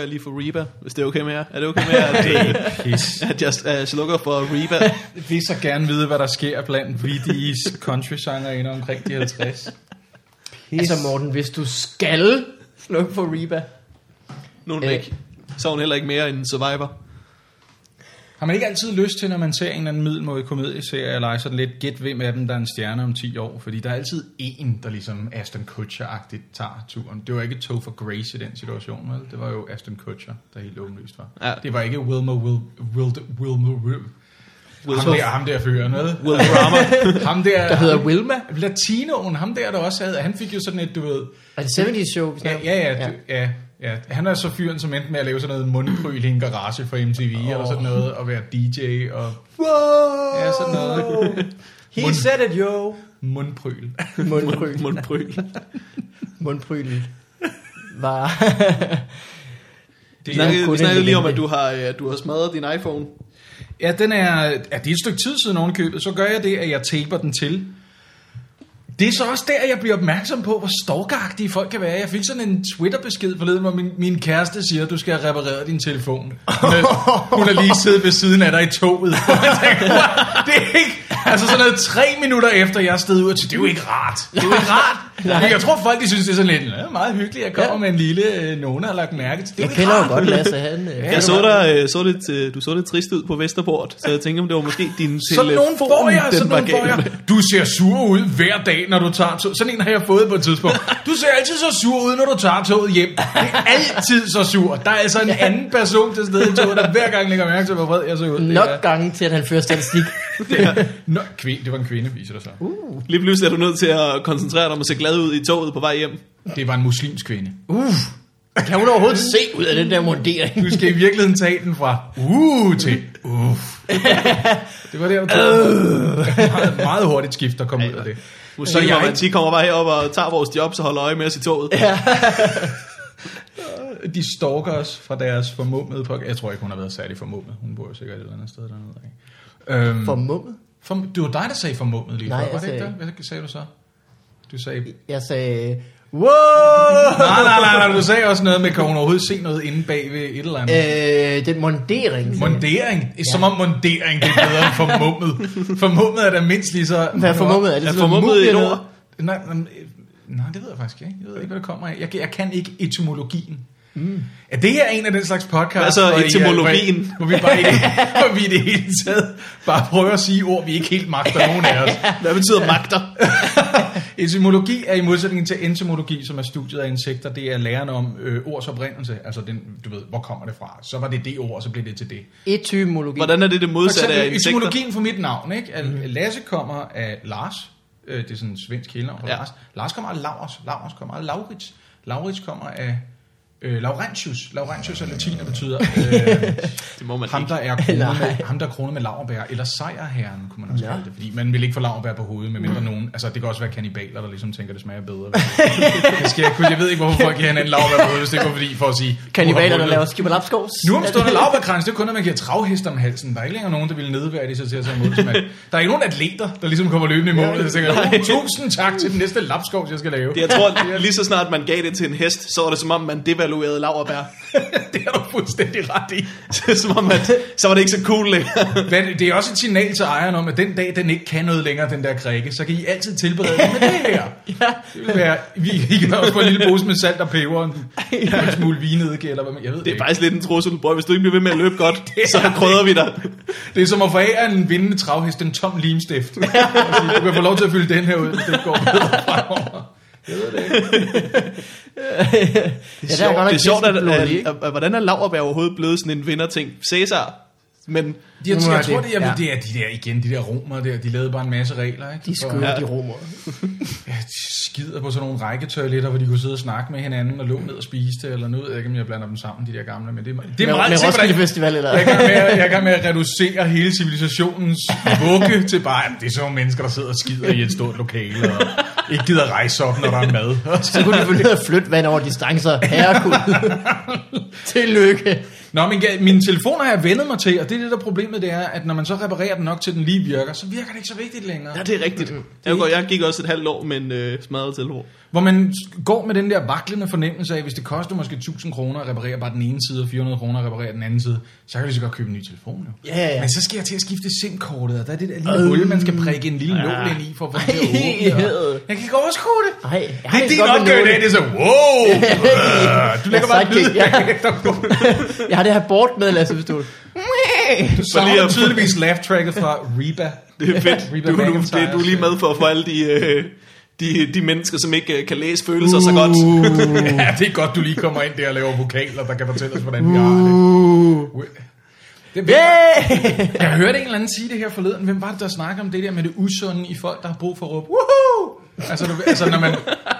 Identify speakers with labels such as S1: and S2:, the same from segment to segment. S1: jeg lige for Reba, hvis det er okay med jer. Er det okay med jer, at,
S2: Pis.
S1: at jeg uh, slukker for Reba?
S2: Jeg vil så gerne vide, hvad der sker blandt vittige country sangerinder omkring de 50.
S3: Altså Morten, hvis du skal slukke for Reba.
S1: Nogen
S3: Øh.
S1: ikke. Så er hun heller ikke mere end Survivor.
S2: Har man ikke altid lyst til, når man ser en eller anden middelmådig komedieserie, eller ej, sådan lidt gæt hvem af dem, der er en stjerne om 10 år? Fordi der er altid en, der ligesom Aston Kutcher-agtigt tager turen. Det var ikke Toe for Grace i den situation, vel? Det var jo Aston Kutcher, der helt åbenlyst var.
S1: Ja.
S2: Det var ikke Wilmer Wil, Wil, Wilmer Wil.
S1: Will-
S2: ham, der, ham der fyren, vel?
S1: Will Drama.
S2: ham der,
S3: Der hedder Wilma.
S2: Latinoen, ham der, der også havde, han fik jo sådan et, du ved,
S3: Er det 70's show? vi
S2: Ja,
S3: snakker om?
S2: ja, ja, ja. ja, ja. Han er så fyren, som endte med at lave sådan noget mundkryl i en garage for MTV, oh. eller sådan noget, og være DJ og
S3: Wow!
S2: Ja, sådan noget.
S3: He
S2: Mund-
S3: said it, yo.
S2: mundpryl.
S3: Mundpryl.
S1: Mundpryl.
S3: Mundprylen var...
S1: Vi
S3: Nå,
S1: snakkede, vi
S3: kunne det
S1: snakkede
S3: ikke
S1: lige om, at
S3: vente.
S1: du har, øh, at du har smadret din iPhone.
S2: Ja, den er, ja, det er et stykke tid siden ovenkøbet, så gør jeg det, at jeg taper den til. Det er så også der, jeg bliver opmærksom på, hvor stalkeragtige folk kan være. Jeg fik sådan en Twitter-besked forleden, hvor min, min kæreste siger, at du skal have repareret din telefon. Hun er- Hun har lige siddet ved siden af dig i toget. Jeg tænker, "What? det er ikke... Altså sådan noget tre minutter efter, jeg er stedet ud til, det er jo ikke rart. Det er jo ikke rart. Men jeg tror, folk de synes, det er sådan lidt "Nå, meget hyggeligt. Jeg kommer
S3: Ja.
S2: med en lille... Øh, nogen har lagt mærke til. Det er
S3: Jeg
S2: jo ikke
S3: kender
S2: rart.
S3: jo godt Lasse, han... øh,
S1: Jeg så dig, øh, så lidt, øh, du så lidt trist ud på Vesterport, så jeg tænkte, om det var måske din telefon,
S2: Sådan nogen får jeg, sådan
S1: øh, den var
S2: nogen får
S1: gal
S2: jeg.
S1: med.
S2: Du ser sur ud hver dag, når du tager toget. Sådan en har jeg fået på et tidspunkt. Du ser altid så sur ud, når du tager toget hjem. Det er altid så sur. Der er altså en anden person til stede i toget, der hver gang lægger mærke til, hvor vred jeg ser ud. Det
S3: Nok
S2: er-
S3: gange til, at han fører statistik.
S2: Nå, kvinde, det var en kvinde, viser det sig.
S1: Lige pludselig er du nødt til at koncentrere dig om at se glad ud i toget på vej hjem.
S2: Det var en muslimsk kvinde.
S3: Uff. Kan hun overhovedet se ud af den der mundering?
S2: Du skal i virkeligheden tage den fra uh til uff. Det var der, du
S1: Øh.
S2: tog. Meget, meget hurtigt skift, der kom ud af det.
S1: Så
S2: jeg-
S1: jeg de kommer bare herop og tager vores job, så holder øje med os i toget.
S2: de stalker os fra deres formummede på. Jeg tror ikke, hun har været særlig formummet. Hun bor jo sikkert et eller andet sted dernede. Ikke? Øhm,
S3: For
S2: for...
S3: mummet.
S2: For, det var dig, der sagde formummet lige
S3: Nej,
S2: før, var
S3: jeg
S2: det ikke
S3: sagde Øh!
S2: det? Hvad sagde du så? Du sagde...
S3: Jeg sagde... Wow!
S2: Nej, nej, nej, nej, du sagde også noget med, kan hun overhovedet se noget inde bag ved et eller andet? Øh.
S3: Øh, den mundering. sagde jeg.
S2: Mondering. Ja. Som om mondering det er bedre end formummet. formummet er da mindst lige så...
S3: Hvad er formummet? Er det
S1: Er
S3: sådan
S1: formummet
S3: noget
S1: et
S3: mumie
S1: ord?
S3: noget?
S2: Nej, nej, øh, nej, det ved jeg faktisk ikke. Jeg ved ikke, hvad det kommer af. Jeg, jeg kan ikke etymologien. Mm. Er det her en af den slags podcast?
S1: Hvad så
S2: hvor I er-
S1: etymologien?
S2: Hvor, I- hvor vi bare ikke, hvor vi i det hele taget bare prøver at sige ord, vi ikke helt magter nogen af os.
S1: Hvad betyder magter?
S2: Etymologi er i modsætning til entomologi, som er studiet af insekter. Det er læren om øh, ords oprindelse. Altså, den, du ved, hvor kommer det fra? Så var det det ord, og så blev det til det.
S3: Etymologi.
S1: Hvordan er det det
S2: For
S1: modsatte af
S2: eksempel
S1: insekter? Mhm.
S2: etymologien for mit navn, ikke? At Lasse kommer af Lars. Øh, det er sådan en svensk kælenavn for
S1: Ja.
S2: ja. Lars. Lars kommer af Laurs. Laurs kommer af Laurits. Laurits kommer af øh, Laurentius. Laurentius er latin og betyder øh,
S1: Det må man
S2: ham,
S1: ikke.
S2: der er kronet
S3: Nej.
S2: med, ham, der er kronet med laverbær. Eller sejrherren, kunne man også
S3: Ja. Mm.
S2: kalde det. Fordi man vil ikke få laverbær på hovedet, medmindre nogen... Altså, det kan også være kannibaler, der ligesom tænker, det smager bedre. det skal jeg, kunne- jeg ved ikke, hvorfor folk giver hinanden laverbær på hovedet, hvis det ikke var fordi, for at sige...
S3: Kannibaler,
S2: "Du
S3: der
S2: har
S3: laver skibberlapskovs.
S2: nu omstående lavbærkrans, det er kun, når man giver travhest om halsen. Der er ikke længere nogen, der vil nedværdige sig til at tage imod som at- Der er ikke nogen atleter, der ligesom kommer løbende i målet og tænker, "Uh, tusind tak til den næste lapskov, jeg skal lave.
S1: Det, jeg tror, lige så snart man gav det til en hest, så var det som om, man devaluerede laverbær.
S2: det er du fuldstændig ret i.
S1: som om, at, så var det ikke så cool længere.
S2: Men det er også et signal til ejeren om, at den dag, den ikke kan noget længere, den der krikke, så kan I altid tilberede den med det her.
S3: Ja.
S2: Det vil være, vi, I kan også få en lille pose med salt og peber, og en, en smule vinedike, eller hvad man, jeg ved
S1: Det er
S2: ikke.
S1: faktisk lidt en trussel. Bror, hvis du ikke bliver ved med at løbe godt, så krydder vi dig.
S2: Det er som at forære en vindende travhest en tom limstift. Og sige, du kan få lov til at fylde den her ud, hvis det går bedre fremover. Jeg ved det ikke.
S3: det
S1: Det er, sjovt, det er sjovt, at, at, at, at, hvordan er Lauerberg overhovedet blevet sådan en vinderting? Cæsar, men
S2: De, jeg,
S3: Nu
S2: jeg,
S3: er
S2: jeg tror,
S3: det-
S2: det, jeg, ja.
S3: ja.
S2: det er de der, igen, de der romer der, de lavede bare en masse regler, ikke?
S3: De
S2: For-
S3: skød
S1: Ja.
S3: de romer.
S2: Ja, de skider på sådan nogle rækketoiletter, hvor de kunne sidde og snakke med hinanden og lå ned og spise det, eller nu ved jeg ikke, om jeg blander dem sammen, de der gamle, men det er, det er
S3: Med,
S2: meget
S3: med
S2: tænkt, hvordan-
S3: Roskilde Festival, eller?
S2: Jeg kan, med, at- jeg kan med at reducere hele civilisationens vugge til bare, at det er sådan nogle mennesker, der sidder og skider i et stort lokale, og ikke gider rejse op, når der er mad.
S3: Så kunne de få ned og flytte vand over distancer. Herregud. Tillykke.
S2: Nå, min, min telefon har jeg vendet mig til, og det er det der problemet, det er, at når man så reparerer den nok til, den lige virker, så virker det ikke så vigtigt længere.
S1: Mm-hmm. ja, det er rigtigt. Jeg, går, jeg gik også et halvt år med en øh, smadret telefon.
S2: Hvor man går med den der vaklende fornemmelse af, hvis det koster måske 1000 kroner at reparere bare den ene side, og 400 kroner at reparere den anden side, så kan vi så godt købe en ny telefon jo.
S3: Ja, ja, ja.
S2: Men så skal jeg til at skifte SIM-kortet, og der er det der lille øh, hul, man skal prikke en lille nål ind i, for at få det til at åbne. og- Jeg kan ikke overskue det.
S3: Ej, jeg har
S2: Det er
S3: det
S2: din
S3: godt med
S2: opgave i
S3: nåle.
S2: dag, det er så, wow! Øh, du lægger
S3: Jeg er
S2: bare en lyd
S3: sidekick, ja.
S2: bagefter.
S3: Jeg har det her bort med lassepistol.
S2: Så
S1: lige
S2: har du
S1: at-
S2: tydeligvis laugh tracket fra Reba.
S1: Det er fedt.
S2: Reba
S1: Du, du,
S2: McEntire.
S1: det, du er lige med for, for alle de, øh, de, de mennesker, som ikke øh, kan læse følelser så godt.
S2: Uh. ja, det er godt, du lige kommer ind der og laver vokaler, der kan fortælle os, hvordan vi har
S1: Uh.
S2: det. det yeah!
S3: Yeah!
S2: Jeg hørte en eller anden sige det her forleden. Hvem var det, der snakkede om det der med det usunde i folk, der har brug for at råbe, woohoo! Altså, du, altså når man,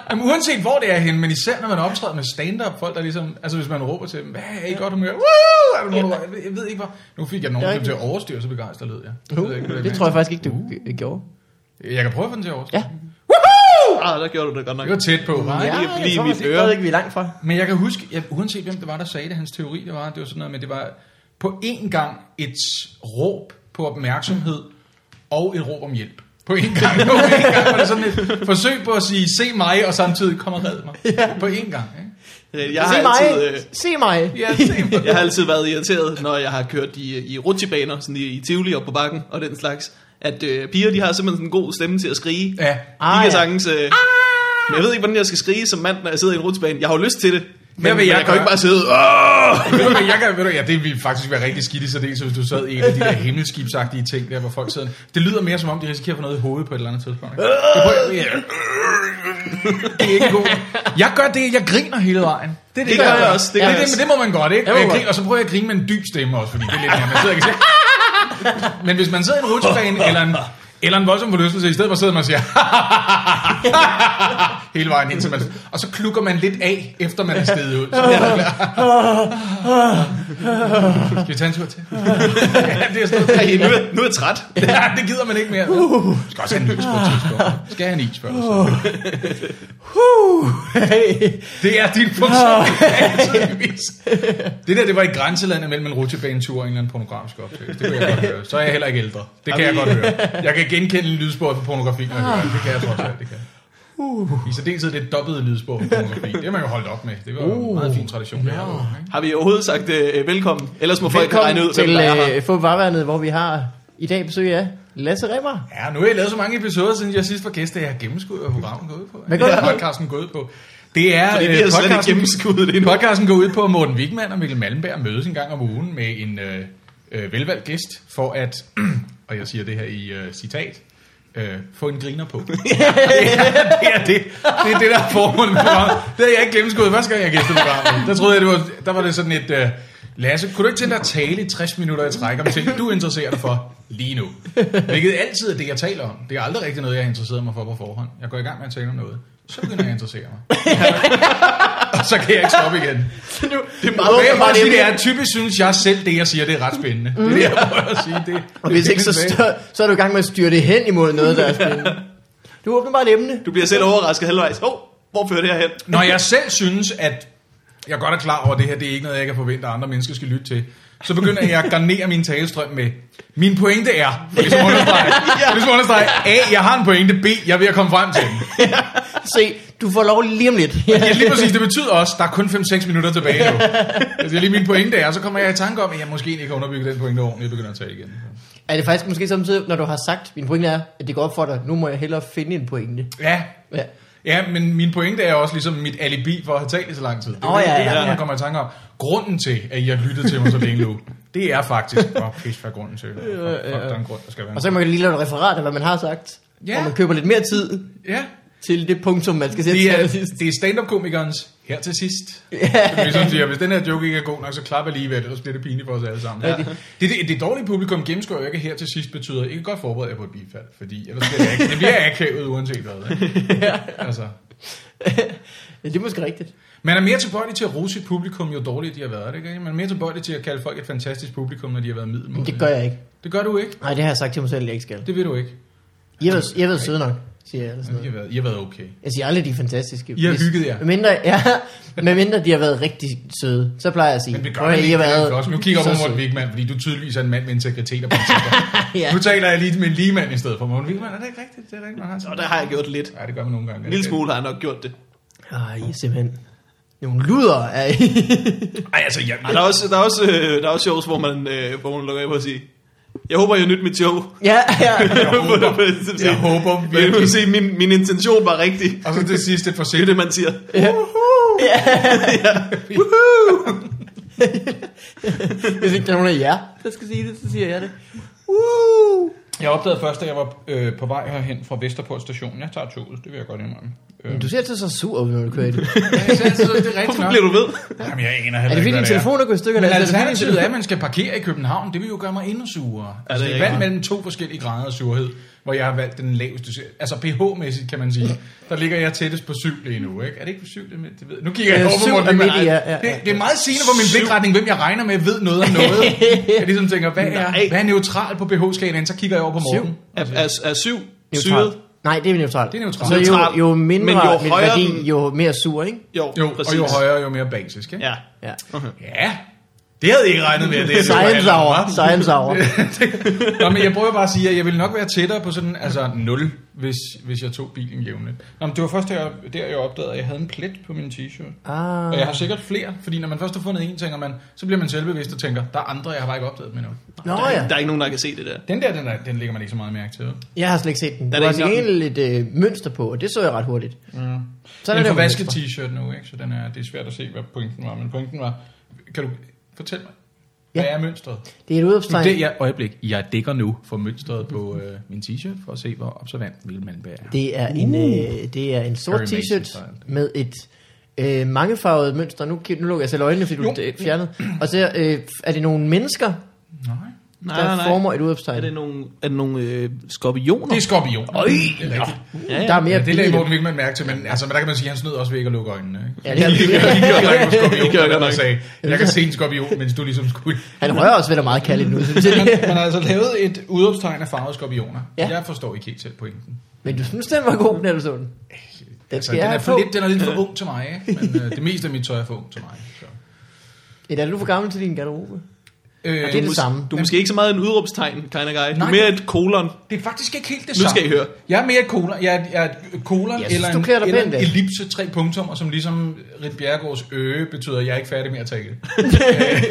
S2: jamen, uanset hvor det er henne, men især når man optræder med stand-up folk, der ligesom, altså hvis man råber til dem, hvad er I i godt humør? Woohoo! Er der nogen, der råber? jeg, ved, jeg ved ikke hvor. Nu fik jeg nogen
S3: Ja,
S2: til-
S3: ikke?
S2: til at overstyre, så begejstret lød jeg. Jeg ved ikke, hvad
S3: Uh, det
S2: er.
S3: tror jeg faktisk ikke, du g- gjorde.
S2: Jeg kan prøve at få den til at overstyre.
S3: Ja.
S1: Ah, der gjorde du det godt nok.
S2: Det var tæt på. hva'?
S1: lige-
S3: jeg
S1: lige i
S3: tror
S1: mit
S3: faktisk ikke,
S1: øre.
S3: stadig, vi er langt fra.
S2: Men jeg kan huske, jeg, uanset hvem det var, der sagde det, hans teori, det var, det var sådan noget med, det var på én gang et råb på opmærksomhed og et råb om hjælp. På én gang. På én gang var det sådan et forsøg på at sige, se mig, og samtidig kom og red mig. Ja. På én gang. Ikke?
S1: Øh, Jeg har,
S3: Se mig!
S1: altid, øh,
S3: Se mig!
S2: Ja, se mig.
S1: jeg har altid været irriteret, når jeg har kørt i, i rutsjebaner, sådan i, i Tivoli og på bakken og den slags, at øh, piger, de har simpelthen sådan en god stemme til at skrige.
S2: Ja.
S1: Ah, de
S3: Ah,
S1: kan
S3: ja.
S1: sagtens... Øh, men jeg ved ikke, hvordan jeg skal skrige som mand, når jeg sidder i en rutsjebane. Jeg har jo lyst til det. Men,
S2: Hvad
S1: men
S2: vil
S1: jeg,
S2: jeg
S1: jeg kan jo
S2: gøre?
S1: ikke bare sidde... Åh!
S2: Ved du hvad, jeg kan, ved du, ja, det ville faktisk være rigtig skidt i særdeles, hvis du sad i en af de der himmelskibsagtige ting, der hvor folk sidder. Det lyder mere som om, de risikerer at få noget i hovedet på et eller andet tidspunkt. ikke? Det prøver, ja. det er ikke godt. Jeg gør det, jeg griner hele vejen. Det, er
S1: Det gør jeg
S2: gør.
S1: også, det
S2: Det,
S1: gør
S2: ja,
S1: jeg
S2: det,
S1: også.
S2: men det må man godt, ikke?
S3: Jeg
S2: Og,
S3: må
S2: jeg
S3: godt.
S2: griner, og så prøver jeg at grine med en dyb stemme også, fordi det er lidt mere, man sidder ikke og siger, Men hvis man sidder i en rutsjebane eller en, eller en voldsom forlystelse, i stedet for sidder man og siger, hele vejen indtil man... Og så klukker man lidt af, efter man er steget ud. Så er man klar. Skal vi tage en tur til? ja, det er sådan noget,
S1: Ej, nu, er, nu er jeg træt.
S2: Ja, det gider man ikke mere. Du skal også have en is på et tidspunkt. Skal have en is før eller siden.
S3: Huh. Hey.
S2: Uh. Det er din funktion. Ja, tydeligvis. det der, det var i grænselandet mellem en rutsjebanetur og en eller anden pornografisk optagelse. Det kan jeg godt høre. Så er jeg heller ikke ældre. Det kan jeg godt høre. Jeg kan genkende lydspor fra pornografi, når jeg hører det. Det kan jeg trods alt, det kan jeg. Ah. I særdeleshed det dobbelte lydspor fra pornografi. Det har man jo holdt op med. Det var jo en meget fin tradition, vi har derude, ikke?
S1: Har vi overhovedet sagt øh, velkommen? Ellers må folk
S3: Velkommen
S1: regne ud,
S3: til
S1: hvem der er her.
S3: øh, få varvandet, hvor vi har i dag besøg af Lasse Remmer.
S2: Ja, nu har jeg lavet så mange episoder, siden jeg sidst var gæst, at jeg har gennemskuddet, hvad programmet går ud på.
S3: Hvad går det ud på?
S2: podcasten går ud på? Det er,
S1: Fordi vi
S2: øh,
S1: har slet ikke
S2: podcasten-
S1: gennemskuddet det endnu.
S2: Podcasten går ud på, at Morten Wigman og Mikkel Malmberg mødes en gang om ugen med en øh, øh, velvalgt gæst, for at, og jeg siger det her i øh, citat, øh, få en griner på. det, er, det er det. Det er det, der er formålet med programmet. Det har jeg ikke gennemskuddet første gang, jeg gæstede programmet. Der troede jeg, det var, der var det sådan et... Øh, Lasse, kunne du ikke tænke dig at tale i 60 minutter i træk om ting, du interesserer dig for lige nu? Hvilket altid er det, jeg taler om. Det er aldrig rigtig noget, jeg interesserer mig for på forhånd. Jeg går i gang med at tale om noget. Så begynder jeg at interessere mig. Og så kan jeg ikke stoppe igen.
S3: nu,
S1: Det er meget
S2: Og hvad jeg
S3: Åbenbart
S2: bare sige, det
S3: emne.
S2: er, at typisk synes jeg selv, det jeg siger, det er ret spændende. Det er det, jeg prøver at sige. Det,
S3: Og hvis ikke, så, stør, så er du i gang med at styre det hen imod noget, der er spændende. Du åbner bare et emne.
S1: Du bliver selv overrasket halvvejs. Åh, oh, hvor fører det her hen?
S2: Når jeg selv synes, at jeg godt er klar over, at det her det er ikke noget, jeg kan forvente, at andre mennesker skal lytte til, så begynder jeg at garnere min talestrøm med, min pointe er, for ligesom at understrege, for ligesom at understrege, A, jeg har en pointe, B, jeg er ved at komme frem til den.
S3: Se, du får lov lige om lidt.
S2: Ja, lige præcis, det betyder også, der er kun 5-6 minutter tilbage nu. Altså, det er lige min pointe er, så kommer jeg i tanke om, at jeg måske ikke har underbygget den pointe ordentligt, jeg begynder at tale igen.
S3: Er det faktisk måske samtidig, når du har sagt, min pointe er, at det går op for dig, nu må jeg hellere finde en pointe.
S2: Ja,
S3: Ja.
S2: Ja, men min pointe er også ligesom mit alibi for at have talt i så lang tid. Det er
S3: Åh,
S2: oh,
S3: ja,
S2: ja, det,
S3: ja,
S2: der,
S3: ja.
S2: man kommer i tanke om. Grunden til, at I har lyttet til mig så længe nu, det er faktisk... Åh, oh, pis, hvad er grunden til? Fuck, fuck, der er en grund, der skal være
S3: Og
S2: en
S3: så kan man lige lave et referat af, hvad man har sagt.
S2: Ja.
S3: Og man køber lidt mere tid
S2: Ja,
S3: til det punktum, man skal sætte
S2: det er,
S3: sig sidst.
S2: det er stand-up-komikernes her til sidst. Ja. Ligesom siger, hvis den her joke ikke er god nok, så klap alligevel, ellers bliver det pinligt for os alle sammen. Ja. Det, det, det dårlige publikum gennemskår jo ikke, at her til sidst betyder, ikke godt forberede jer på et bifald, fordi ellers bliver det, ikke, det bliver akavet uanset hvad. ikke? Altså,
S3: Ja, det er måske rigtigt.
S2: Man er mere tilbøjelig til at rose sit publikum, jo dårligere de har været. Ikke? Man er mere tilbøjelig til at kalde folk et fantastisk publikum, når de har været middelmåde.
S3: Men det gør jeg ikke.
S2: det gør du ikke.
S3: Nej, det har jeg sagt til mig selv, at jeg ikke skal.
S2: Det ved du ikke.
S3: I har været, I har været søde nok, siger jeg. Eller sådan
S2: I har
S3: noget.
S2: været, I har været okay.
S3: Jeg siger aldrig, de er fantastiske.
S2: I har
S3: Hvis-
S2: hygget jer.
S3: Med mindre, ja, med mindre de har været rigtig søde, så plejer jeg at sige.
S2: Men det gør
S3: "Prøv at
S2: man
S3: høre, I
S2: ikke.
S3: har været
S2: det også. Nu kigger jeg
S3: så
S2: på Morten
S3: søde."
S2: Wigman, fordi du tydeligvis er en mand med integritet og principper.
S3: Ja.
S2: Nu taler jeg lige med en ligemand i stedet for Morten Wigman. Er det ikke rigtigt? Det er da ikke, man har
S1: Og
S2: sådan.
S1: der har jeg gjort lidt.
S2: Ja, det gør man nogle gange.
S1: En lille smule har jeg nok gjort det.
S3: Ah, I er simpelthen nogle luder af...
S2: Ej, altså, jeg,
S1: Ej, der, er også, der, er også, øh, der er også shows, hvor man, øh, hvor man lukker af på at sige, jeg håber, jeg har nyt mit show.
S3: ja, ja.
S2: håber- jeg
S1: virkelig.
S2: håber
S1: Men
S2: virkelig.
S1: du sige, min, min intention var rigtig.
S2: og så til sidst et
S1: Det er
S2: forsøg.
S1: det, man siger.
S3: ja.
S1: Woohoo!
S3: Hvis ikke der er nogen af jer, der skal sige det, så siger jeg det. Woo!
S2: Jeg opdagede først, at jeg var øh, på vej herhen fra Vesterport station. Jeg tager toget, det vil jeg godt indrømme. Øh,
S3: Men Du ser altid så sur ud, når du kører i det.
S2: jeg synes, det er rigtigt
S1: Hvorfor
S2: nok.
S1: bliver du ved?
S2: Jamen, jeg aner heller
S3: Er det
S2: ikke,
S3: fordi,
S2: hvad
S3: din telefon er gået i stykker?
S2: Men
S3: eller-
S2: alternativet er, at man skal parkere i København. Det vil jo gøre mig endnu surere. Altså,
S1: det er
S2: det er valgt
S1: rigtigt.
S2: mellem to forskellige grader af surhed, hvor jeg har valgt den laveste. sur- Altså pH-mæssigt kan man sige. Der ligger jeg tættest på syv lige nu. Ikke? Er det ikke på syv? Det, med- det ved. Nu kigger jeg
S3: Øh,
S2: over
S3: syv
S2: på
S3: er
S2: Morten Lykkeberg.
S3: midt i, ja, ja, ja.
S2: det, det er meget sigende for min blikretning, hvem jeg regner med ved noget om noget. jeg ligesom tænker, hvad
S1: Nej.
S2: er, hvad er neutral på pH-skalaen? Så kigger jeg over på
S3: Syv.
S2: Morten.
S1: Er, er, er syv
S3: Neutralt.
S1: syret?
S3: Nej, det er neutralt.
S2: Det er neutralt.
S3: Så
S1: Neutralt.
S3: jo, jo mindre
S1: Men jo
S3: men
S1: højere
S3: værdi,
S1: den-
S3: jo mere sur, ikke?
S1: Jo,
S2: Jo,
S1: præcis.
S2: og jo højere, jo mere basisk. Ikke?
S1: Ja.
S3: Ja.
S2: ja. Det havde jeg ikke regnet med. at Det er
S3: Science hour.
S2: hva'?
S3: Science hour.
S2: Nå, men jeg prøver bare at sige, at jeg ville nok være tættere på sådan, altså 0, hvis, hvis jeg tog bilen jævnligt. Nå, men det var først der, jeg- der jeg opdagede, at jeg havde en plet på min t-shirt.
S3: Ah.
S2: Og jeg har sikkert flere, fordi når man først har fundet en, tænker man, så bliver man selvbevidst og tænker, der er andre, jeg har bare ikke opdaget med nu.
S3: Nå
S1: Der, er,
S3: ja.
S1: der er ikke nogen, der kan se det der.
S2: Den der, den, der, den lægger man ikke så meget mærke til.
S3: Jeg har slet ikke set den.
S1: Der er
S3: Der var
S1: det ikke
S3: sikkert et øh, mønster på, og det så jeg ret hurtigt.
S2: Mm.
S3: Så
S2: Så er
S3: er
S2: det
S3: der
S2: en
S3: det
S2: vasket
S3: mønster.
S2: t-shirt nu, ikke? så den er, det er svært at se, hvad pointen var. Men pointen var, kan du fortælle mig,
S3: Ja.
S2: hvad er mønstret?
S3: Det er et
S2: Nu,
S3: udopstegn.
S2: det er jeg, øjeblik, jeg dækker nu for mønstret på øh, min t-shirt, for at se, hvor observant Vildmandberg er.
S3: Det er
S1: Uh.
S3: en, øh, det er en sort
S2: Harry
S3: t-shirt
S2: Mason-style.
S3: med et øh, mangefarvet mønster. Nu, ki- nu lukker jeg selv øjnene, fordi du
S2: Jo.
S3: er fjernet. Og så øh, er det nogle mennesker, der
S2: Nej.
S1: Nej, nej, nej.
S3: former et
S1: Er
S3: udopstegn.
S1: det nogle, er det nogle øh, skorpioner?
S2: Det er skorpion. Øj, det er rigtigt.
S1: ja,
S3: Der
S2: Ja,
S3: er mere
S2: det lagde
S3: billigt.
S2: Morten Wigman mærke til, men, altså, men der kan man sige, at han snød også ved ikke at lukke øjnene. Ikke?
S3: Ja, det er
S2: Han
S3: billigt.
S2: kiggede op på
S1: Det gør jeg
S2: skorpionen
S1: godt
S2: og
S1: nok.
S2: sagde, jeg kan se en skorpion, mens du ligesom skulle.
S3: Han rører også vel og meget kærligt nu. synes jeg.
S2: Man, man har altså lavet et udopstegn af farvede skorpioner.
S3: Ja.
S2: Ja. Jeg forstår ikke helt selv pointen.
S3: Men du synes, den var god, når du så den. Den
S2: Altså,
S3: skal
S2: den,
S3: jeg
S2: er
S3: have
S2: for
S3: på.
S2: lidt, den er lidt for ung til mig, ikke? men øh, det meste af mit tøj er for ung til mig. Så.
S3: Et, er du for gammel til din garderobe?
S2: Øh,
S3: Og det er det samme.
S1: Du er måske ikke så meget en udråbstegn, kind of guy. Du er
S2: Nej.
S1: mere et kolon.
S2: Det er faktisk ikke helt det
S1: Nu
S2: samme.
S1: skal I høre.
S2: Jeg er mere et kolon, jeg er, jeg er et kolon
S3: Jeg synes,
S2: eller,
S3: du klæder dig
S2: en, eller en
S3: pænt af.
S2: ellipse, tre punktummer, som ligesom Rit Bjergårds øge betyder, at jeg er ikke færdig med at tale. Øh,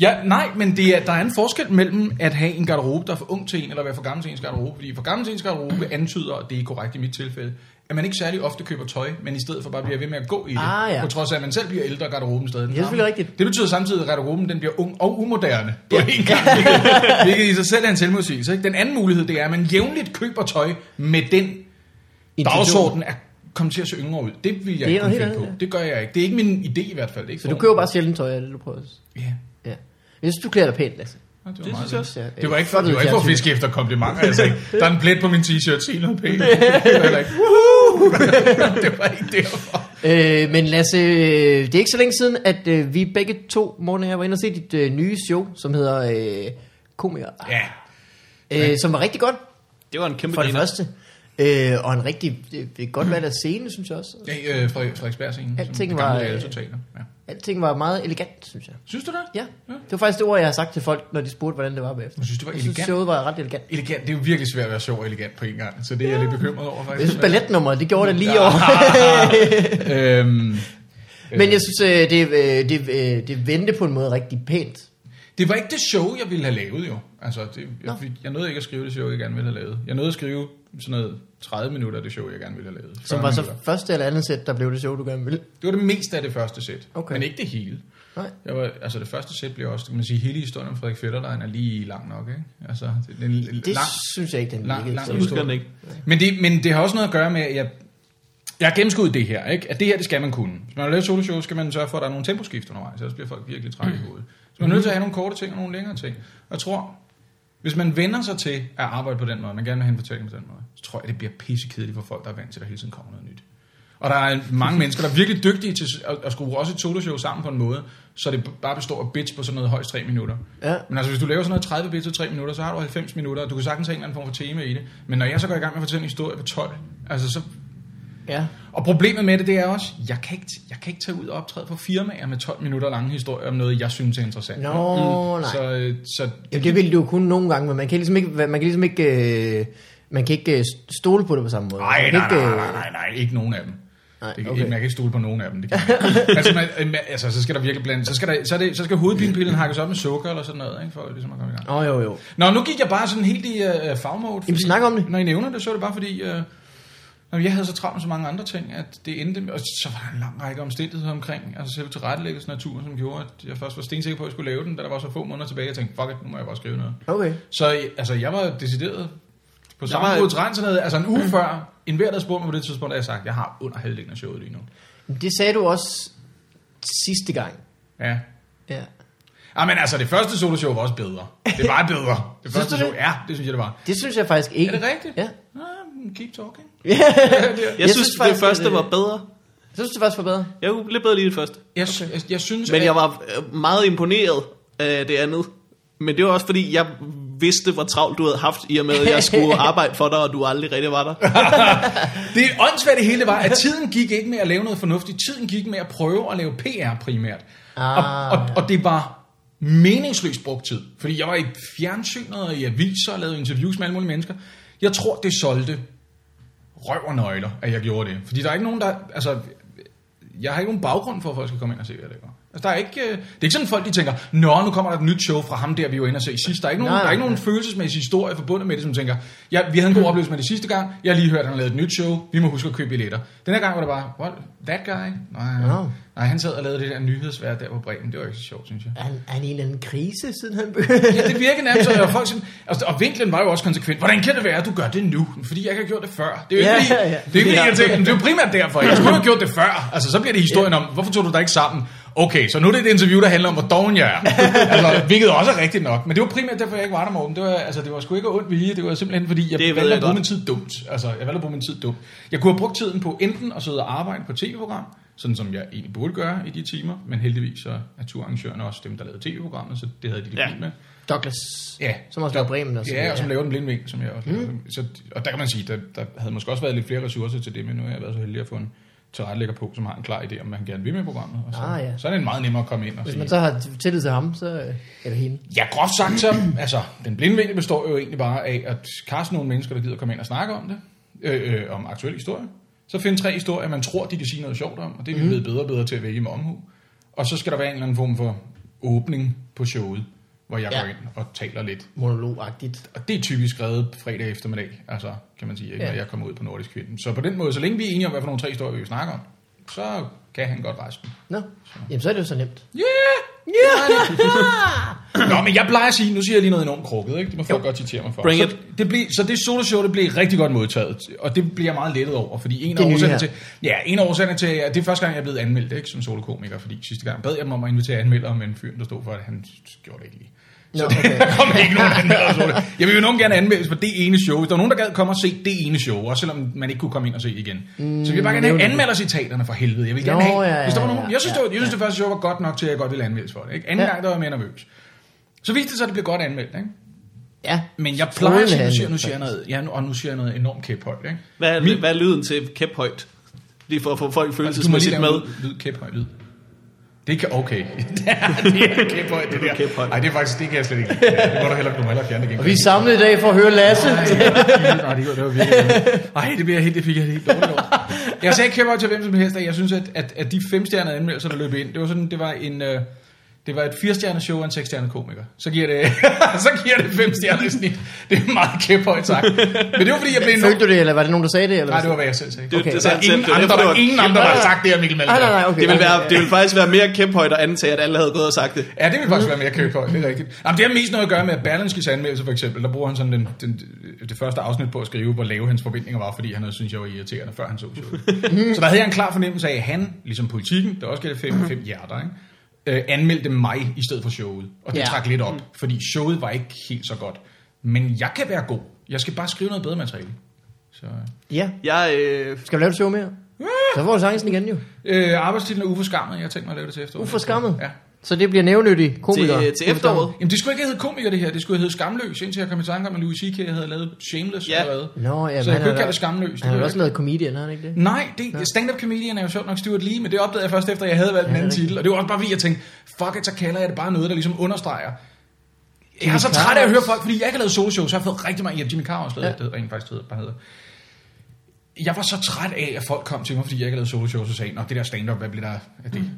S2: ja, nej, men det er, der er en forskel mellem at have en garderobe, der er for ung til en, eller være for gammel til ens garderobe. Fordi for gammel til ens garderobe antyder, og det er korrekt i mit tilfælde, at man ikke særlig ofte køber tøj, men i stedet for bare bliver ved med at gå i det.
S3: Ah, ja.
S2: På trods af, at man selv bliver ældre, og garderoben stadig er den
S3: Ja, selvfølgelig
S2: samme.
S3: rigtigt.
S2: Det betyder samtidig, at garderoben den bliver ung og umoderne på en gang. Hvilket i sig selv er en selvmodsigelse. Ikke? Den anden mulighed, det er, at man jævnligt køber tøj med den
S3: Intention.
S2: dagsorden at komme til at se yngre ud. Det vil jeg
S3: Det er
S2: ikke kunne
S3: noget
S2: finde
S3: helt
S2: på.
S3: andet, ja.
S2: Det gør jeg ikke. Det er ikke min idé i hvert fald. Det er Ikke
S3: Så du
S2: formen.
S3: køber bare sjældent tøj, er det du prøver?
S2: Ja.
S3: Ja. Jeg synes, du klæder dig pænt, Lasse.
S2: Ja, det, var
S1: Det
S2: meget
S1: synes jeg også.
S3: Ja,
S2: det var ikke for,
S3: flot
S2: det var ikke for at
S3: fjernsyn.
S2: fiske efter komplimenter. Jeg sagde, der er en plet på min t-shirt, se noget pænt. Det var heller ikke, "Woohoo!" det var ikke derfor.
S3: Øh, men Lasse, øh, det er ikke så længe siden, at øh, vi begge to, Morten og jeg, var inde og se dit øh, nye show, som hedder øh, Komiker,
S2: Ja,
S3: øh, som var rigtig godt
S1: Det var en kæmpe
S3: for det
S1: griner.
S3: første. Øh, og en rigtig øh, godt valg af scene, synes jeg også.
S2: det er øh, Frederik- Frederiksberg-scenen.
S3: Alting
S2: Alting
S3: var,
S2: var...
S3: øh,
S2: Det gamle ja.
S3: Alting var meget elegant, synes jeg.
S2: Synes du det?
S3: Ja,
S2: Ja.
S3: det var faktisk det ord, jeg har sagt til folk, når de spurgte, hvordan det var bagefter.
S2: Jeg synes, det var
S3: Jeg synes,
S2: elegant.
S3: showet var ret elegant.
S2: Elegant, det er jo virkelig svært at være sjov og elegant på en gang, så det er jeg lidt bekymret over faktisk.
S3: Jeg synes, balletnummeret, det gjorde det lige
S2: Ja.
S3: over.
S2: øhm,
S3: men jeg synes, øh, det, øh, det, øh, det vendte på en måde rigtig pænt.
S2: det var ikke det show, jeg ville have lavet jo. Altså, det,
S3: Nå.
S2: jeg, fik- jeg nåede ikke at skrive det show, jeg gerne ville have lavet. Jeg nåede at skrive sådan noget 30 minutter af det show, jeg gerne ville have lavet. 40
S3: Som var så
S2: minutter.
S3: første eller andet sæt, der blev det show, du gerne ville.
S2: Det var det meste af det første sæt,
S3: Okay.
S2: okay. men ikke det hele.
S3: Nej.
S2: Jeg var, altså det første sæt blev også, kan man sige, hele historien om Frederik Fetterlein er lige lang nok, ikke? Altså, det er en
S3: Det
S2: lang,
S3: synes jeg ikke, den
S2: lang-
S3: virkede.
S2: lang
S3: så-
S1: Jeg husker den ikke.
S2: Men det, men det har også noget at gøre med, at jeg, jeg har gennemskuddet det her, ikke? at det her, det skal man kunne. Hvis man har lavet soloshow, skal man sørge for, at der er nogle temposkift undervejs, ellers bliver folk virkelig trætte i hovedet. Så man er nødt til at have nogle korte ting og nogle længere ting. Og jeg tror, hvis man vender sig til at arbejde på den måde, man gerne vil have en fortælling på den måde, så tror jeg, det bliver pissekedeligt for folk, der er vant til, at der hele tiden kommer noget nyt. Og der er mange mennesker, der er virkelig dygtige til at, at skrue også et soloshow sammen på en måde, så det bare består af bits på sådan noget højst 3 minutter.
S3: Ja.
S2: Men altså, hvis du laver sådan noget 30 bits og 3 minutter, så har du 90 minutter, og du kan sagtens have en eller anden form for tema i det. Men når jeg så går i gang med at fortælle en historie på 12, altså så...
S3: Ja.
S2: Og problemet med det, det er også, jeg kan ikke, jeg kan ikke tage ud og optræde på firmaer med 12 minutter lange historier om noget, jeg synes er interessant.
S3: Nå,
S2: Mm.
S3: nej.
S2: Så, øh, så
S3: Jamen, det ville du jo kunne nogle gange, men man kan ligesom ikke, man kan ligesom ikke, øh, man kan ikke øh, stole på det på samme måde.
S2: Ej,
S3: man kan
S2: nej, nej,
S3: ikke, øh,
S2: nej, nej, nej, ikke nogen af dem.
S3: Nej,
S2: det kan,
S3: okay.
S2: okay. Man kan ikke stole på nogen af dem. Det kan man. ikke. altså, man, øh, man- altså, så skal der virkelig blande. Så skal, der, så, er det, så skal hovedpinepillen hakkes op med sukker eller sådan noget, ikke, for ligesom at komme i gang.
S3: Åh, oh, jo, jo.
S2: Nå, nu gik jeg bare sådan helt i øh, fagmode. fordi-
S3: snak om det.
S2: Når I nævner det, så er det bare fordi, øh, når jeg havde så travlt med så mange andre ting, at det endte med, og så var der en lang række omstændigheder omkring, altså selve tilrettelæggelsen af turen, som gjorde, at jeg først var stensikker på, at jeg skulle lave den, da der var så få måneder tilbage, jeg tænkte, fuck it, nu må jeg bare skrive noget.
S3: Okay.
S2: Så øh, altså, jeg var decideret på samme
S1: var-
S2: måde trænsernede, altså en uge før, en hver, der spurgte mig på det tidspunkt, at jeg sagt, jeg har under halvdelen af showet lige nu.
S3: Det sagde du også sidste gang.
S2: Ja.
S3: Ja.
S2: Ah, men altså, det første soloshow var også bedre. Det var bedre. Det første
S3: du
S2: show,
S3: det?
S2: ja, det synes jeg, det var.
S3: Det synes jeg faktisk ikke.
S2: Er det rigtigt?
S3: Ja.
S2: Ah, keep talking.
S1: Jeg, jeg synes,
S3: synes
S1: det
S3: faktisk,
S1: første
S3: at, øh,
S1: var bedre.
S3: Jeg synes, det faktisk var bedre.
S1: Jeg kunne lidt bedre lide det første.
S2: Jeg, okay. jeg, jeg synes,
S1: Men
S2: at-
S1: jeg var øh, meget imponeret af det andet. Men det var også fordi, jeg vidste, hvor travlt du havde haft, i og med, at jeg skulle arbejde for dig, og du aldrig rigtig var der.
S2: Det åndssvagt det hele var, at tiden gik ikke med at lave noget fornuftigt. Tiden gik med at prøve at lave PR primært.
S3: Ah,
S2: og, og, og det var meningsløst brugt tid. Fordi jeg var i fjernsynet og i aviser og lavede interviews med alle mulige mennesker. Jeg tror, det solgte røv og nøgler, at jeg gjorde det. Fordi der er ikke nogen, der... Altså, jeg har ikke nogen baggrund for, at folk skal komme ind og se, hvad jeg laver. Altså, der er ikke, øh, det er ikke sådan, folk de tænker, nå, nu kommer der et nyt show fra ham der, vi var inde og se sidst. Der er ikke nogen,
S3: Nej,
S2: der er ikke
S3: nej,
S2: nogen følelsesmæssig historie forbundet med det, som tænker, ja, vi havde en god oplevelse med det sidste gang, jeg har lige hørt, at han lavede et nyt show, vi må huske at købe billetter. Den her gang var det bare, what, that guy? Nej,
S3: Nå.
S2: nej, han sad og lavede det der nyhedsvær der på Bremen, det var ikke så sjovt, synes jeg.
S3: Er han, er han i en eller anden krise, siden han begyndte?
S2: Ja, det virker nærmest, og, folk sådan, altså, og vinklen var jo også konsekvent. Hvordan kan det være, at du gør det nu? Fordi jeg ikke har gjort det før. Det er jo
S3: Ja,
S2: ikke,
S3: ja,
S2: ja,
S3: ja.
S2: ja. Det er ikke
S3: Ja.
S2: ja. Jeg tænkte, det er jo primært derfor. Jeg skulle have gjort det før. Altså, så bliver det historien om, hvorfor tog du dig ikke sammen? Okay, så nu er det et interview, der handler om, hvor doven jeg er. altså, hvilket også er rigtigt nok. Men det var primært derfor, jeg ikke var der, Morten. Det var, altså, det var sgu ikke af ond vilje. Det var simpelthen, fordi jeg
S1: Det ved
S2: valgte
S1: jeg
S2: at bruge
S1: godt.
S2: min tid dumt. Altså, jeg valgte at bruge min tid dumt. Jeg kunne have brugt tiden på enten at sidde og arbejde på et tv-program, sådan som jeg egentlig burde gøre i de timer, men heldigvis så er turarrangørerne også dem, der lavede tv-programmet, så det havde de det
S1: Ja.
S2: ja. med.
S3: Douglas.
S2: Ja,
S3: Som også lavede Bremen og sådan
S2: ja, og som
S3: noget,
S2: laver den blinde vinkel, som jeg også mm. så, Og der kan man sige, der, der havde måske også været lidt flere ressourcer til det, men nu har jeg været så heldig at få en tilrettelægger på, som har en klar idé om, hvad han gerne vil med programmet. Og så,
S3: Ah, ja.
S2: så er det meget nemmere at komme ind og
S3: Hvis
S2: sige,
S3: man så har tillid til ham, så øh, eller hende.
S2: Ja, groft sagt, så, altså, den blinde vinkel består jo egentlig bare af at kaste nogle mennesker, der gider komme ind og snakke om det, øh, øh, om aktuel historie. Så finde tre historier, man tror, de kan sige noget sjovt om, og det er vi
S3: Mm.
S2: blevet bedre og bedre til at vælge med omhu. Og så skal der være en eller anden form for åbning på showet, hvor jeg
S3: Ja.
S2: ja. går ind og taler lidt.
S3: Monologagtigt.
S2: Og det er typisk skrevet fredag eftermiddag, altså, kan man sige, ikke,
S3: Ja.
S2: når jeg kommer ud på Nordisk Kvinden. Så på den måde, så længe vi er enige om, hvad for nogle tre historier vi vil snakke om, så kan han godt resten.
S3: Nå, jamen så er det jo så nemt.
S2: Yeah! Yeah! Nå, men jeg plejer at sige, nu siger jeg lige noget enormt krukket, ikke? Det må folk godt citere mig for.
S1: Bring
S2: så,
S1: it.
S2: det blev, så det soloshow, det blev rigtig godt modtaget, og det bliver jeg meget lettet over, fordi en af
S3: Det nye
S2: årsagerne
S3: her.
S2: til, ja, en af årsagerne til, at det er første gang, jeg er blevet anmeldt, ikke, som solokomiker, fordi sidste gang bad jeg dem om at invitere anmeldere, men fyren, der stod for det, han gjorde det ikke lige. Så
S3: Nå,
S2: det,
S3: okay.
S2: der kom ikke nogen anmeldere. så det- Jeg vil jo nogen gerne anmeldes på det ene show. Hvis der var nogen, der gad komme og se det ene show, også selvom man ikke kunne komme ind og se igen. Mm, så vi vil bare gerne
S3: det
S2: have
S3: er jo det.
S2: anmeldercitaterne for helvede. Jeg vil
S3: Nå,
S2: gerne have,
S3: ja, ja,
S2: hvis der var nogen,
S3: ja,
S2: jeg synes,
S3: ja.
S2: det var, jeg synes, det første show var godt nok til, at jeg godt ville anmeldes for det. Ikke? Anden
S3: Ja.
S2: ja. gang, der var jeg mere nervøs. Så viste det sig, at det blev godt anmeldt. Ikke?
S3: Ja.
S2: Men jeg plejer at sige, nu
S3: Strålende
S2: siger, jeg- nu siger jeg
S3: anmeldt,
S2: noget, ja, nu, og nu siger jeg noget enormt kæphøjt. Ikke?
S1: Hvad er,
S2: Min- Altså,
S1: hvad er lyden til kæphøjt? Lige for at få folk
S2: Du må lige
S1: følelsesmæssigt
S2: lave
S1: med.
S2: med. lyd, kæphøjt lyd. Det kan, okay. det er kæphøjt, det der.
S1: Kæphøjt.
S2: Nej, det er faktisk, det kan jeg slet ikke. lide. Det må du heller, du må hellere fjerne det igen.
S3: Og vi er samlet i dag for at høre Lasse.
S2: Nej, det var, det var virkelig Nej, det, bliver jeg helt, det fik jeg helt dårligt over. Jeg sagde kæmper til hvem som helst, og jeg synes, at, at, at de femstjernede anmeldelser, der løb ind, det var sådan, det var en... Øh, det var et firestjernet show og en seksstjernet komiker. Så giver det, så giver det fem stjerner i snit. Det er meget kæphøjt sagt. Men det var fordi, jeg blev enormt...
S3: Følte du det, eller var det nogen, der sagde det? Eller
S2: Nej,
S3: hvad?
S2: det var, hvad jeg selv sagde.
S1: Det,
S3: Okay.
S1: det,
S2: Der
S1: sagde
S2: er
S1: han selv.
S2: ingen
S1: det, var
S2: andre,
S1: derfor, det,
S2: der, er
S1: var,
S2: ingen andre, der har sagt det her, Mikkel Malmberg.
S3: Ah, Nej, nej, nej, okay.
S1: det, ville
S3: okay,
S1: være, det ville faktisk være mere kæphøjt at antage, at alle havde gået og sagt det.
S2: Ja, det vil faktisk være mere købhøj, det er rigtigt. Jamen, det har mest noget at gøre med Berlinskis anmeldelse, for eksempel. Der bruger han sådan den, den, det første afsnit på at skrive, hvor lave hans forventninger var, fordi han havde syntes, jeg var irriterende, før han så showet. så der havde jeg en klar fornemmelse af, at han, ligesom politikken, der også gælder fem, fem hjerter, ikke? Øh, anmeldte mig i stedet for showet. Og det
S3: Ja. Mm.
S2: ja. trak lidt op, fordi showet var ikke helt så godt. Men jeg kan være god. Jeg skal bare skrive noget bedre materiale. Så,
S3: Ja.
S1: Jeg, øh,
S3: Skal vi lave et show mere? Så får du chancen igen jo.
S2: øh, arbejdstitlen er uforskammet. Jeg tænker mig at lave det til efteråret.
S3: Uforskammet?
S2: Ja.
S3: Så det bliver nævnyttig
S1: til,
S2: øh,
S3: komiker.
S1: til efteråret,
S2: Jamen, det skulle ikke hedde komiker, det her. Det skulle hedde skamløs, indtil jeg kom i tanke om, at Louis C.K. havde lavet Shameless
S1: Ja.
S2: ja. allerede.
S3: Nå, ja,
S2: så jeg kunne ikke kalde det skamløs.
S3: Han
S2: det
S3: har
S2: ved
S3: også
S2: jeg
S3: lavet comedian, har han ikke det?
S2: ikke. Nej, det, stand-up comedian er jo sjovt nok Stuart Lee, men det opdagede jeg først efter, at jeg havde valgt
S3: Ja,
S2: en
S3: det er
S2: anden
S3: rigtigt.
S2: titel. Og det var også bare fordi, jeg tænkte, fuck it, så kalder jeg det bare noget, der ligesom understreger. Jeg er
S3: Jimmy
S2: så
S3: Carr
S2: træt af at høre
S3: også.
S2: folk, fordi jeg ikke har lavet soloshow, så jeg har fået rigtig mange... Ja, Jimmy Carr har også lavet, ja. det rent faktisk det hedder, bare hedder. jeg var så træt af, at folk kom til mig, fordi jeg ikke havde lavet soloshows, og sagde, Nå, det der stand-up, hvad blev der af det? Mm.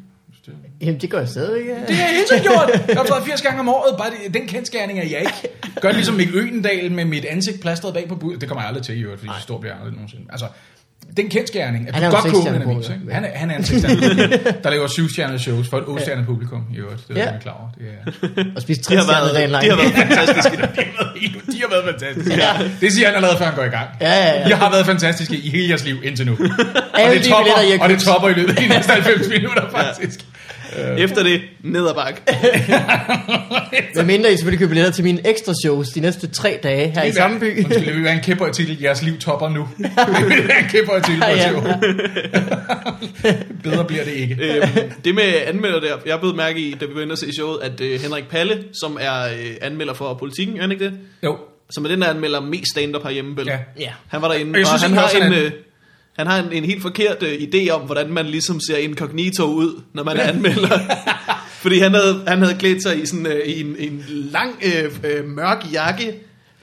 S3: Jamen, det gør jeg stadigvæk. Ja.
S2: Det har jeg hele tiden gjort. Jeg har optrådt 80 gange om året. Bare det, den kendskærning er jeg ikke. Gør ligesom Mikkel Øgendal med mit ansigt plastret bag på budet. Det kommer jeg aldrig til i øvrigt, fordi så stor bliver jeg aldrig nogensinde. Altså, den kendskærning, at
S3: Han
S2: du
S3: er jo
S2: godt kunne
S3: seksstjernet
S2: en avis,
S3: på,
S2: ikke?
S3: ja.
S2: Han er, han er en sekstjernet, der laver syvstjernet shows for et otstjernet publikum i øvrigt. Det er
S3: Ja.
S2: ja. jeg klar over. Det er,
S3: Og spise
S1: De
S3: tre
S1: har
S3: stjerner dagen
S1: været,
S3: lang.
S1: de har været fantastiske.
S2: de har været fantastiske. Ja. Det siger han allerede, før han går i gang.
S3: Ja, ja, ja.
S2: Jeg har været fantastiske i hele jeres liv indtil nu. og,
S3: Alle
S2: det
S3: de
S2: topper,
S3: billetter, I har
S2: og det
S3: købt.
S2: topper i løbet af de næste 90 minutter, faktisk.
S1: Efter det, ned ad bakke.
S3: Hvad mindre I selvfølgelig køber billetter til mine ekstra shows de næste tre dage her i
S2: Det vil være-
S3: samme by.
S2: Undskyld, det vil være en kæmper titel. Jeres liv topper nu. det vil være en kæmper titel.
S3: Ja, ja.
S2: Bedre bliver det ikke.
S1: øhm, det med anmelder der, jeg blev mærke i, da vi var inde og se showet, at øh, Henrik Palle, som er øh, anmelder for politikken, er han ikke det?
S2: Jo.
S1: Som er den, der anmelder mest stand-up herhjemme, vel?
S2: Ja.
S3: Ja.
S1: Han var derinde,
S2: Og jeg
S1: og,
S2: synes
S1: han,
S2: egentlig
S1: har
S2: også,
S1: en,
S2: han er-
S1: øh, han har en, en helt forkert øh, idé om, hvordan man ligesom ser incognito ud, når man er anmelder. Fordi han havde, han havde klædt sig i, sådan, øh, i en, en lang, øh, øh, mørk jakke.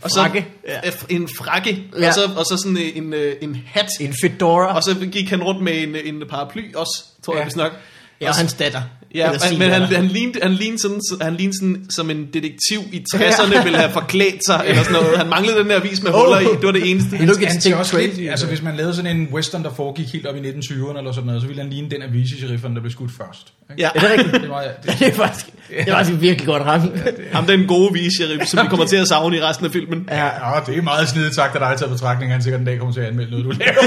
S1: Og så,
S3: Frakke.
S1: Øh, en frakke. Ja.
S3: Ja.
S1: Og, så, og så sådan øh, en, øh, en hat.
S3: En fedora.
S1: Og så gik han rundt med en, øh, en paraply også, tror ja.
S2: Ja.
S1: jeg vist nok.
S3: Ja, og hans datter.
S1: Ja,
S3: Eller
S1: men,
S3: sin
S1: men han,
S3: datter.
S1: han, lignede, han, lignede sådan, han lignede sådan, som en detektiv i 60'erne ville have forklædt sig, eller sådan noget. Han manglede den der avis med huller i, det var det eneste.
S3: You look at
S2: Han ser
S3: Sting
S2: også
S3: Crazy.
S2: lidt, altså hvis man lavede sådan en western, der foregik helt op i 1920'erne eller sådan noget, så ville han ligne den avisescherifferen, der blev skudt først. Ikke?
S1: Ja,
S3: Er det rigtigt?
S2: Det er meget, det,
S3: Ja, det er faktisk, det er faktisk virkelig godt ramt.
S1: ham den gode vise, som vi kommer til at savne i resten af filmen.
S3: Ja.
S2: ja, det er meget snedigt sagt af dig til betragtning, at han sikkert en dag kommer til at anmelde noget, du laver.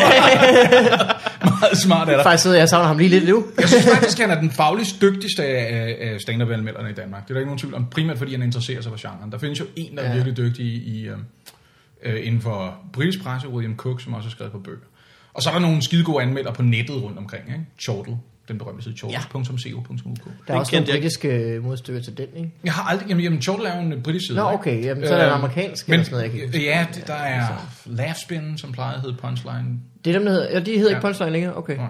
S2: meget smart af dig.
S3: Faktisk sidder jeg og savner ham lige lidt nu.
S2: Jeg synes faktisk, han er den fagligst dygtigste af, af- af stand-up-anmelderne i Danmark. Det er der ikke nogen tvivl om. Primært fordi han interesserer sig for genren. Der findes jo en, der er
S3: Ja.
S2: virkelig dygtig i, øh, øh, inden for britisk presse, William Cook, som også har skrevet på bøger. Og så er der nogle skide gode anmelder på nettet rundt omkring. Ikke? Chortle, den berømte side, chortle.co.uk.
S3: Der er
S1: Den
S3: også nogle
S1: kendte jeg ikke.
S3: britiske øh, modstykker til den, ikke?
S2: Jeg har aldrig... Jamen, jamen Chortle er jo en britisk side.
S3: Nå,
S2: ikke? Øhm,
S3: okay, jamen, så er der en amerikansk eller sådan noget, jeg kan ikke Altså.
S2: men, Ja, det- der er Laughspin, som plejede at hedde Punchline.
S3: Det er dem, der hedder... Ja, de hedder ikke
S2: Ja.
S3: Punchline længere. Okay.
S2: Nå.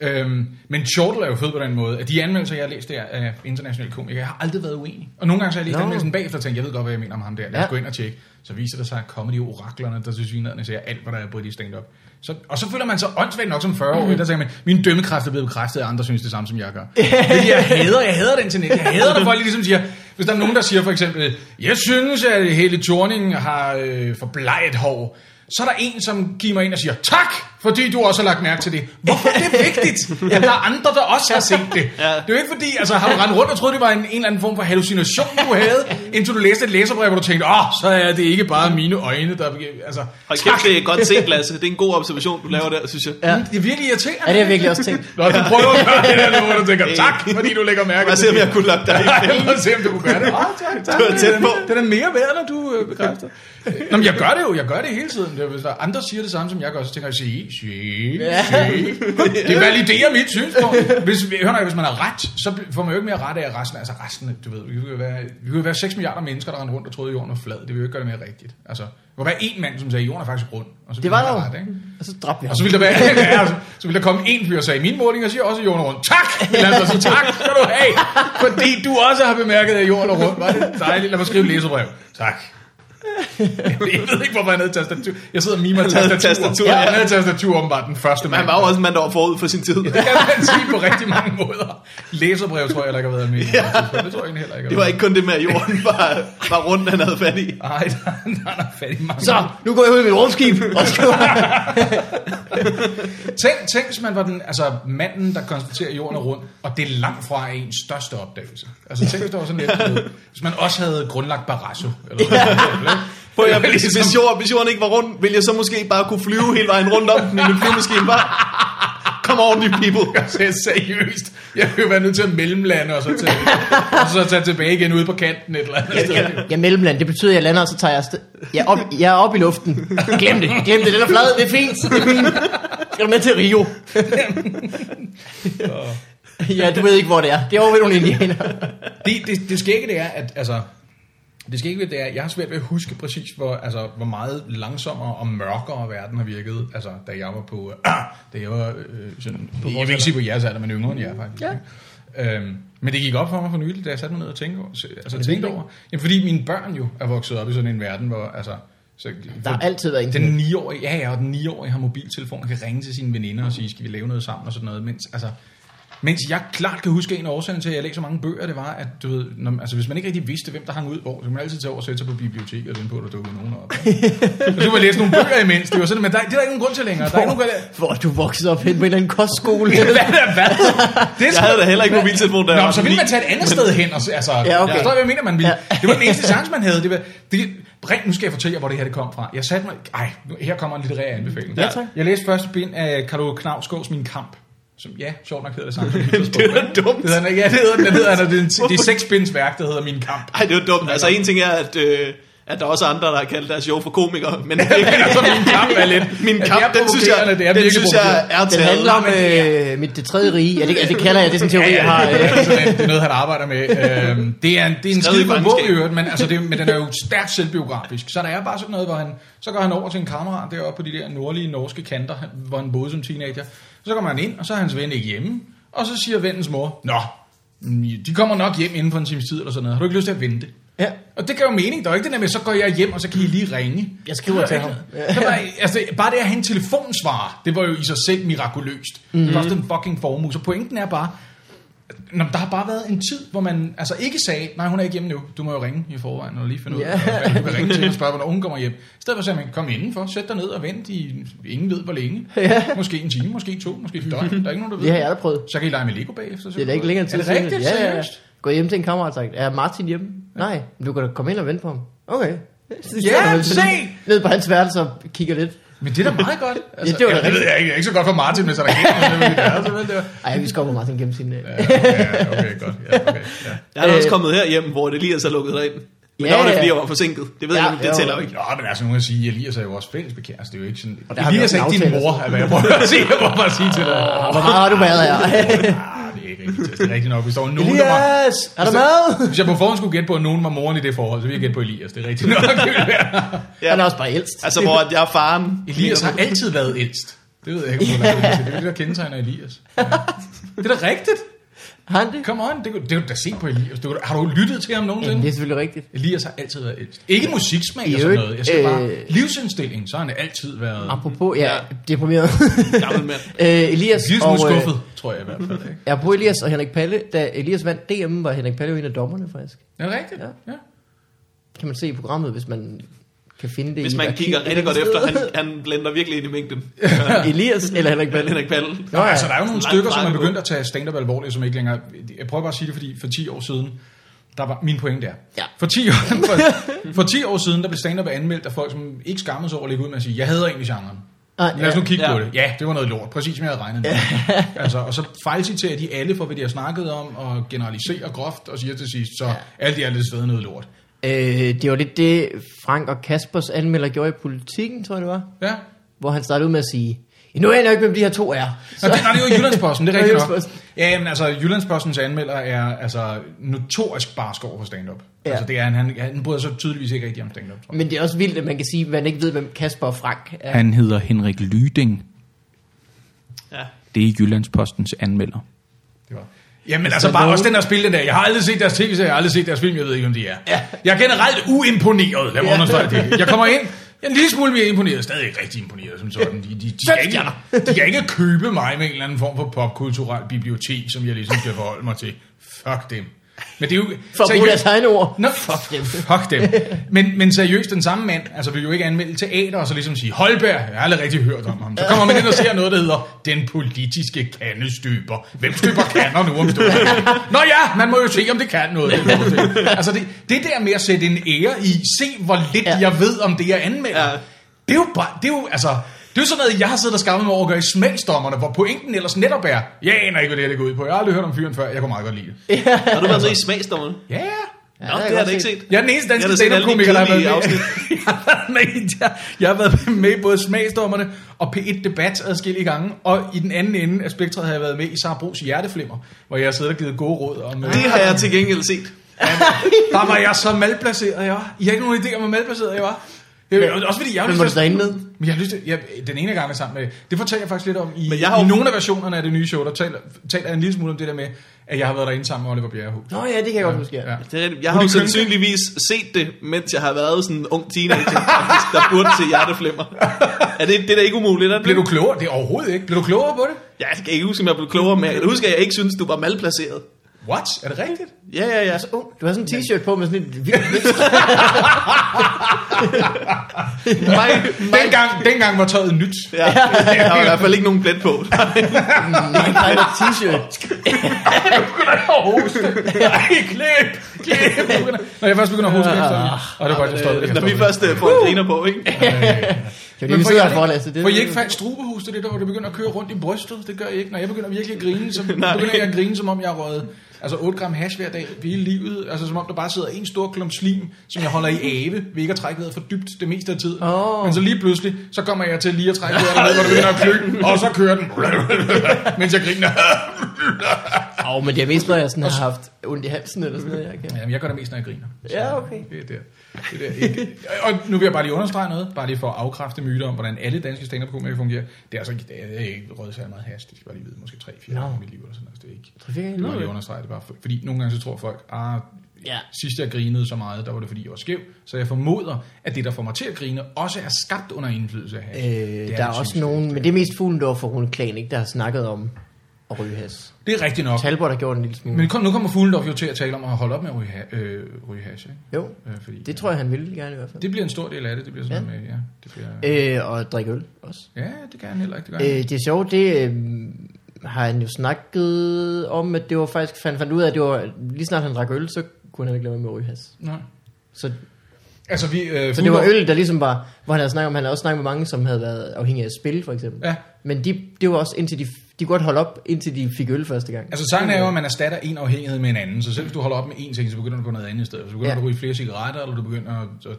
S2: Øhm, men Chortle er jo fed på den måde, at de anmeldelser, jeg har læst der af internationale komikere, jeg har aldrig været uenig. Og nogle gange så har jeg læst
S3: Nå.
S2: no. anmeldelsen bagefter og tænkt, jeg ved godt, hvad jeg mener om ham der. Lad os
S3: Ja.
S2: gå ind og tjekke. Så viser det sig, at comedy-oraklerne, der til synligheden ser alt, hvad der er britisk stand-up. Så, og så føler man sig åndssvagt nok som 40 år,
S3: Mhm.
S2: mm. der tænker man, min dømmekraft er blevet bekræftet, og andre synes det samme, som jeg gør. Hvilket jeg hader, jeg hader den internet. Jeg hader, når folk ligesom siger, hvis der er nogen, der siger for eksempel, jeg synes, at hele Thorning har øh, forbleget hår, så er der en, som giver mig ind og siger, tak, fordi du også har lagt mærke til det. Hvorfor er det vigtigt, at der er andre, der også har set det? Det er jo ikke fordi, altså har du rendt rundt og troet, det var en, en eller anden form for hallucination, du havde, indtil du læste et læserbrev, hvor du tænkte, åh, så er det ikke bare mine øjne, der... Altså,
S1: Og kæft, det er godt set, Lasse. Det er en god observation, du laver der, synes jeg.
S3: Ja.
S2: det er virkelig irriterende.
S3: Ja, det har jeg virkelig også tænkt.
S2: Nå, du prøver at gøre det der nu, hvor du tænker, tak, fordi du lægger mærke
S1: Lad os se, om jeg kunne lokke dig ind.
S2: kunne Lad os se, om du kunne gøre det. Åh, tak, tak.
S1: Du er tæt på.
S2: Den er mere værd, når du øh, bekræfter. Nå, men jeg gør det jo. Jeg gør det hele tiden. Det er, Hvis der er andre der siger det samme, som jeg gør, så tænker jeg, se, se, se. Det validerer mit synspunkt. Hvis, hør nok, hvis man har ret, så bl- får man jo ikke mere ret af resten. Altså resten, du ved, vi kunne jo være, vi kunne jo være 6 milliarder mennesker, der rendte rundt og troede, at jorden var flad. Det vil jo ikke gøre det mere rigtigt. Altså, der kunne være én mand, som sagde, at jorden er faktisk rund. Og så
S3: Det
S2: ville
S3: var
S2: han
S3: der
S2: have
S3: jo.
S2: ikke?
S3: Og så dræbte vi ham.
S2: Og så ville der være, ja, altså, så ville der komme en fyr og sagde, min måling, og siger også, at jorden er rundt. Tak! Lad os sige, tak skal du have, fordi du også har bemærket, at jorden er rundt. Var det dejligt? Lad mig skrive et læserbrev. Tak. Jeg ved ikke, hvorfor han havde tastatur. Jeg sidder og mimer
S1: lavede
S2: tastatur.
S1: tastatur,
S2: tastatur. Ja, han havde tastatur åbenbart den første mand.
S1: Han var jo også en mand, der var forud for sin tid.
S2: Det kan man sige på rigtig mange måder. Læserbrev tror jeg heller ikke har været med. Ja. Det tror jeg egentlig heller ikke.
S1: Det var ikke kun det med, at jorden var, var rundt, han havde fat i.
S2: Nej, der, der er der fat i mange.
S3: Så, nu går jeg ud i mit rumskib og skriver...
S2: Tænk, tænk, hvis man var den, altså manden, der konstaterer at jorden er rund, og det er langt fra ens største opdagelse. Altså tænk, hvis det var sådan lidt, du ved, hvis man også havde grundlagt Barrasso. Eller sådan noget,
S1: Prøv, jeg,
S2: Det var
S1: hvis,
S2: ligesom-
S1: hvis, jorden, hvis jorden ikke var rundt, ville jeg så måske bare kunne flyve hele vejen rundt om den i min flyvemaskine. Bare, come on, you people.
S2: Altså, jeg er seriøst, jeg vil jo være nødt til at mellemlande, og så tage, og så tage tilbage igen ude på kanten et eller andet sted.
S3: Ja, mellemland, det betyder, at jeg lander, og så tager jeg afsted. Jeg er op, jeg er op i luften. Glem det, glem det, den er flad, det er fint. Det er fint. Skal du med til Rio? ja, du ved ikke, hvor det er. Det er over ved nogle indianer.
S2: Det, det, det skægge det er, at altså, det skægge ved det er, at jeg har svært ved at huske præcis, hvor, altså, hvor meget langsommere og mørkere verden har virket, altså, da jeg var på, øh, da jeg var, øh, sådan, på jeg vil ikke sige på jeres alder, men yngre end jer faktisk. Ja. Øhm, men det gik op for mig for nylig, da jeg satte mig ned og tænkte over, altså, tænkte over. Jamen, fordi mine børn jo er vokset op i sådan en verden, hvor altså, Så,
S3: Der har altid været en
S2: den 9-årige, ja, ja, og den 9-årige har mobiltelefon og kan ringe til sine veninder og sige, skal vi lave noget sammen og sådan noget. Mens, altså, mens jeg klart kan huske en af årsagerne til, at jeg læste så mange bøger, det var, at du ved, når, altså, hvis man ikke rigtig vidste, hvem der hang ud hvor, så kunne man altid tage over og sætte sig på biblioteket og vente på, at der dukkede nogen op. og så kunne man læse nogle bøger imens. Det var sådan, men der, det er der ikke nogen grund til længere. Der er ikke nogen grund til,
S3: Hvor er du vokset op hen på en eller anden kostskole.
S2: hvad er det? Hvad? Det er
S1: Jeg
S2: sgu-
S1: havde da heller ikke mobiltelefon, da jeg
S2: Nå,
S1: var
S2: så ville
S1: ni.
S2: man tage et andet sted hen. Og, s- altså, ja, okay.
S3: okay.
S2: Jeg forstår, hvad jeg mener, man ville.
S3: Ja.
S2: Ja. Det var den eneste chance, man havde. Det var, det, rent, nu skal jeg fortælle jer, hvor det her det kom fra. Jeg satte mig... Ej, nu, her kommer en litterær anbefaling.
S3: Ja, tak.
S2: Jeg læste første bind af Carlo Knavsgaards Min Kamp. Som, ja, sjovt nok hedder det samme. som Hitlers
S1: Det
S2: bog,
S1: er
S2: ikke?
S1: dumt.
S2: Det hedder, den ikke. ja, det hedder, den, den hedder, den, det, er en- det er seks binds værk, der hedder Min Kamp.
S1: Ej, det er jo dumt. Altså, en ting er, at, øh, at der er også andre, der har kaldt deres show for komikere, men det er ikke,
S2: Altså, Min Kamp er lidt...
S1: min
S2: Ja, det
S1: kamp,
S2: er
S1: den synes jeg,
S2: provokerende, det er
S1: den
S2: virkelig
S1: synes jeg er til
S3: Den handler om
S1: alle.
S3: øh, mit det tredje rige. Ja, det, ja, det kalder jeg det, er sådan en teori, jeg har.
S2: det,
S3: Øh.
S2: er sådan, det er noget, han arbejder med. Øhm, det er en, det er en
S1: Stadig
S2: skide god bog
S1: fangenskab.
S2: i øvrigt, men, altså, det, er- men den er jo stærkt selvbiografisk. Så der er bare sådan noget, hvor han, så går han over til en kammerat deroppe på de der nordlige norske kanter, hvor han boede som teenager. Så kommer han ind, og så er hans ven ikke hjemme. Og så siger vennens mor, Nå, mm, de kommer nok hjem inden for en times tid eller sådan noget. Har du ikke lyst til at vente?
S3: Ja.
S2: Og det gør jo mening, der er jo ikke det der med, så går jeg hjem, og så kan I lige ringe.
S3: Jeg skriver til ham.
S2: Det var, altså, bare det at have en telefonsvarer, det var jo i sig selv mirakuløst.
S3: Mhm.
S2: Mm. Det kostede en fucking formue. Så pointen er bare, Nå, men der har bare været en tid, hvor man altså ikke sagde, nej, hun er ikke hjemme nu, du må jo ringe i forvejen, og lige finde ud af,
S3: Ja.
S2: yeah. du kan ringe til hende og spørge, hvornår hun kommer hjem. I stedet for sagde man, kom indenfor, sæt dig ned og vent i, ingen ved hvor længe. Yeah. Måske en time, måske to, måske et døgn, der er ikke nogen, der ved.
S3: Det har jeg aldrig prøvet.
S2: Så kan I lege med Lego bagefter.
S3: Det er da ikke længere tid.
S2: Er det rigtigt?
S3: siden.
S2: Seriøst?
S3: Gå hjem til en kammerat og sagt, er Martin hjemme? Nej, men du kan da komme ind og vente på ham. Okay. Så
S2: Ja,
S3: sidder du
S2: se!
S3: Ned på hans værelse og kigger lidt.
S2: Men det er da meget godt. Altså,
S3: det var da
S2: jeg, det ved
S3: rigtigt.
S2: jeg ikke. Det er ikke så godt for Martin, hvis han er altså, kendt.
S3: Ej, vi skal over Martin gennem sin... Øh.
S2: Ja, okay, godt. Ja, okay, ja.
S1: Jeg er også
S3: Øh.
S1: kommet herhjem, hvor det lige er så lukket derind. Men
S3: Ja,
S1: der var det,
S3: ja.
S1: fordi jeg var forsinket. Det ved
S3: Ja,
S1: jeg ikke,
S3: ja,
S1: det tæller
S3: ja.
S1: jo ikke.
S2: Nå, men altså, nu kan jeg sige, at Elias er jo også fælles bekendt. Altså, det er jo ikke sådan... Og
S3: der har vi
S2: Elias
S3: også
S2: er
S3: en
S2: ikke din
S3: aftale,
S2: mor, er, hvad jeg prøver at sige. Jeg prøver bare at sige til dig.
S3: Og hvor meget har du været her?
S2: Ah, det er ikke rigtigt. Det er rigtigt nok. Hvis der var nogen, der var...
S3: Elias, er du
S1: Altså,
S3: med?
S2: Hvis jeg på forhånd skulle gætte på, at nogen var moren i det forhold, så ville jeg gætte på Elias. Det er rigtigt nok. Det ville være-
S3: Han er også bare ældst.
S1: Altså, hvor at jeg er faren.
S2: Elias har altid været ældst. Det ved jeg ikke, om hun har gjort til. Det er jo det, der kendetegner Elias. Ja. Det er da rigtigt.
S3: Har han det?
S2: Come on, det, kunne- det er du da set på Elias. Du, kunne- har du lyttet til ham
S3: Ja, det
S2: nogensinde?
S3: er selvfølgelig rigtigt.
S2: Elias har altid været ældst. Ikke musiksmag
S3: I
S2: og sådan
S3: øvrigt,
S2: noget. Jeg siger bare,
S3: øh,
S2: livsindstilling, så har han altid været...
S3: Apropos, ja,
S1: Ja.
S3: deprimeret.
S1: Gammel mand.
S3: øh, Elias
S2: Elias
S3: og...
S2: er
S3: øh,
S2: skuffet, tror jeg i hvert fald. Ikke?
S3: Jeg på Elias og Henrik Palle, da Elias vandt DM, var Henrik Palle jo en af dommerne faktisk.
S2: Er det rigtigt?
S3: Ja.
S2: Ja. ja.
S3: Kan man se i programmet, hvis man kan finde det
S1: Hvis
S3: i et
S1: man
S3: arkiv
S1: kigger
S3: et
S1: rigtig godt
S3: eller
S1: efter,
S3: andet
S1: han, han blænder virkelig ind i mængden.
S3: sted. Elias eller Henrik Palle.
S1: Henrik Palle.
S3: Nå, ja.
S2: Altså, der er jo nogle
S1: Langt
S2: stykker, som
S1: vej
S2: er
S1: at gå.
S2: begyndt at tage stand-up alvorligt, som ikke længere... Jeg prøver bare at sige det, fordi for 10 år siden, der var min pointe der.
S3: Ja.
S2: For, 10 år, for, for 10 år siden, der blev stand-up anmeldt af folk, som ikke skammede sig over at lægge ud med at sige, jeg hader egentlig genren.
S3: Ah,
S2: Lad os nu kigge
S1: ja.
S2: ja. på det. Ja, det var noget lort. Præcis som jeg havde regnet med. altså, og så fejlciterer de alle for, hvad de har snakket om, og generaliserer groft, og siger til sidst, så ja. alt i alt er det stadig noget lort.
S3: Øh, det var lidt det, Frank og Kaspers anmelder gjorde i politikken, tror jeg det var.
S2: Ja.
S3: Hvor han startede ud med at sige, nu aner jeg ikke, hvem de her to er.
S2: Nå, det, nej, det var Jyllandsposten, det er
S3: Det var
S2: rigtigt nok.
S3: Jyllands-Posten.
S2: Ja, men altså, Jyllandspostens anmelder er altså notorisk barsk over for stand-up.
S3: Ja.
S2: Ja. Altså, det er, han, han, han bryder sig tydeligvis ikke rigtig om stand-up, tror jeg.
S3: Men det er også vildt, at man kan sige, at man ikke ved, hvem Kasper og Frank er.
S4: Han hedder Henrik Lyding.
S1: Ja.
S4: Det er Jyllandspostens anmelder.
S2: Det var. Jamen altså bare også den der spil, den der. Jeg har aldrig set deres tv-serie, jeg har aldrig set deres film, jeg ved ikke, om de er. Ja. Jeg er generelt uimponeret, lad mig
S3: Ja.
S2: understrege det. Jeg kommer ind, jeg er en lille smule mere imponeret, stadig ikke rigtig imponeret som sådan. De, de, de,
S3: Fem
S2: kan ikke, de kan ikke købe mig med en eller anden form for popkulturel bibliotek, som jeg ligesom skal forholde mig til. Fuck dem. Men det er jo...
S3: For at bruge deres
S2: seriøst-
S3: egne ord.
S2: Nå, fuck dem. Fuck dem. Men, men seriøst, den samme mand altså, vil jo ikke anmelde teater og så ligesom sige, Holberg, jeg har aldrig rigtig hørt om ham. Så kommer man ind og ser noget, der hedder, den politiske kandestyber. Hvem støber kander nu om stunden? Nå ja, man må jo se, om det kan noget. Det er jo det. altså det, det der med at sætte en ære i, se hvor lidt
S3: Ja.
S2: ja. jeg ved om det, jeg anmelder.
S1: Ja.
S2: Ja. Det er jo bare, det er jo, altså, det er jo sådan noget, jeg har siddet og skammet mig over at gøre i smagsdommerne, hvor pointen ellers netop er, jeg aner ikke, hvad det her det går ud på. Jeg har aldrig hørt om fyren før, jeg kunne meget godt lide det. Ja,
S1: Har du været så i smagsdommeren?
S2: ja.
S3: Ja,
S1: Nå,
S3: har jeg
S1: det har
S3: godt
S1: jeg ikke
S3: set.
S1: set.
S2: Jeg er den eneste
S1: Jeg
S2: danske
S1: har da set alle de
S2: stand-up-komiker, der har været
S1: kedelige
S2: med. jeg, har været med i- jeg- jeg har været med i både smagsdommerne og P1 Debat adskillige gange. Og i den anden ende af spektret har jeg været med i Sara Bros Hjerteflimmer, hvor jeg har siddet og givet gode råd om... øh,
S1: Det har jeg til gengæld set.
S2: Der var jeg så malplaceret, jeg var. I har ikke nogen idé om, hvor malplaceret jeg var. Det er jo også fordi, jeg har
S3: Men
S2: lyst
S3: må
S2: til
S3: du
S2: at-
S3: stadig med?
S2: Men jeg har lyst til, ja, den ene gang er sammen med, det fortæller jeg faktisk lidt om i,
S1: Men
S2: Men
S1: jeg
S2: jeg
S1: har jo-
S2: i nogle af versionerne af det nye show, der taler, taler jeg en lille smule om det der med, at jeg har været derinde sammen med Oliver Bjerrehus.
S3: Nå ja, det kan jeg godt huske, ja.
S2: Ja.
S1: Det er, rigtigt. jeg har jo
S2: Hun er klynke.
S1: sandsynligvis set det, mens jeg har været sådan en ung teenager, faktisk, der burde til hjerteflimmer. Er det, det er da ikke umuligt, er det?
S2: Blev du klogere? Det er overhovedet ikke. Blev du klogere på det?
S1: Ja, jeg kan ikke huske, om jeg blev klogere, men jeg kan huske, at jeg ikke synes, du var malplaceret.
S2: What? Er det rigtigt?
S1: Ja, ja, ja.
S3: Oh, du har sådan en t-shirt på med sådan et vildt vækst.
S1: Mig, mig,
S2: Dengang, dengang var tøjet nyt.
S1: ja, der var i hvert fald ikke nogen plet på.
S3: t-shirt.
S2: Ej, klip! Klip! Nu begynder- Når jeg først begynder at hoste efter det. Og det er godt, jeg står
S1: Øh, Når vi først øh, får en griner på, ikke?
S3: Jo, det vi sidder her for, Lasse.
S2: det.
S3: Det,
S2: Får I ikke fandt strubehoste det der, hvor det begynder at køre rundt i brystet? Det gør I ikke. Når jeg begynder virkelig at grine, så
S1: Nej.
S2: begynder jeg at grine, som om jeg har røget altså 8 gram hash hver dag hele livet. Altså som om der bare sidder en stor klump slim, som jeg holder i ave, ved ikke at trække vejret for dybt det meste af tiden.
S3: Åh.
S2: Men så lige pludselig, så kommer jeg til lige at trække vejret ned, hvor det begynder at klø, og så kører den. Mens jeg griner.
S3: Åh, oh, men det er mest, når jeg sådan har haft ondt i halsen eller sådan noget. Jeg kan.
S2: Jamen, jeg gør det mest, når jeg griner.
S3: Ja, okay.
S2: Det er der. Det er der. ikke- Og nu vil jeg bare lige understrege noget, bare lige for at afkræfte myter om, hvordan alle danske stand up komikere fungerer. Det er altså ikke, det er ikke røget særlig meget hast, det skal bare lige vide, måske 3-4
S3: Nå.
S2: no. i mit liv eller sådan noget. Det er ikke,
S3: Tror jeg ikke,
S2: jeg vil bare lige
S3: jeg
S2: understrege det bare, for, fordi nogle gange så tror folk, ah,
S3: Ja.
S2: sidst jeg grinede så meget, der var det fordi jeg var skæv, så jeg formoder, at det der får mig til at grine, også er skabt under indflydelse af hash.
S3: Øh, der er
S2: det
S3: også
S2: sindssygt.
S3: nogen, men det er mest Fuglendorf og Rune Klan, ikke, der har snakket om at ryge has.
S2: Det er rigtigt nok.
S3: Talbot har gjort en lille smule.
S2: Men kom, nu kommer Fuglendorf jo til at tale om at holde op med at ryge, ha- øh, ryge hash, ikke?
S3: Jo,
S2: Øh, fordi,
S3: det tror jeg, han ville gerne i hvert fald.
S2: Det bliver en stor del af det, det bliver sådan ja. med, ja, det bliver...
S3: Øh, og drikke øl også.
S2: Ja, det kan han heller ikke. Det gør han.
S3: Øh, det er sjovt, det øh, har han jo snakket om, at det var faktisk, han fandt ud af, at det var, lige snart han drak øl, så kunne han ikke lade være med at ryge has.
S2: Nej.
S3: Så,
S2: Altså, vi, øh,
S3: så det var øl, der ligesom var, hvor han havde snakket om, han havde også snakket med mange, som havde været afhængige af spil, for eksempel.
S2: Ja,
S3: Men de, det var også indtil de, de kunne godt holde op, indtil de fik øl første gang.
S2: altså sagen er jo, at man erstatter en afhængighed med en anden. Så selv hvis du holder op med en ting, så begynder du på noget andet i stedet. Så begynder
S3: Ja.
S2: ja. du at ryge flere cigaretter, eller du begynder at, at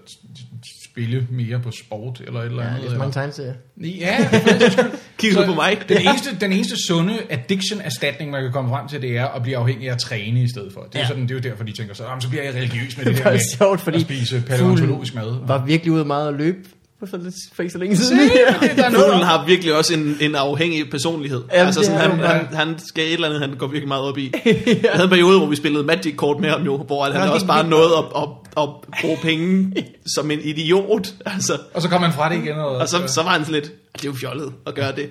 S2: spille mere på sport, eller et eller
S3: ja,
S2: andet.
S3: det er så mange tegneserier.
S2: eller... Ja, for den sags skyld.
S1: Kigger du på mig?
S2: Den eneste, den eneste sunde addiction-erstatning, man kan komme frem til, det er at blive afhængig af at træne i stedet for. Det er,
S3: Ja.
S2: ja. sådan, det er jo derfor, de tænker så, "Jamen, så bliver jeg religiøs med det,
S3: Det
S2: her
S3: var
S2: med
S3: sjovt, fordi
S2: at spise paleontologisk mad.
S3: Var virkelig ude meget at løbe for, så lidt, for ikke så længe siden.
S2: Det, der er noget
S1: Fuglen har virkelig også en, en afhængig personlighed.
S3: Jamen,
S1: altså
S3: det
S1: sådan,
S3: er
S1: han,
S3: jo bare-
S1: han, han skal et eller andet, han går virkelig meget op i. Jeg havde en periode, hvor vi spillede Magic-kort med ham jo, hvor han
S2: Nå,
S1: også
S2: det-
S1: bare
S2: det-
S1: nåede at, at, at bruge penge som en idiot. Altså,
S2: Og så kommer man fra det igen. Og,
S1: og så, så var han sådan lidt, "Ah, det er jo fjollet at gøre det.
S3: Det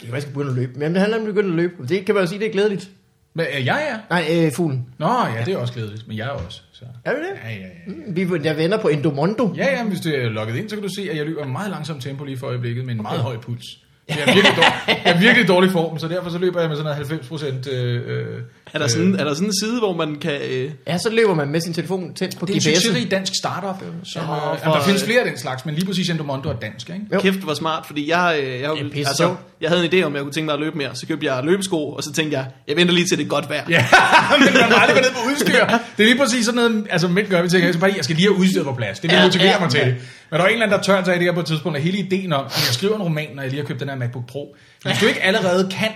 S3: kan være, jeg skal begynde at løbe. Men jamen, det handler om at begynde at løbe. Det kan man jo sige, det er glædeligt.
S2: Men, øh, ja, ja.
S3: Nej, øh, fuglen.
S2: Nå, ja, det er også glædeligt, men jeg er også. Så.
S3: Er det det?
S2: Ja, ja, ja.
S3: Vi er der venner på Endomondo.
S2: Ja, ja, men hvis det er logget ind, så kan du se, at jeg løber i meget langsomt tempo lige for øjeblikket, med en meget høj puls. Jeg er virkelig dårlig, jeg er virkelig dårlig form, så derfor så løber jeg med sådan noget 90 procent... Øh, øh,
S1: Er der, sådan, er der sådan en side, hvor man kan... Øh,
S3: Ja, så løber man med sin telefon tændt på
S2: det er øh, en
S3: GPS'en.
S2: succesrig dansk startup, som,
S1: Ja,
S2: øh,
S1: for-
S2: jamen, der findes flere af den slags, men lige præcis Endomondo er dansk, ikke?
S3: Jo.
S1: kæft, hvor smart, fordi jeg, øh, jeg,
S3: Det er pisse
S1: altså,
S3: sjovt.
S1: jeg havde en idé om, at jeg kunne tænke mig at løbe mere. Så købte jeg løbesko, og så tænkte jeg, jeg venter lige til det er godt vejr.
S2: Ja, men man må aldrig gå ned på udstyr. Det er lige præcis sådan noget, altså mænd gør, vi tænker, jeg skal, bare, lige- jeg skal lige have udstyret på plads. Det vil
S3: Ja,
S2: motivere
S3: ja,
S2: mig til
S3: ja.
S2: det. Men der er en eller anden, der tør sig i det her på et tidspunkt, og hele ideen om, at jeg skriver en roman, når jeg lige har købt den her MacBook Pro. Hvis du ikke allerede kan,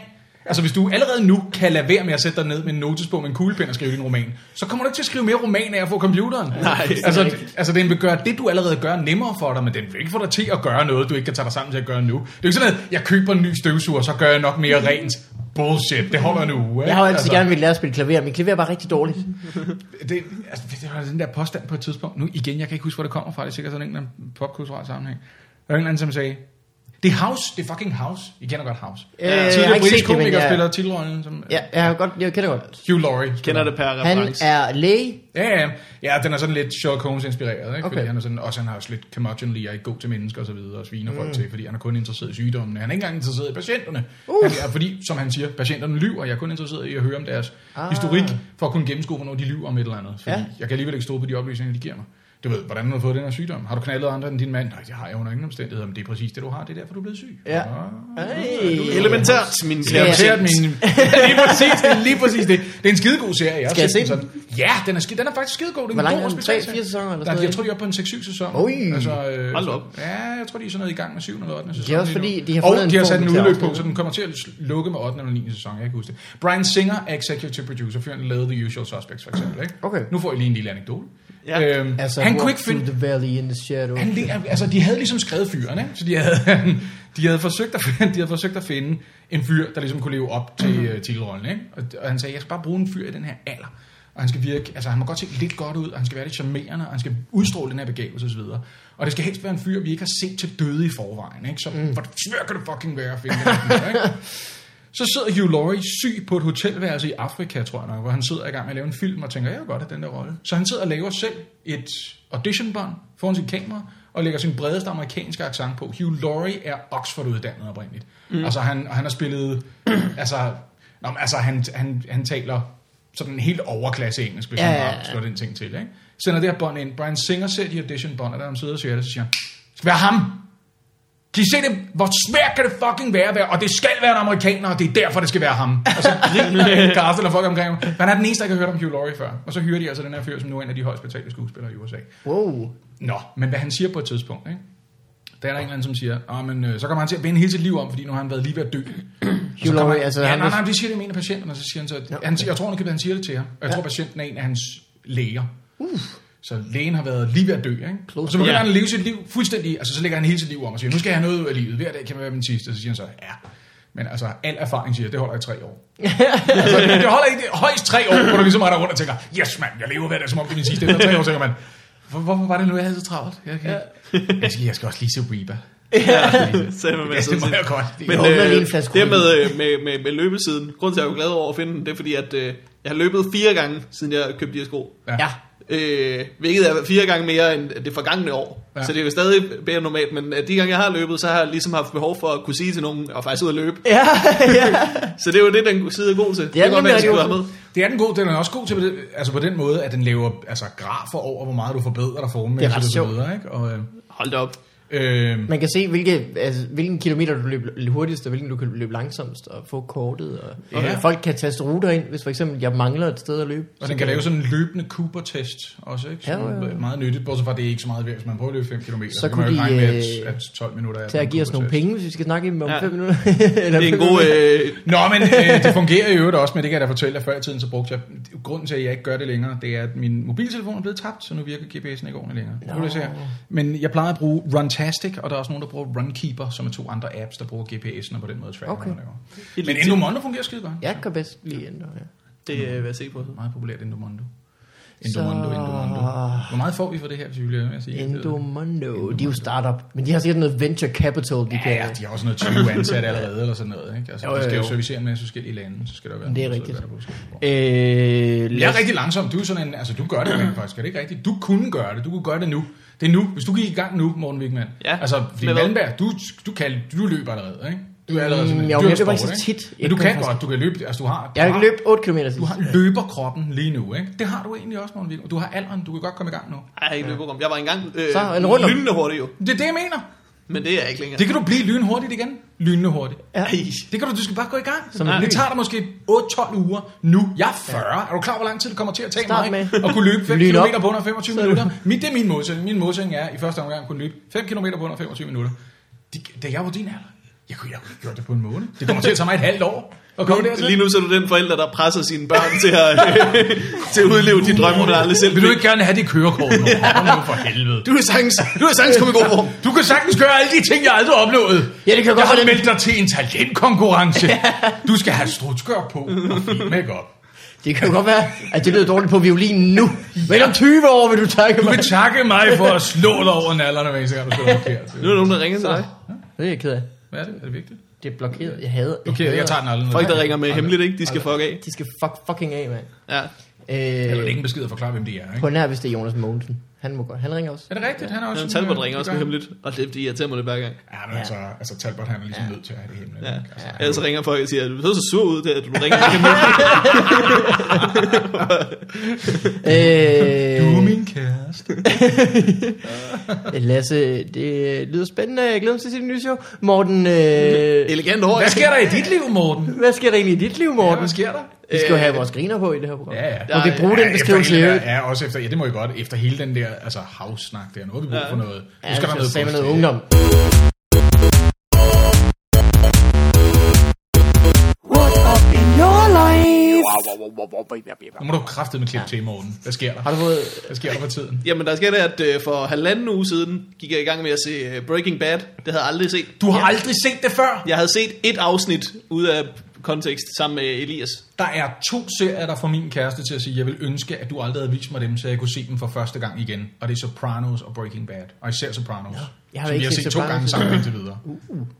S2: altså hvis du allerede nu kan lade være med at sætte dig ned med en notes på med en kuglepen og skrive din roman, så kommer du ikke til at skrive mere roman af at få computeren.
S1: Nej, det er
S2: altså, det- altså den vil gøre det, du allerede gør nemmere for dig, men den vil ikke få dig til at gøre noget, du ikke kan tage dig sammen til at gøre nu. Det er jo ikke sådan, at jeg køber en ny støvsuger, så gør jeg nok mere rent. Bullshit, det holder en uge. ikke?
S3: Jeg har jo altid
S2: Altså-
S3: gerne ville lære at spille klaver, men klaver er bare rigtig dårligt. Øh,
S2: det, altså, det var den der påstand på et tidspunkt. Nu igen, jeg kan ikke huske, hvor det kommer fra. Det er sikkert sådan en eller anden popkulturel sammenhæng. Der var en eller anden, som sagde, det er House, det er fucking House. I kender godt House.
S3: Øh, jeg har ikke
S2: Tidligere
S3: set
S2: britisk
S3: det, men
S2: komiker
S3: jeg-
S2: spiller titelrollen som
S3: Ja, jeg, har godt, jeg kender godt.
S2: Hugh Laurie.
S1: Kender det per
S3: Han
S1: reference.
S3: er læge.
S2: Ja, ja, ja, den er sådan lidt Sherlock Holmes inspireret, ikke?
S3: Okay.
S2: Fordi han er sådan, også han har også lidt curmudgeonly og ikke god til mennesker og så videre, og sviner mm. folk til, fordi han er kun interesseret i sygdommene. Han er ikke engang interesseret i patienterne. Uh. Han er, fordi, som han siger, patienterne lyver, jeg er kun interesseret i at høre om deres
S3: Ah.
S2: ah. historik, for at kunne gennemskue, hvornår de lyver om et eller andet. Fordi
S3: Ja.
S2: ja. jeg kan alligevel ikke stå på de oplysninger, de giver mig. Du ved, hvordan har du fået den her sygdom? Har du knaldet andre end din mand? Nej, det har jeg under ingen omstændigheder, men det er præcis det, du har. Det er derfor, du er blevet syg.
S3: Ja.
S2: Ah.
S3: Ej.
S1: Elementært, min
S2: Det er
S1: kære
S3: Ja.
S2: baseret
S1: patient.
S2: min... lige præcis, det er lige præcis det. Det er en skidegod serie. Jeg har
S3: Skal jeg
S2: set
S3: se
S2: den sådan. Ja, den er, skide, den er faktisk skidegod. Det er
S3: Hvor lang
S2: en
S3: er
S2: god
S3: den?
S2: hospitalserie.
S3: Tre, fire sæsoner
S2: Der,
S3: eller sådan noget,
S2: jeg tror, de er oppe på en 6-7 sæson.
S3: Oj.
S2: øh,
S1: Hold op.
S2: Ja, jeg tror, de er sådan noget i gang med 7. eller 8. sæson.
S3: Det er også
S2: lige nu.
S3: fordi, de har fundet en
S2: Og de har sat
S3: formel
S2: en
S3: til at
S2: udløb på,
S3: afslutte.
S2: så den kommer til at lukke med 8. eller 9. sæson. Jeg kan ikke huske det. Brian Singer er executive producer, før han lavede The Usual Suspects for eksempel. Ikke?
S3: Okay.
S2: Nu får I lige en lille anekdote.
S1: Ja.
S2: Øhm,
S3: Altså,
S2: han
S3: walk
S2: kunne ikke finde...
S3: through the valley in the shadow.
S2: Han, lig- altså, de havde ligesom skrevet fyren, ikke? Så de havde, de, havde forsøgt at, finde- de havde forsøgt at finde en fyr, der ligesom kunne leve op til øh, titelrollen, ikke? Og, og, han sagde, jeg skal bare bruge en fyr i den her alder. Og han skal virke, altså han må godt se lidt godt ud, og han skal være lidt charmerende, og han skal udstråle den her begavelse osv. Og det skal helst være en fyr, vi ikke har set til døde i forvejen, ikke? Så mm. hvor svær kan det fucking være at finde den her fyr, ikke? Så sidder Hugh Laurie syg på et hotelværelse i Afrika, tror jeg nok, hvor han sidder i gang med at lave en film og tænker, jeg vil godt have den der rolle. Så han sidder og laver selv et auditionbånd foran sit kamera og lægger sin bredeste amerikanske accent på. Hugh Laurie er Oxford-uddannet oprindeligt. Mm. Altså han, og han har spillet, altså, nå, men, altså han, han, han taler sådan helt overklasse engelsk, hvis
S3: Ja,
S2: ja,
S3: ja,
S2: han
S3: ja.
S2: bare slår den ting til. Ikke? Sender det her bånd ind. Brian Singer ser de auditionbånd, og der han sidder og siger det, så siger han, det skal være ham! Kan I se det? Hvor svært kan det fucking være at være? Og det skal være en amerikaner, og det er derfor, det skal være ham. Og så griner Carsten og folk omkring ham. Han er den eneste, der kan høre om Hugh Laurie før. Og så hyrer de altså den her fyr, som nu er en af de højst betalte skuespillere i USA.
S3: Wow.
S2: Nå, men hvad han siger på et tidspunkt, ikke? Der er der en eller anden, som siger, "Åh, men, øh, så kommer han til at vende hele sit liv om, fordi nu har han været lige ved at dø. Og så
S3: Laurie,
S2: kommer han-
S3: altså,
S2: ja,
S3: han
S2: nej,
S3: var-
S2: nej, det siger det med en af patienterne, og så siger han så, at,
S3: okay.
S2: han, siger- jeg tror, han, han siger det til ham. Og jeg tror, patienten er en af hans læger. Uh. Så lægen har været lige ved at dø, ikke?
S3: Close
S2: og så begynder
S1: call.
S2: han at leve sit liv fuldstændig, altså så lægger han hele sit liv om og siger, nu skal jeg have noget ud af livet, hver dag kan være min sidste, og så siger han så, ja. Men altså, al erfaring siger, det holder i tre år. altså, det holder i det- højst tre år, hvor du ligesom er der rundt og tænker, yes mand, jeg lever hver dag, som om det er min sidste. Efter tre år tænker man, hvor, hvorfor var det nu, jeg havde så travlt? Jeg, kan, jeg, skal, jeg skal også lige se Reba.
S1: Sagde man med
S2: Ja,
S1: sådan
S2: det må
S1: set.
S2: jeg godt. Det,
S1: Men
S3: Jeg åbner
S1: øh,
S3: lige en flaske
S1: det
S3: rødvin.
S1: med, øh, med, med, med løbesiden, grunden til, at jeg er glad over at finde den, det er fordi, at øh, jeg har løbet fire gange, siden jeg købte de her sko.
S3: Ja.
S1: Øh, hvilket er fire gange mere end det forgangne år.
S2: Ja.
S1: Ja. Så det er jo stadig bedre normalt, men øh, de gange, jeg har løbet, så har jeg ligesom haft behov for at kunne sige til nogen, og faktisk ud at løbe.
S3: Ja, ja.
S1: Så det er jo det, den side er god til. Det,
S3: er
S1: kan godt være, jeg
S3: nemlig
S1: skulle
S3: rigtig
S1: have med.
S2: det er den god, den er også god til, på det- altså på den måde, at den laver altså, grafer over, hvor meget du forbedrer dig formen.
S3: Det er ret sjovt.
S2: Ikke? Og, øh,
S1: Hold da op.
S2: øh,
S3: Man kan se, hvilke, altså, hvilken kilometer du løber hurtigst, og hvilken du kan løbe langsomst, og få kortet. Og,
S2: Ja.
S3: og folk kan taste ruter ind, hvis for eksempel jeg mangler et sted at løbe.
S2: Og den kan lave sådan en løbende Cooper-test også, ikke? Som
S3: Ja, ja, ja.
S2: er meget nyttigt, bortset fra, at det er ikke så meget værd, hvis man prøver at løbe 5 km.
S3: Så
S2: kan
S3: kunne
S2: man jo ikke
S3: de,
S2: regne med,
S3: øh,
S2: at, at 12 minutter er
S3: til at
S2: en
S3: give os nogle
S2: Cooper-test.
S3: penge, hvis vi skal snakke om
S1: Ja.
S3: ja. 5 minutter. Eller
S1: Det er
S3: fem
S1: en god...
S3: minutter.
S1: Øh,
S2: Nå, men øh, det fungerer i øvrigt også, men det kan jeg da fortælle, at før i tiden så brugte jeg... Grunden til, at jeg ikke gør det længere, det er, at min mobiltelefon er blevet tabt, så nu virker GPS'en ikke ordentligt længere. No. Det, jeg ser. men jeg plejer at bruge Runtastic, og der er også nogen, der bruger Runkeeper, som er to andre apps, der bruger GPS'en og på den måde tracker,
S3: Okay.
S2: okay. Men Endomondo fungerer skide godt.
S3: Jeg kan bedst lige ændre, ja.
S1: det øh, vil jeg se på.
S2: Meget populært Endomondo. Endomondo,
S3: Så-
S2: Endomondo. Hvor meget får vi for det her, hvis vi bliver ved med at sige? det?
S3: Endomondo, de er jo startup, men de har sikkert noget venture capital, de
S2: Ja,
S3: kan. Øh,
S2: ja, de har også noget 20 ansatte allerede, eller sådan noget. Ikke? Altså,
S3: Jo,
S2: jo, jo, jo. De
S3: jo,
S2: skal
S3: jo.
S2: jo servicere en masse forskellige lande, så skal der være
S3: Det er
S2: nogen,
S3: rigtigt.
S2: Så der er
S3: Øh,
S2: jeg er rigtig langsom. Du er sådan en, altså du gør det rent faktisk, er det ikke rigtigt? Du kunne gøre det, du kunne gøre det nu. Det er nu, hvis du gik i gang nu, Morten Wigman.
S1: Ja.
S2: Altså, fordi
S1: Med hvad?
S2: Malmberg, du, du, kan, du løber allerede, ikke? Du er allerede sådan
S3: Mm,
S2: en
S3: jo,
S2: dyr
S3: jeg løber
S2: sport,
S3: ikke så tit. Jeg
S2: Men du
S3: kommer
S2: kan
S3: faktisk-
S2: godt, du kan løbe, altså du har...
S3: jeg har
S2: du
S3: ikke løbt 8 km sidst.
S2: Du har løberkroppen lige nu, ikke? Det har du egentlig også, Morten Wigman. Du har alderen, du kan godt komme i gang nu.
S1: Ej, jeg har ikke løbet om. Jeg var engang øh,
S3: Så en rundt om.
S1: lynende hurtig jo,
S2: Det er det, jeg mener.
S1: men det er jeg ikke længere.
S2: Det kan du blive lynhurtigt igen. Lynende hurtigt.
S3: Ja.
S1: Ej,
S2: Det kan du, du skal bare gå i gang.
S3: Som
S2: Som
S3: en lyn.
S2: det tager dig måske 8-12 uger nu. Jeg er 40. Er du klar, hvor lang tid det kommer til at tage
S3: Start
S2: mig
S3: med.
S2: at kunne løbe 5
S3: Lyn op.
S2: km på under 25 minutter? Mit, det er min modsætning. Min modsætning er, at i første omgang kunne løbe 5 km på under 25 minutter. Det, da jeg var din alder, jeg kunne, jeg kunne have gjort det på en måned. Det kommer til at tage mig et halvt år at komme dertil.
S1: Lige nu så er du den forælder, der presser sine børn til at, til at udleve de drømme, hun aldrig selv
S2: Vil du
S1: fik.
S2: ikke gerne have det kørekort nu? Kom nu for helvede.
S1: Du er sagtens, du er sagtens kommet i god form.
S2: Du kan sagtens gøre alle de ting, jeg aldrig oplevede.
S3: Ja, det kan
S2: jeg
S3: godt
S2: har
S3: være, den-
S2: meldt dig til en talentkonkurrence. Du skal have strutskør på og fin makeup.
S3: Det kan jo godt være, at det lyder dårligt på violinen nu. Men om 20 år vil du takke
S2: Du
S3: mig.
S2: kan takke mig for at slå dig over nallerne, hvis ikke du slår forkert.
S1: Nu er der nogen, der ringer til dig.
S3: Det er jeg ked af.
S2: Hvad er det? Er det vigtigt?
S3: Det er blokeret. Jeg hader.
S2: Okay, jeg tager nallerne.
S1: Folk, der ringer med hemmeligt, ikke? De skal fuck af.
S3: De skal fuck, fucking af, mand.
S1: Ja.
S2: Jeg vil
S3: Øh,
S2: ikke besked og forklare, hvem de er, ikke?
S3: på nær, hvis det er Jonas Mogensen. Han må godt. Han ringer også.
S2: Er det rigtigt? Han er også...
S1: Jamen,
S2: sådan,
S1: Talbot
S2: øh,
S1: ringer også
S2: det
S1: med
S2: gør
S1: hemmeligt, og det, de irriterer mig det hver gang.
S2: han. Ja, men altså, altså Talbot, han er ligesom nødt til at have det hemmeligt.
S1: Ja.
S2: ikke? Altså, han-
S1: Ellers så ringer folk og siger, du ser så sur ud, der, at du ringer med hemmeligt.
S3: Øh,
S2: Du er min kæreste.
S3: Lasse, det lyder spændende. Jeg glæder mig til at se det nye show. Morten, øh,
S1: Elegant hår.
S2: Hvad sker der i dit liv, Morten?
S3: hvad sker der egentlig i dit liv,
S2: Ja,
S3: Morten?
S2: hvad sker der?
S3: Vi skal jo have vores griner på i det her program.
S2: Ja, ja.
S3: Må vi bruge
S2: Ja,
S3: den beskrivelse i
S2: efter hele,
S3: øvrigt?
S2: Ja, også efter, ja, det må I godt. Efter hele den der altså, havsnak der, nu har vi brug for noget. Nu
S3: Ja,
S2: skal der noget
S3: sagde man noget
S2: positivt.
S3: ungdom.
S5: What up in your life?
S2: Nu må du kraftedeme klippe til, Morten. Hvad sker der?
S3: Har du fået...
S2: Hvad sker der for tiden?
S1: Jamen, der sker det, at øh, for halvanden uge siden gik jeg i gang med at se øh, Breaking Bad. Det havde jeg aldrig set.
S2: Du har aldrig set det før!
S1: Jeg havde set et afsnit ud af kontekst sammen med Elias.
S2: Der er to serier, der får min kæreste til at sige, jeg vil ønske, at du aldrig havde vist mig dem, så jeg kunne se dem for første gang igen. Og det er Sopranos og Breaking Bad. Og især Sopranos. Ja,
S3: jeg har
S2: som
S3: ikke
S2: vi har
S3: set
S2: set, to
S3: Sopranos Uh,
S2: gange
S3: endnu.
S2: sammen indtil videre.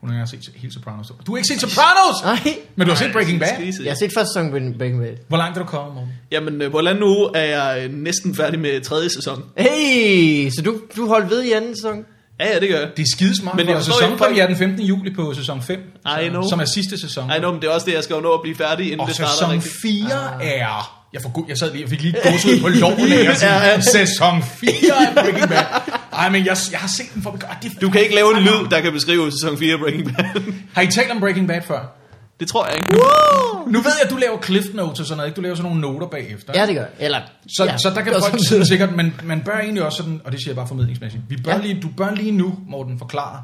S2: Hun har ikke set hele Sopranos. Du har ikke set Sopranos!
S3: Nej.
S2: Men du har set Breaking Bad.
S1: Skidesigt.
S3: Jeg har set første sæson af Breaking Bad.
S2: Hvor langt er du kommet, Morten?
S1: Jamen, øh, på halvanden uge er jeg øh, næsten færdig med tredje sæson.
S3: Hey, så du, du holdt ved i anden sæson?
S1: Ja, ja, det gør jeg.
S2: Det er skidesmart,
S1: Men
S2: men
S1: jeg
S2: for
S1: forstår
S2: sæsonen
S1: ikke, folk-
S2: premiere den 15. juli på sæson 5,
S1: know.
S2: som er sidste sæson.
S1: Ej, nå, men det er også det, jeg skal jo nå at blive færdig, inden
S2: Og
S1: det starter
S2: sæson
S1: rigtigt.
S2: 4
S3: Ah.
S2: er... Jeg, får, jeg sad lige, jeg fik lige gås ud på loven af at sige,
S1: Ja, ja.
S2: sæson 4 af Breaking Bad. Ej, men jeg, jeg har set den for... Og det,
S1: Du kan ikke lave en lyd, der kan beskrive sæson 4 af Breaking Bad.
S2: Har I talt om Breaking Bad før?
S1: det tror jeg ikke.
S2: Nu ved jeg, at du laver cliff notes og sådan noget, ikke? Du laver sådan nogle noter bagefter.
S3: Ja, det gør jeg. Eller,
S2: Så,
S3: ja,
S2: ja, så der kan
S3: det var
S2: folk
S3: sådan-
S2: sidde sikkert, men man bør egentlig også sådan, og det siger jeg bare formidlingsmæssigt, vi bør
S3: Ja.
S2: ja. lige, du bør lige nu, Morten, forklare,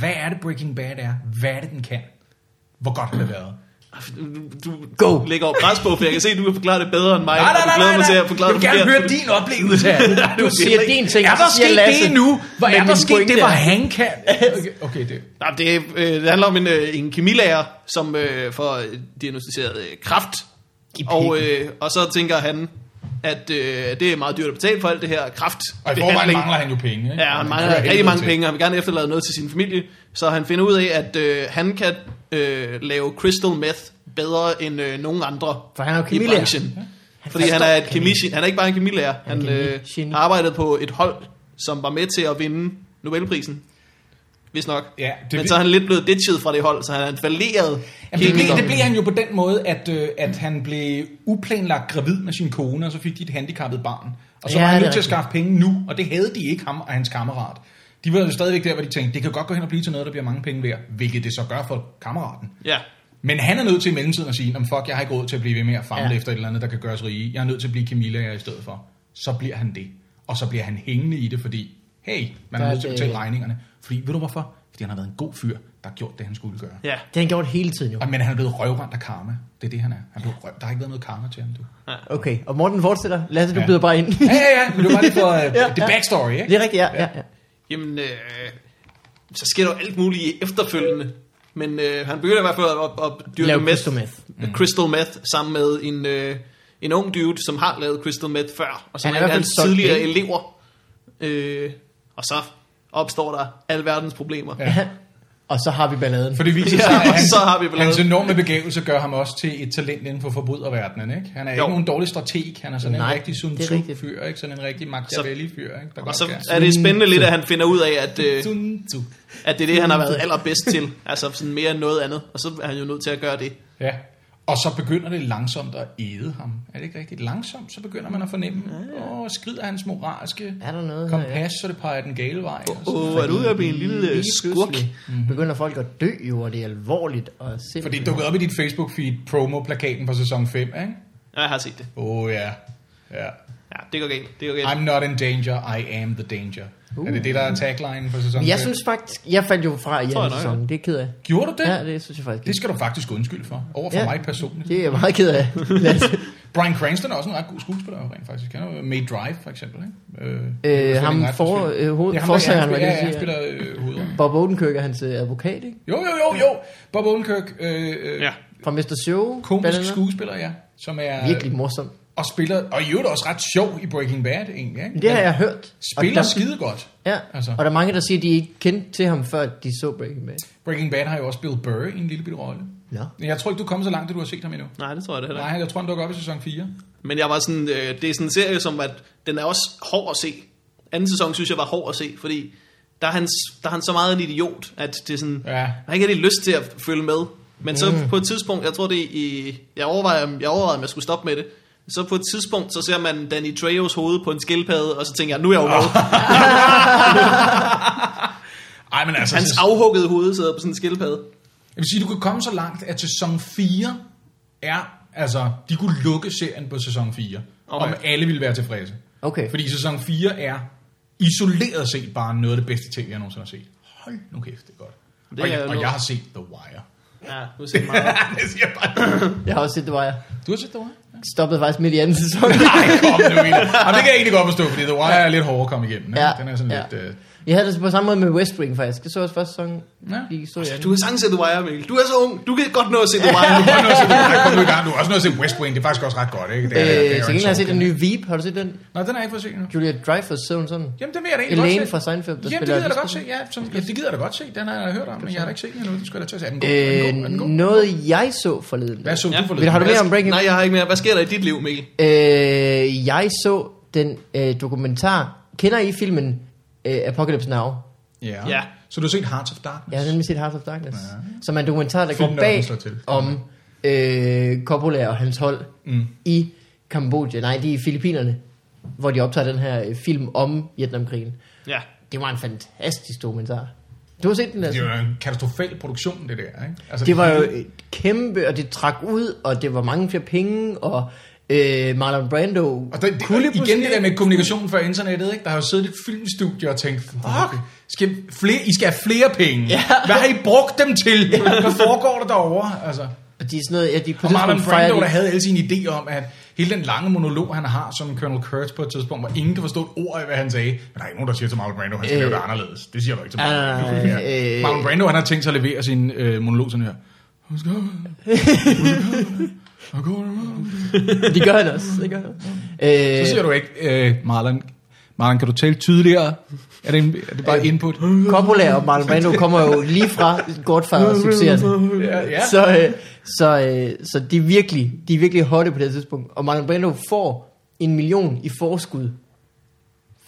S2: hvad er det Breaking Bad er? Hvad er det, den kan? Hvor godt har det været?
S1: Du
S3: Go.
S1: lægger jo pres på, for jeg kan se, at du kan forklare det bedre end mig.
S2: Nej,
S1: og
S2: nej,
S1: du
S2: nej,
S1: glæder
S2: nej,
S1: mig til
S2: nej.
S1: at forklare
S2: jeg vil
S1: det
S2: gerne
S1: forkert.
S2: høre din oplevelse af det.
S3: Du siger din ting,
S2: Er
S3: og så
S2: der
S3: siger
S2: sket
S3: Lasse.
S2: det nu? Hvor
S3: Men
S2: er der
S3: min
S2: sket
S3: pointe
S2: det, hvor
S3: er-
S2: han kan? Okay, okay det.
S1: Nej, det, øh, det handler om en, øh, en kemilærer, som øh, får øh, diagnostiseret øh, kraft.
S3: I
S1: Og, øh, og så tænker han, at øh, det er meget dyrt at betale for alt det her kraft.
S2: Og i forvejen mangler han jo penge, ikke?
S1: Ja, han
S2: kører
S1: mangler rigtig
S2: helvede
S1: mange
S2: til.
S1: penge, og han vil gerne efterlade noget til sin familie. Så han finder ud af, at øh, han kan øh, lave crystal meth bedre end øh, nogen andre
S3: For han er jo
S1: i
S3: kemilærer.
S1: branchen. Fordi han er, et kemi, han er ikke bare en kemilærer, han øh,
S3: kemigeni.
S1: har arbejdet på et hold, som var med til at vinde Nobelprisen. Hvis nok.
S2: Ja, det
S1: det Men
S2: vil-
S1: så er han lidt blevet ditchet fra det hold, så han er en falderet
S2: Jamen, det, blev,
S1: kemiker.
S2: det blev han jo på den måde, at, øh, at han blev uplanlagt gravid med sin kone, og så fik de et handicappet barn. Og så
S3: Ja,
S2: ja, var
S3: det
S2: han nødt
S3: er
S2: til at
S3: rigtigt.
S2: skaffe penge nu, og det havde de ikke ham og hans kammerat. De var jo stadigvæk der, hvor de tænkte, det kan godt gå hen og blive til noget, der bliver mange penge værd, hvilket det så gør for kammeraten.
S1: Ja.
S2: Men han er nødt til i mellemtiden at sige, om fuck, jeg har ikke råd til at blive ved med at famle
S3: Ja.
S2: ja. efter et eller andet, der kan gøres rige. Jeg er nødt til at blive Camilla i stedet for. Så bliver han det. Og så bliver han hængende i det, fordi, hey, man
S3: Der
S2: er
S3: er
S2: nødt til at
S3: det-
S2: betale regningerne. Fordi, ved du hvorfor? Fordi han har været en god fyr, der har gjort det, han skulle gøre.
S1: ja.
S3: Det har han gjort hele tiden jo.
S2: Og, men han er blevet røvrendt af karma. Det er det, han er. Han blev røv... Der har ikke været noget karma til ham, du.
S3: Okay, og Morten fortsætter. Lasse, du
S2: Ja.
S3: byder bare ind.
S2: Ja, ja, ja. Men det var bare lige for uh,
S3: Ja,
S2: ja, det
S3: ja.
S2: backstory, ikke?
S3: det er rigtigt, ja. ja, ja.
S1: Jamen, øh, så sker der jo alt muligt efterfølgende. Men øh, han begynder i hvert fald at, at, at dyrke
S3: Lave
S1: meth,
S3: crystal meth.
S1: Mm. crystal meth sammen med en, øh, en ung dude, som har lavet crystal meth før, og som
S3: Han er
S1: er en af
S3: i hvert fald
S1: hans
S3: solgt
S1: tidligere
S3: det.
S1: elever. Øh, og så opstår der alverdens problemer. Ja.
S2: Ja.
S3: Og så har vi balladen.
S2: For det viser
S1: Ja,
S2: sig, at
S1: og
S2: hans,
S1: så har vi ballade.
S2: hans enorme begævelse gør ham også til et talent inden for forbryderverdenen, ikke? Han er jo.
S1: Jo.
S2: ikke nogen dårlig strateg, han er sådan
S3: Nej,
S2: en rigtig Sun
S3: det er rigtigt.
S2: Tzu-fyr, ikke? Sådan en rigtig Machiavelli-fyr, ikke? Der
S1: Og
S2: godt
S1: så
S2: kan.
S1: er det spændende lidt, at han finder ud af, at, øh,
S2: Sun Tzu.
S1: at det er det, han har været allerbedst til. Altså sådan mere end noget andet. Og så er han jo nødt til at gøre det.
S2: Ja. Og så begynder det langsomt at æde ham. Er det ikke rigtigt? Langsomt, så begynder man at fornemme, åh, ja. skrider hans moralske
S3: Er der noget her, ja?
S2: kompas, så det peger den gale vej. altså. og sådan
S1: Åh, er du ude at blive en lille øh,
S3: Lige
S1: skurk?
S3: pludselig Begynder folk at dø jo, og det er alvorligt. Og
S2: For det Mhm. dukkede op i dit Facebook-feed, promo-plakaten for sæson 5, ikke?
S1: Ja, jeg har set det.
S2: Åh oh, ja. ja.
S1: Ja, det går galt. Det går galt.
S2: I'm not in danger, I am the danger. Uh. Er det det, der er tagline for sæson 5?
S3: Jeg synes faktisk, jeg faldt jo fra i
S1: Tror jeg
S3: anden
S1: nok,
S3: sæson. Det er ked af.
S2: Gjorde du det?
S3: Ja, det synes jeg faktisk
S2: Det
S3: ikke.
S2: skal du faktisk undskylde for, over for
S3: Ja.
S2: ja. mig personligt.
S3: Det er jeg meget ked af. Lasse.
S2: Brian Cranston er også en ret god skuespiller, jo, rent faktisk. Han er jo May Drive, for eksempel. Ikke? Øh,
S3: Øh, ham for, øh, hoved- forsageren,
S2: var det,
S3: hvad det
S2: han
S3: siger.
S2: spiller øh, hovedet.
S3: Bob Odenkirk er hans øh, advokat, ikke?
S2: Jo, jo, jo, jo. Bob Odenkirk, øh, øh,
S1: Ja.
S2: ja.
S3: Fra Mr. Show.
S2: komisk skuespiller, ja. Som er,
S3: Virkelig morsom.
S2: og spiller, og i øvrigt også ret sjov i Breaking Bad, egentlig. Ikke?
S3: Det har jeg hørt. Og
S2: Spiller
S3: der-
S2: skide godt.
S3: Ja,
S2: altså.
S3: og der er mange, der siger, at de ikke kendte til ham, før de så Breaking Bad.
S2: Breaking Bad har jo også Bill Burr i en lille bitte rolle.
S3: Nå.
S2: Men Jeg tror ikke, du er kommet så langt, at du har set ham endnu.
S1: Nej, det tror jeg det heller ikke.
S2: Nej, jeg tror, han dukker op i sæson 4.
S1: Men jeg var sådan, øh, det er sådan en serie, som at den er også hård at se. Anden sæson synes jeg var hård at se, fordi der er han, s- der er han så meget en idiot, at det er sådan, ja.
S2: Ja.
S1: man har ikke rigtig lyst til at følge med. Men så
S3: Mm.
S1: på et tidspunkt, jeg tror det er i, jeg overvejede, om- jeg overvejede, om jeg skulle stoppe med det. Så på et tidspunkt, så ser man Danny Trejos hoved på en skildpadde, og så tænker jeg, nu er jeg jo med.
S2: Ej, men altså...
S1: Hans
S2: sæson-
S1: afhuggede hoved sidder på sådan en skildpadde.
S2: Jeg vil sige, du kan komme så langt, at sæson 4 er... Altså, de kunne lukke serien på sæson 4,
S1: Okay.
S2: okay. om alle ville være tilfredse.
S3: Okay.
S2: Fordi sæson 4 er isoleret set bare noget af det bedste tv, jeg nogensinde har set. Hold nu kæft, det er godt.
S1: Det
S2: og,
S1: er
S2: jeg, og
S1: noget.
S2: jeg har set The Wire.
S1: Ja, nu ser jeg meget.
S2: det siger jeg bare.
S3: Jeg har også set The Wire.
S2: Du har set The Wire?
S3: Stoppede faktisk midt i anden sæson.
S2: Nej, kom nu ind. Jamen, det kan jeg egentlig godt forstå, fordi The Wire er lidt hårdere at komme igennem. Ja.
S3: Ja,
S2: Den er sådan
S3: ja.
S2: lidt... Øh,
S3: Jeg havde det på samme måde med West Wing faktisk. Jeg så også første sæson.
S2: ja.
S3: Gik så
S1: Du har sagtens set The Wire, Mikkel. Du er så ung. Du kan godt nå at se The Wire.
S2: Du har noget at se, du har kommet i gang. Du har også noget at se West Wing. Det er faktisk også ret godt, ikke? Det er, det er
S3: Øh,
S2: jo
S3: til
S2: en
S3: gengæld har jeg set
S2: sjov
S3: den nye Veep. Har du set den?
S2: film. Nå, den er jeg ikke for set nu.
S3: Julia Dreyfus sidder hun sådan.
S2: Jamen, den vil jeg da egentlig godt se.
S3: Elaine fra Seinfeld, der
S2: Jamen, det gider
S3: spiller
S2: jeg da godt se. Ja, sådan, ja, det gider jeg da godt se. Den har jeg da hørt om, men jeg har da ikke set den endnu. Den skulle jeg da til at se. Er den god? Er den god? Er den
S3: Øh,
S2: god?
S3: noget jeg så forleden.
S2: Hvad så
S1: Ja.
S2: du
S3: Vil
S2: forleden?
S3: du- har du
S1: Hvad
S3: mere om
S1: sk-
S3: Breaking
S1: Nej, jeg har ikke mere. Hvad sker der i dit liv, Mikkel?
S3: Øh, jeg så den øh, dokumentar. Kender I filmen øh, Apocalypse Now?
S2: Ja.
S1: Ja.
S2: Så du har set Hearts of
S3: Jeg
S2: Darkness?
S3: har nemlig set Heart of Darkness, ja. som er en dokumentar, der går
S2: Filmnørden
S3: bag
S2: slår til.
S3: om øh, Coppola og hans hold mm. i Kambodja. Nej, det er i Filippinerne, hvor de optager den her øh, film om Vietnamkrigen.
S1: Ja.
S3: Det var en fantastisk dokumentar. Du har set den,
S2: Det
S3: altså?
S2: er jo en katastrofal produktion, det der, ikke? Altså,
S3: Det var jo
S2: hele-
S3: et kæmpe, og det trak ud, og det var mange flere penge, og øh, Marlon Brando
S2: Og der, det,
S3: kunne
S2: og igen det der med kommunikation fra internettet, ikke? der har jo siddet et filmstudie og tænkt, fuck, skal flere, I skal have flere penge. Ja. Hvad har I brugt dem til? Ja. Hvad foregår der derovre? Altså.
S3: Og de er sådan noget, ja, de på
S2: Og Marlon
S3: tidspunkt fejrer
S2: Brando, der
S3: de-
S2: havde alle sine idéer om, at hele den lange monolog, han har som Colonel Kurtz på et tidspunkt, hvor ingen kan forstå et ord af, hvad han sagde. Men der er ikke nogen, der siger til Marlon Brando, han skal
S3: Øh.
S2: øh. lave det anderledes. Det siger du ikke til Marlon
S3: Nej, nej,
S2: Brando.
S3: nej,
S2: Ja.
S3: øh.
S2: Marlon Brando, han har tænkt sig at levere sin øh, monolog sådan her. Husk op. Husk op. Husk op.
S3: De gør han også. Det gør han.
S2: Så siger
S3: også.
S2: du ikke, øh, Marlon, Marlon, kan du tale tydeligere? Er det, en, er det bare input?
S3: Øh, Coppola og Marlon Brando kommer jo lige fra Godfather succeserne.
S2: Ja, ja.
S3: Så, øh, så, øh, så de er virkelig, de er virkelig hotte på det her tidspunkt. Og Marlon Brando får en million i forskud.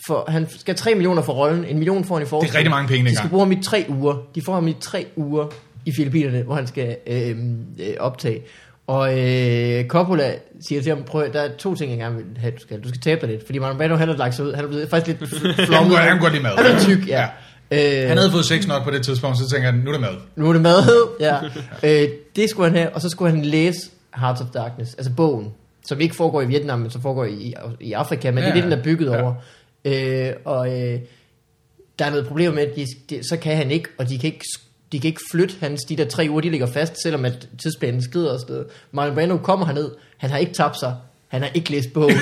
S3: For, han skal have 3 millioner for rollen, en million får han i forskud.
S2: Det er rigtig mange penge
S3: De skal
S2: dengang.
S3: bruge ham i tre uger. De får ham i tre uger i Filippinerne, hvor han skal øh, øh, optage. Og øh, Coppola siger til ham, prøv at- der er to ting, jeg gerne vil have, du skal. Du skal tabe dig lidt, fordi Marlon Brando, han har lagt sig ud. Han er blevet faktisk lidt
S2: Han
S3: flommet.
S2: går, han går lige mad.
S3: Han er tyk, ja. Øh,
S2: Han havde fået sex nok på det tidspunkt, så tænker han, nu er det mad.
S3: nu er det mad. ja. øh, det skulle han have, og så skulle han læse Hearts of Darkness, altså bogen, som ikke foregår i Vietnam, men som foregår i, i Afrika, men ja, det
S2: Ja,
S3: er det, den
S2: ja.
S3: er bygget
S2: Ja.
S3: over. Øh, og øh, der er noget problem med, at de, de, så kan han ikke, og de kan ikke, de kan ikke flytte hans, de der tre uger, de ligger fast, selvom at tidsplanen skrider afsted. Marlon Brando kommer herned, han har ikke tabt sig, han har ikke læst bogen.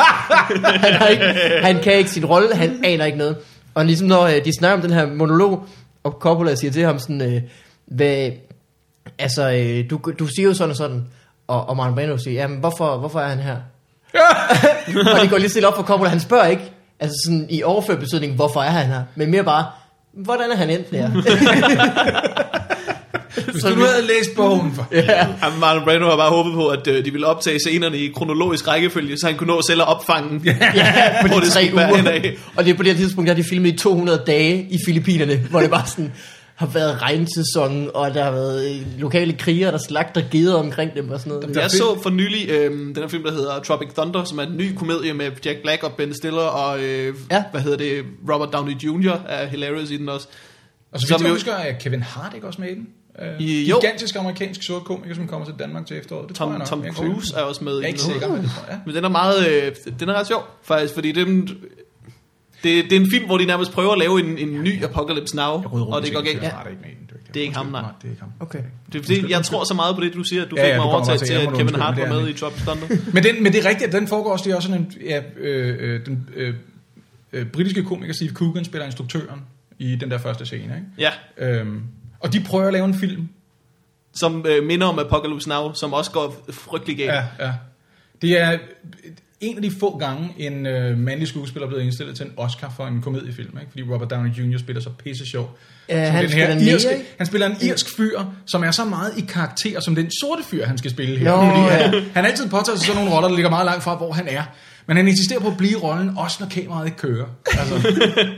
S3: han, har ikke, han kan ikke sin rolle, han aner ikke noget. Og ligesom når øh, de snakker om den her monolog, og Coppola siger til ham sådan, øh, hvad, altså, øh, du, du siger jo sådan og sådan, og, og Marlon Brando siger, jamen, hvorfor, hvorfor er han her? og det går lige stille op for Coppola, han spørger ikke, altså sådan i overført betydning, hvorfor er han her? Men mere bare, hvordan er han endt her?
S2: Hvis du nu havde læst bogen for...
S3: ja.
S1: Jamen, Marlon Brando har bare håbet på, at øh, de ville optage scenerne i kronologisk rækkefølge, så han kunne nå selv at opfange dem.
S3: ja, på
S1: Hvor
S3: de
S1: det
S3: tre
S1: skulle være
S3: uger.
S1: henad.
S3: Og det er på det her tidspunkt, der har de filmet i 200 dage i Filippinerne, hvor det bare sådan har været regnsæson, og der har været øh, lokale kriger, der slagter geder omkring dem og sådan noget.
S1: Jeg så for nylig øh, den her film, der hedder Tropic Thunder, som er en ny komedie med Jack Black og Ben Stiller og, øh,
S3: Ja.
S1: ja. hvad hedder det, Robert Downey Jr. er hilarious i den også.
S2: Og så vidt
S1: Som
S2: jeg
S1: jo-
S2: husker, er Kevin Hart ikke også med i den? Øh,
S1: Jo.
S2: gigantisk amerikansk sort komiker, som kommer til Danmark til efteråret. Det tror jeg
S1: Tom,
S2: nok.
S1: Tom
S2: jeg er ikke
S1: Cruise
S2: sikker.
S1: er også med
S2: Jeg er
S1: i
S2: ikke
S1: den.
S2: sikker, men det tror jeg.
S1: Men den er meget, øh, den er ret sjov, faktisk, fordi den, det, det er en film, hvor de nærmest prøver at lave en, en ny Apocalypse Now,
S2: Jeg rød rundt,
S1: og det går
S2: sikkert,
S1: galt.
S2: Kevin Hart er ikke med i den.
S1: Det er ikke ham, nej.
S2: Det er ikke ham.
S3: Okay.
S1: Det er fordi, jeg tror så meget på det, du siger, at du
S2: Ja,
S1: fik mig
S2: ja, det kommer
S1: overtalt
S2: også
S1: til,
S2: af. Jeg
S1: at
S2: må
S1: Kevin
S2: undskylde,
S1: Hart
S2: det
S1: var
S2: er
S1: med
S2: han
S1: i Tropic Thunder.
S2: Men, den, men det er rigtigt, at den foregår også, det er også sådan en, ja, øh, øh, den øh, øh, britiske komiker Steve Coogan spiller instruktøren i den der første scene,
S1: Ja,
S2: ikke? Øhm, og de prøver at lave en film.
S1: som øh, minder om Apocalypse Now, som også går øh, frygtelig galt. Ja.
S2: Ja, ja. Det er en af de få gange, en øh, mandlig skuespiller er blevet indstillet til en Oscar for en komediefilm, ikke? fordi Robert Downey Jr. spiller så pisse sjov.
S3: Øh,
S2: Som
S3: han
S2: den her
S3: spiller Neo,
S2: irske-
S3: ikke?
S2: Han spiller en irsk fyr, som er så meget i karakter som den sorte fyr, han skal spille her.
S3: Nå,
S2: han,
S3: ja.
S2: han har altid påtaget sig sådan nogle roller, der ligger meget langt fra, hvor han er. Men han insisterer på at blive i rollen, også når kameraet ikke kører. Altså,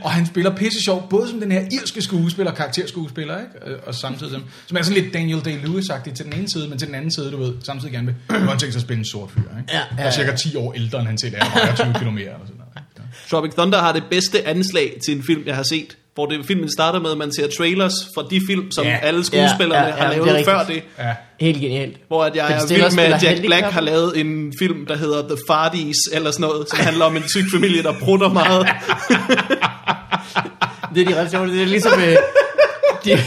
S2: og han spiller pisse sjov, både som den her irske skuespiller, karakterskuespiller, ikke? Øh, og samtidig som, som er sådan lidt Daniel Day-Lewis-agtig til den ene side, men til den anden side, du ved, samtidig gerne vil. Nu har han tænkt sig at spille en sort fyr, ikke?
S3: Ja, ja,
S2: Der er cirka 10 år ældre, end han selv er, og vejer 20 km eller sådan noget. ikke?
S1: Tropic Thunder har det bedste anslag til en film, jeg har set, hvor det, filmen starter med, at man ser trailers fra de film, som
S2: Ja.
S1: ja. alle skuespillerne
S3: Ja,
S1: ja,
S3: ja,
S1: ja,
S3: ja,
S1: har
S3: det er
S1: lavet
S3: rigtigt.
S1: før det.
S2: Ja.
S3: Helt genialt.
S1: Hvor at jeg
S3: Ben
S1: er vild
S3: Stiller
S1: med,
S3: spiller
S1: at Jack
S3: handicap.
S1: Black har lavet en film, der hedder The Farties, eller sådan noget, som handler om en tyk familie, der prutter meget.
S3: Det er de ret sjovt. Det er ligesom... Øh, De,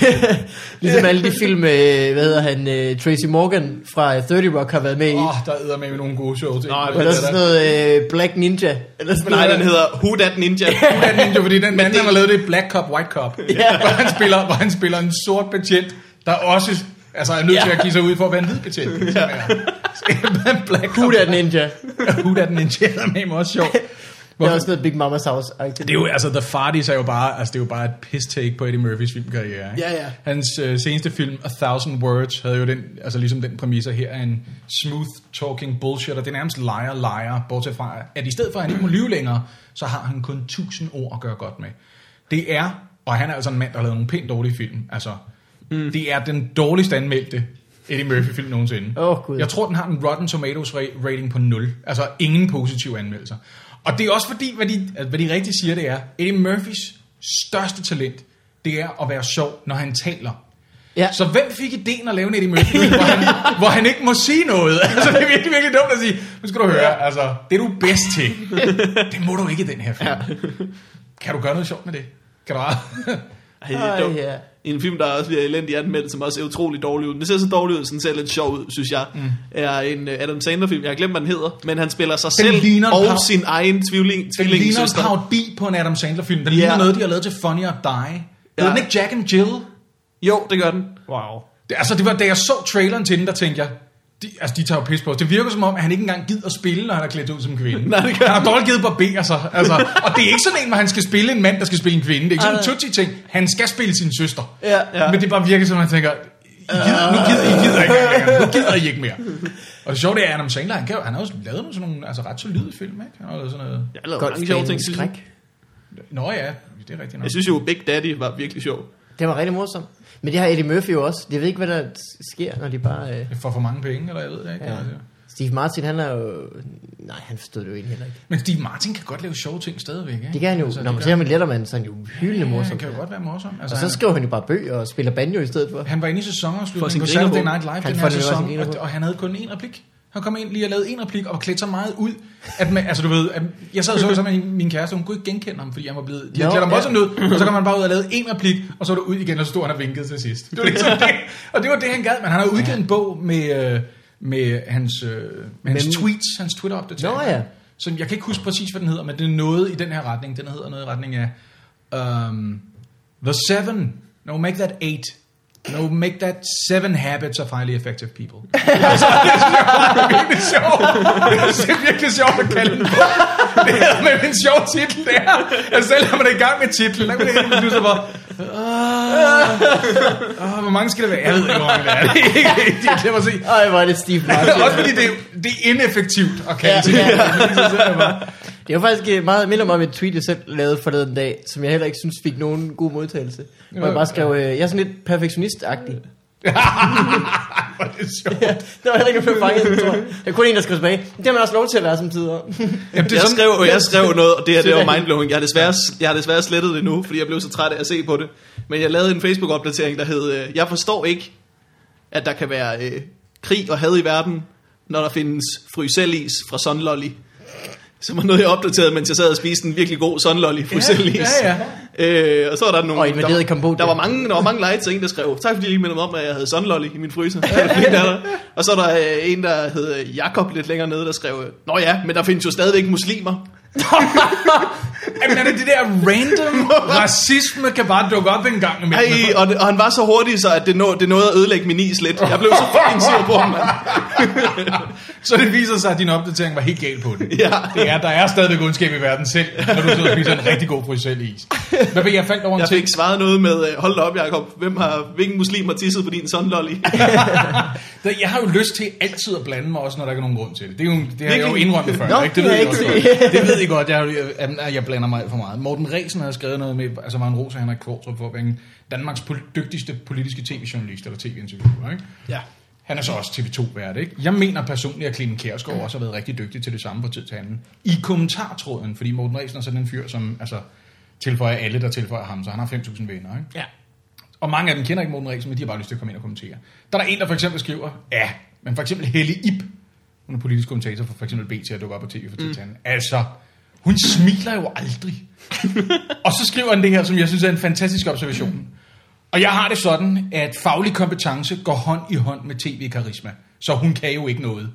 S3: ligesom alle de film, øh, hvad hedder han, øh, Tracy Morgan fra 30 Rock har været med i.
S2: Åh,
S3: Oh,
S2: oh, der er med nogle gode shows.
S1: Nej,
S2: men
S1: men
S3: og der
S1: det
S3: er sådan noget øh, Black Ninja. Eller sådan
S1: Nej,
S3: noget.
S1: den hedder Who That Ninja.
S2: Han er jo, fordi den mand,
S1: det-
S2: han har lavet det er Black Cop, White Cop.
S3: Ja.
S2: Hvor, han spiller, hvor han spiller en sort betjent, der også altså, er nødt til at give sig ud for at være en hvid betjent. ligesom Ja. Black Cop.
S3: Who that Ninja.
S2: Who that ninja? Det er med mig også sjovt. Hvor,
S3: Der er også noget Big Mama's House.
S2: det er jo, altså, The Farties er jo bare, altså, det er jo bare et piss take på Eddie Murphys filmkarriere. Ikke?
S1: Ja, ja.
S2: Hans øh, seneste film, A Thousand Words, havde jo den, altså ligesom den præmisser her, er en smooth talking bullshit, og det er nærmest liar, liar, bortset fra, at i stedet for, at han ikke må lyve længere, så har han kun 1000 ord at gøre godt med. Det er, og han er altså en mand, der har lavet nogle pænt dårlige film, altså, mm. det er den dårligst anmeldte Eddie Murphy-film nogensinde.
S3: Åh, Gud.
S2: Jeg jeg tror, den har en Rotten Tomatoes ra- rating på 0. Altså ingen positive anmeldelser. Og det er også fordi, hvad de, altså, hvad de rigtig siger, det er, Eddie Murphys største talent, det er at være sjov, når han taler.
S3: Ja.
S2: Så hvem fik ideen at lave en Eddie Murphy, hvor, han, hvor han ikke må sige noget? Altså, det er virkelig, virkelig dumt at sige, nu skal du høre, altså, det er du bedst til. Det må du ikke i den her film. Kan du gøre noget sjovt med det? Kan du
S1: Ej, det er
S3: Ej,
S1: dumt.
S3: ja.
S1: En film, der også bliver elendig anmeldt, som også er utrolig dårlig ud. Den ser så dårlig ud, sådan ser lidt sjov ud, synes jeg. Mm. Er en øh, Adam Sandler-film. Jeg har glemt, hvad den hedder. Men han spiller sig
S2: Den
S1: selv
S2: ligner en
S1: og
S2: par-
S1: sin egen tvivling,
S2: Den ligner en
S1: tvillingssøster.
S2: parodi på en Adam Sandler-film. Den ligner
S1: Ja.
S2: noget, de har lavet til Funny or Die. Ja.
S1: Ja.
S2: Den ikke Jack and Jill.
S1: Jo, det gør den.
S2: Wow. Det, altså, det var, da jeg så traileren til den, der tænkte jeg, de, altså, de tager jo pis på os. Det virker som om, at han ikke engang gider at spille, når han er klædt ud som kvinde.
S1: Nej, det gør
S2: han har dårligt givet barberer sig. Altså, og det er ikke sådan en, hvor han skal spille en mand, der skal spille en kvinde. Det er ikke sådan en tutsi-ting. Han skal spille sin søster.
S1: Ja, ja.
S2: Men det bare virker som, at han tænker, "I gider, nu gider I, gider ikke engang længere. Nu gider I ikke mere. Og det sjove det er, at Adam Sandler, han, kan, jo- han har også lavet nogle, sådan nogle altså, ret solide film, ikke? Han har lavet sådan noget...
S1: Jeg har lavet mange sjove ting.
S3: Golfbanen
S1: Synes jeg.
S3: skræk.
S2: Nå ja, det er rigtigt nok.
S1: jeg synes jo, Big Daddy var virkelig sjov.
S3: Det var rigtig morsomt. Men det har Eddie Murphy jo også. Jeg ved ikke, hvad der sker, når de bare... Øh...
S2: For for mange penge, eller jeg ved det ikke. altså.
S3: Ja.
S2: Ja.
S3: Steve Martin, han er jo... Nej, han forstod det jo egentlig heller ikke.
S2: Men Steve Martin kan godt lave sjove ting stadigvæk, ikke?
S3: Det kan han jo.
S2: Altså,
S3: Når man
S2: det
S3: ser ham i Letterman, så er han jo hyldende
S2: Ja,
S3: morsom.
S2: han kan jo godt være morsom.
S3: Og
S2: Altså,
S3: så
S2: han,
S3: skriver han jo bare bøger og spiller banjo i stedet for.
S2: han var inde i
S1: For sin
S2: sæsonafslutningen på
S1: grinerbog.
S2: Saturday Night Live
S3: Han
S2: den her
S3: får det jo også
S2: sæson,
S3: en
S2: og,
S3: grinerbog.
S2: og han havde kun én replik. Han kom ind lige og lavede en replik, og klædte så meget ud, at man, altså du ved, at jeg sad og så sammen med min kæreste, hun kunne ikke genkende ham, fordi han var blevet, de havde
S3: Nå,
S2: klædt ham
S3: ja.
S2: også sådan ud, og så kom han bare ud og lavede en replik, og så var det ud igen, og så stod han og vinkede til sidst. Det var ligesom det, og det var det, han gad, men han har udgivet en bog med, øh, med hans, øh, med hans
S3: Men-
S2: tweets, hans Twitter-opdateringer.
S3: Nå ja.
S2: Så jeg kan ikke huske præcis, hvad den hedder, men det er noget i den her retning. Den hedder noget i retning af... Um, the Seven. No, make that eight. No, make that seven habits of highly effective people. altså, det er sjovt. Det er virkelig sjovt. Det er virkelig sjovt at kalde den for. Det er med en sjov titel, det er. Altså, selv når man er i gang med titlen, der kan man ikke beslutte sig for, "Åh, åh, hvor mange skal det være? Jeg ved ikke, hvor mange det er. Det er ikke rigtigt. Det er bare at se.
S3: Ej, hvor er det Steve Martin.
S2: Også fordi det, er- det er ineffektivt at kalde
S3: Ja,
S2: til det. ligesom
S3: ja.
S2: Så sidder jeg bare,
S3: Det var faktisk øh, meget minder mig om et tweet, jeg selv lavede forleden dag, som jeg heller ikke synes fik nogen god modtagelse. Hvor jeg bare skrev, øh, jeg er sådan lidt perfektionist-agtig.
S2: Hvor er det sjovt.
S3: Ja, der var heller ikke nogen, der blev fanget, tror jeg. Der er kun en, der skrev tilbage. Det har man også lov til at være som tider.
S2: Jamen, det er
S1: Jeg
S2: sådan,
S1: skrev, og jeg skrev noget, og det her det var
S3: Sådan.
S1: mindblowing. Jeg har, desværre, jeg har desværre slettet det nu, fordi jeg blev så træt af at se på det. Men jeg lavede en Facebook-opdatering, der hed, øh, jeg forstår ikke, at der kan være øh, krig og had i verden, når der findes fryselis fra Sunlolly. Som var noget, jeg opdaterede, mens jeg sad og spiste en virkelig god Sunlolly fryselis.
S2: Ja,
S1: ja. Øh, og så var der nogle...
S3: Og invaderet
S1: der, var-
S3: Cambodja.
S1: der, var mange, der var mange likes, og en der skrev, tak fordi I ikke mindede mig om, at jeg havde Sunlolly i min fryser. Det var fint af dig. og så er der øh, en, der hed øh, Jakob lidt længere nede, der skrev, øh, Nå ja, men der findes jo stadigvæk muslimer.
S2: Jamen, er det det der random racisme kan bare dukke op en gang imellem?
S1: Ej, og, det, og han var så hurtig, så at det, nå, det nåede at ødelægge min is lidt. Jeg blev så fucking sur på ham, mand.
S2: Så det viser sig, at din opdatering var helt galt på den.
S1: Ja.
S2: Det er, der er stadigvæk ondskab i verden selv, når du sidder og spiser en rigtig god frisell is. Hvad ved jeg, jeg faldt over en
S1: Jeg
S2: ting?
S1: fik svaret noget med, øh, hold da op, Jacob, hvem har, hvilken muslim har tisset på din sunlolly?
S2: Der- Jeg har jo lyst til altid at blande mig, også når der ikke er nogen grund til det. Det, er jo, det har jeg jo
S1: Virkelig?
S2: indrømmet før.
S3: Nå,
S2: ikke?
S3: det
S2: Det, ved
S3: har
S2: jeg
S3: jeg
S2: også
S3: ikke
S2: godt. Det ved I godt, jeg, jeg, jamen, jeg blander mig alt for meget. Morten Resen har skrevet noget med, altså var en ros af Henrik Kvartrup for at være en Danmarks pol- dygtigste politiske tv-journalist eller tv-interviewer. Ikke?
S1: ja.
S2: Han er så også TV2-vært, ikke? Jeg mener personligt, at Clemen Kjærsgaard også har været rigtig dygtig til det samme på tid til anden. I kommentartråden, fordi Morten Ræsen er sådan en fyr, som altså, tilføjer alle, der tilføjer ham, så han har 5.000 venner, ikke?
S3: Ja.
S2: Og mange af dem kender ikke Morten Ræsen, men de har bare lyst til at komme ind og kommentere. Der er der en, der for eksempel skriver, ja, men for eksempel Helle Ip, hun er politisk kommentator for for eksempel BT, at dukker op på tv for tid til anden. Altså, hun smiler jo aldrig. og så skriver han det her, som jeg synes er en fantastisk observation. Og jeg har det sådan, at faglig kompetence går hånd i hånd med tv-karisma. Så hun kan jo ikke noget.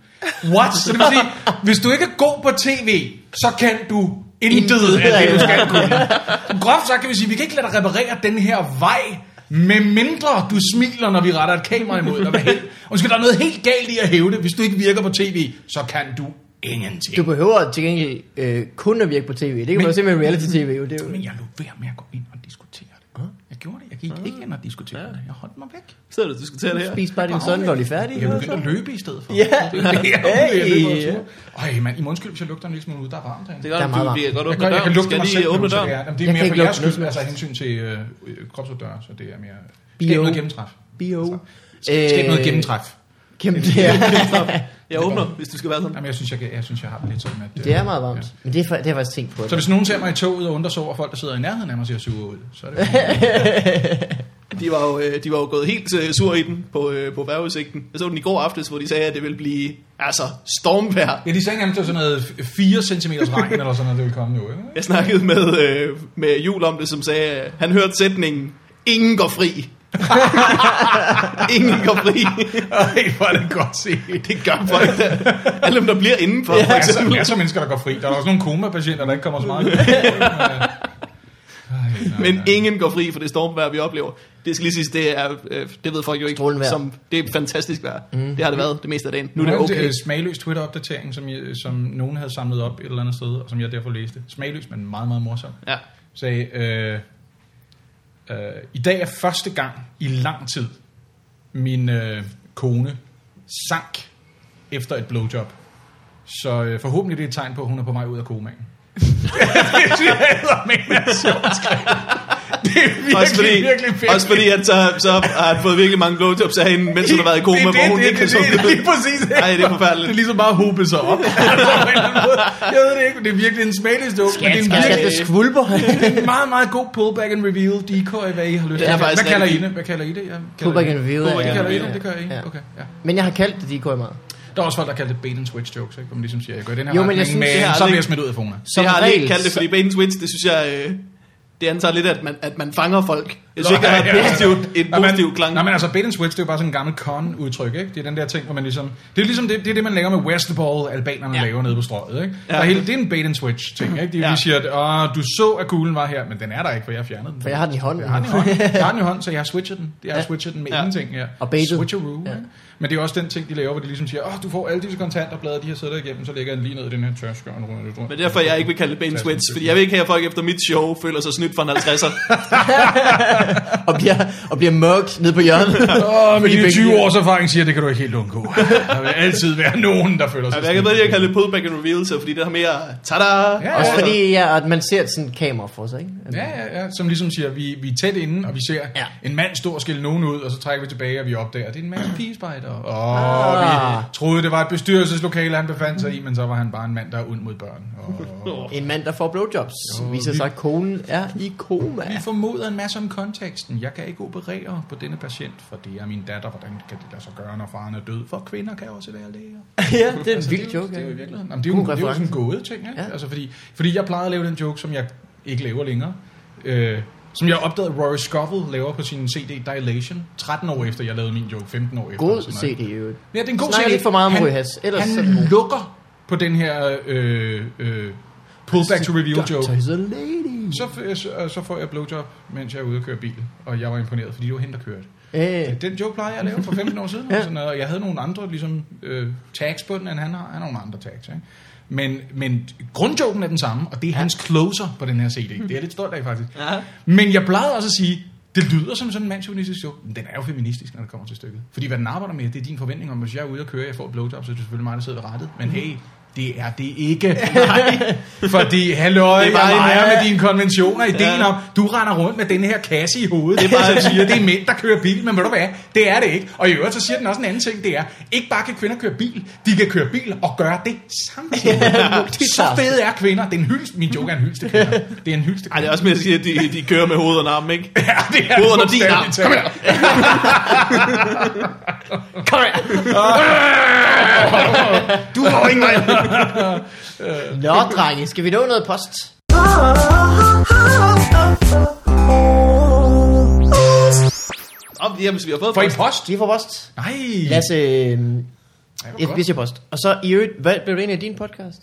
S2: What? Så det vil sige, hvis du ikke er god på tv, så kan du intet af det, du skal kunne. Groft sagt kan vi sige, vi kan ikke lade dig reparere den her vej, med mindre du smiler, når vi retter et kamera imod dig. Hvad hel- Undskyld, der er noget helt galt i at hæve det. Hvis du ikke virker på tv, så kan du ingenting.
S3: Du behøver til gengæld øh, kun at virke på tv. Det kan
S2: Men-
S3: man jo se med reality-tv. jo. Det er jo...
S2: Men jeg lå være med at gå ind og diskutere det. Jeg gjorde det. Jeg gik ikke ind og diskuterede det. Jeg holdt mig væk.
S1: Sidder du og diskuterer det her?
S3: Spis bare din
S2: Bare
S3: søn, når de er
S2: Jeg
S3: færdige.
S2: begyndte at løbe i stedet for.
S3: Ja.
S2: Det er jo det, jeg er ude i. Jeg
S3: Hey.
S2: løber og turer. Ej, mand, I må undskylde, hvis jeg lugter en lille smule ud. Der er varmt
S1: Det
S2: herinde.
S1: gør
S3: Der
S1: du,
S3: er meget
S1: du, vi kan godt
S2: Jeg,
S1: åbne
S2: kan, jeg kan
S1: døren.
S2: lugte
S1: Skal
S2: mig
S1: jeg lige
S2: selv,
S1: åbne
S2: åbne så
S1: døren?
S2: det er. Jamen, det er
S3: Jeg
S2: mere
S3: kan
S2: for
S3: ikke
S2: jeres
S3: lugte
S2: skyld, altså af hensyn til øh, øh, kropsopdør, så det er mere... Skab
S3: Bio. Øh,
S2: noget gennemtræf.
S3: Bio.
S2: Skab noget gennemtræf.
S3: Kæmpe det er.
S1: Jeg åbner, hvis du skal være sådan.
S2: Jamen, jeg synes, jeg, jeg, synes, jeg har det lidt sådan, at... øh,
S3: Det er meget
S2: ja.
S3: varmt. Men det er, fa- det har jeg faktisk tænkt på.
S2: Så hvis nogen ser mig i toget og undrer sig over folk, der sidder i nærheden af mig, siger suger ud, så er det jo-
S1: De var jo, øh, de var jo gået helt øh, sur i den på, øh, på vejrudsigten. Jeg så den i går aftes, hvor de sagde, at det ville blive altså, stormvejr.
S2: Ja, de sagde ikke engang, det var sådan noget 4 cm regn eller sådan noget, det ville komme nu. Ikke?
S1: Jeg snakkede med, øh, med Jul om det, som sagde, at han hørte sætningen, ingen går fri. ingen går fri.
S2: Ej, hvor er det godt set.
S1: det gør folk da. Alle dem, der bliver indenfor, for
S2: Der er, så,
S1: eksempel.
S2: der er så mennesker, der går fri. Der er også nogle komapatienter, der ikke kommer så meget. Ej, nej,
S1: Men
S2: nej.
S1: ingen går fri for det stormvejr, vi oplever. Det skal lige siges, det, er, øh, det ved folk jo ikke.
S3: Strålende vejr. Mhm.
S1: Som, det er fantastisk vejr. Mm. Det har det været det meste af dagen. Nu er det
S2: Hvordan
S1: okay.
S2: øh, smagløs Twitter-opdatering, som, jeg, som nogen havde samlet op et eller andet sted, og som jeg derfor læste. Smagløs, men meget, meget morsom.
S1: Ja.
S2: Sagde, øh, øh, i dag er første gang i lang tid, min øh, kone sank efter et blowjob. Så øh, forhåbentlig det er et tegn på, at hun er på vej ud af komaen. det synes jeg eddermame er sjovt skrevet. Det er virkelig,
S1: Også fordi,
S2: virkelig fedt.
S1: også fordi at så, så har han fået virkelig mange blowjobs af hende, mens hun har Ligesom været i koma,
S2: det, er
S1: hvor hun
S2: det,
S1: ikke kan
S2: det, det,
S1: summe
S2: det, det,
S1: det
S2: det,
S1: ud.
S2: lige præcis. ikke?
S1: Ej, det er forfærdeligt.
S2: Det er ligesom bare at hobe sig op. Altså, på en eller anden måde. jeg ved det ikke, men det er virkelig en smagløs joke. men det er en
S3: Jeg skal
S2: virkelig,
S3: det skvulper.
S2: det er en meget, meget god pullback and reveal decoy, hvad I har lyst
S1: Det er
S2: til. Hvad
S1: faktisk
S2: kalder I
S1: rigtig-
S2: det? Hvad kalder I det? Jeg kalder
S3: Pullback
S2: det-
S3: and reveal,
S2: Pullback
S1: ja.
S2: and reveal,
S1: Ja.
S2: det gør I.
S3: Ja.
S2: Okay, ja.
S3: Men jeg har kaldt det decoy meget.
S2: Der er også folk, der kalder det bait and switch jokes, ikke? Hvor man ligesom siger, jeg gør den her
S3: Jo, men
S2: retning,
S3: jeg synes, det
S1: har
S2: men så
S1: aldrig-
S2: bliver jeg smidt ud af Fona.
S1: Det har jeg lige
S3: regel,
S1: kaldt det, fordi Bane Twins, det synes jeg... Øh, det antager lidt, at man, at man fanger folk. Jeg synes ikke, det har et positivt, et
S2: Nå, men-
S1: positivt klang.
S2: Nå, men altså, bait and switch, det er jo bare sådan en gammel con-udtryk, ikke? Det er den der ting, hvor man ligesom... Det er ligesom det, det, er det man laver med Westball, albanerne ja. laver nede på strøget, ikke? Ja. Der er hele, det er en bait and switch ting, ikke? Det er,
S1: Ja.
S2: ja. vi siger, at Åh, du så, at kuglen var her, men den er der ikke, for jeg har fjernet den.
S3: For jeg har den i hånden.
S2: Jeg har den i hånden, jeg har den i hånden så jeg har switchet den. Jeg har
S3: Ja.
S2: switchet den med
S1: Ja.
S2: ja. ingenting, ja.
S3: Og baitet.
S2: Switcheroo,
S3: Ja.
S2: ja. Men det er også den ting, de laver, hvor de ligesom siger, åh, du får alle disse kontanter, blader, de har siddet igennem, så lægger jeg den lige ned i den her tørske og runder lidt rundt.
S1: Men derfor jeg ikke vil kalde det Bane Twins, fordi jeg vil ikke have, at folk efter mit show føler sig snydt for en 50'er.
S3: Og bliver, og bliver mørkt nede på hjørnet.
S2: Åh, med
S3: Fordi
S2: dine
S3: begge-
S2: 20 års erfaring siger, det kan du ikke helt undgå. Der vil altid være nogen, der føler sig
S1: Ja, jeg kan
S2: snydt.
S1: bedre lide at kalde det pullback and reveal, så fordi det har mere tada.
S2: Ja,
S3: Også
S2: ja.
S3: fordi ja, at man ser sådan et kamera for sig, ikke?
S2: Ja, ja, ja, som ligesom siger, vi, vi er tæt inde, og vi ser
S3: Ja.
S2: ja. en mand stå og skille nogen ud, og så trækker vi tilbage, og vi opdager, det er en mand i pigespejder. Og
S3: Ah.
S2: ah. vi troede, det var et bestyrelseslokale, han befandt sig i, men så var han bare en mand, der er ond mod børn. Og...
S3: En mand, der får blowjobs,
S2: Jo,
S3: viser
S2: vi-
S3: sig, at konen er i koma.
S2: Vi formoder en masse om konteksten. Jeg kan ikke operere på denne patient, for det er min datter. Hvordan kan det lade sig gøre, når faren er død? For kvinder kan også være læger.
S3: ja, Altså, det er en
S2: det,
S3: vild
S2: er jo-
S3: joke.
S2: Det er jo i
S3: ja.
S2: virkeligheden. Jamen, det, er jo,
S3: God
S2: det er jo sådan en
S3: reference.
S2: gåde ting. Ikke?
S3: Ja.
S2: Ja. Altså, fordi, fordi jeg plejede at lave den joke, som jeg ikke laver længere. Øh, som jeg opdagede, Rory Scovel laver på sin CD Dilation. 13 år efter, jeg lavede min joke. 15 år efter.
S3: God
S2: eller sådan noget.
S3: CD, jo.
S2: Ja, det er en god
S3: Snakker
S2: CD.
S3: lidt for meget om
S2: Han-
S3: Roy Hass, ellers så er
S2: Han
S3: det-
S2: lukker på den her øh, øh, pullback to reveal joke.
S3: Doctor is a lady.
S2: Så, f- så, så får jeg blowjob, mens jeg er ude og køre bil. Og jeg var imponeret, fordi det var hende, der kørte.
S3: Øh,
S2: Ja, Den joke plejede jeg at lave for 15 år siden.
S3: Ja.
S2: ja. sådan noget, og jeg havde nogle andre ligesom, øh, tags på den, end han har. Han har nogle andre tags. Ikke? Men, men grundjoken er den samme, og det er ja. hans closer på den her CD. Det er jeg lidt stolt af, faktisk.
S1: Ja.
S2: Men jeg plejede også at sige, det lyder som sådan en mandsjovinistisk joke. Men den er jo feministisk, når det kommer til stykket. Fordi hvad den arbejder med, det er din forventning om, hvis jeg er ude og køre, jeg får et blowjob, så er det selvfølgelig mig, der sidder ved rettet. Men hey, det er det ikke. Nej. Fordi, halløj,
S1: Det
S2: det
S1: er bare en-
S2: er med dine konventioner, ideen
S1: Ja.
S2: ja. om, du render rundt med den her kasse i hovedet, det er bare,
S1: bare-
S2: som siger, det er mænd, der kører bil, men ved du hvad, det er det ikke. Og i øvrigt, så siger den også en anden ting, det er, ikke bare kan kvinder køre bil, de kan køre bil og gøre det samtidig. så fede er kvinder. Det er en hyldest, min joke er en hyldest til kvinder. Det er en hyldest til
S1: Ej, det
S2: kvinder.
S1: er også mere at sige, at de, de kører med hovedet og armen, ikke?
S2: Ja, det er
S1: Hovedet under din
S2: fuldstændig
S1: arm.
S2: talt.
S1: Kom her.
S3: Kom her.
S1: Du får ingen vej.
S3: Nå, drenge, skal vi nå noget post?
S5: oh, oh, oh, oh, oh, oh, oh.
S1: Nå, jamen, så vi har fået
S2: For i
S1: post.
S2: post?
S3: De får post.
S2: Nej.
S3: Lasse, øh,
S2: Ej, hvor
S3: et
S2: godt.
S3: visjepost. Og så i øvrigt, hvad blev det en af din podcast?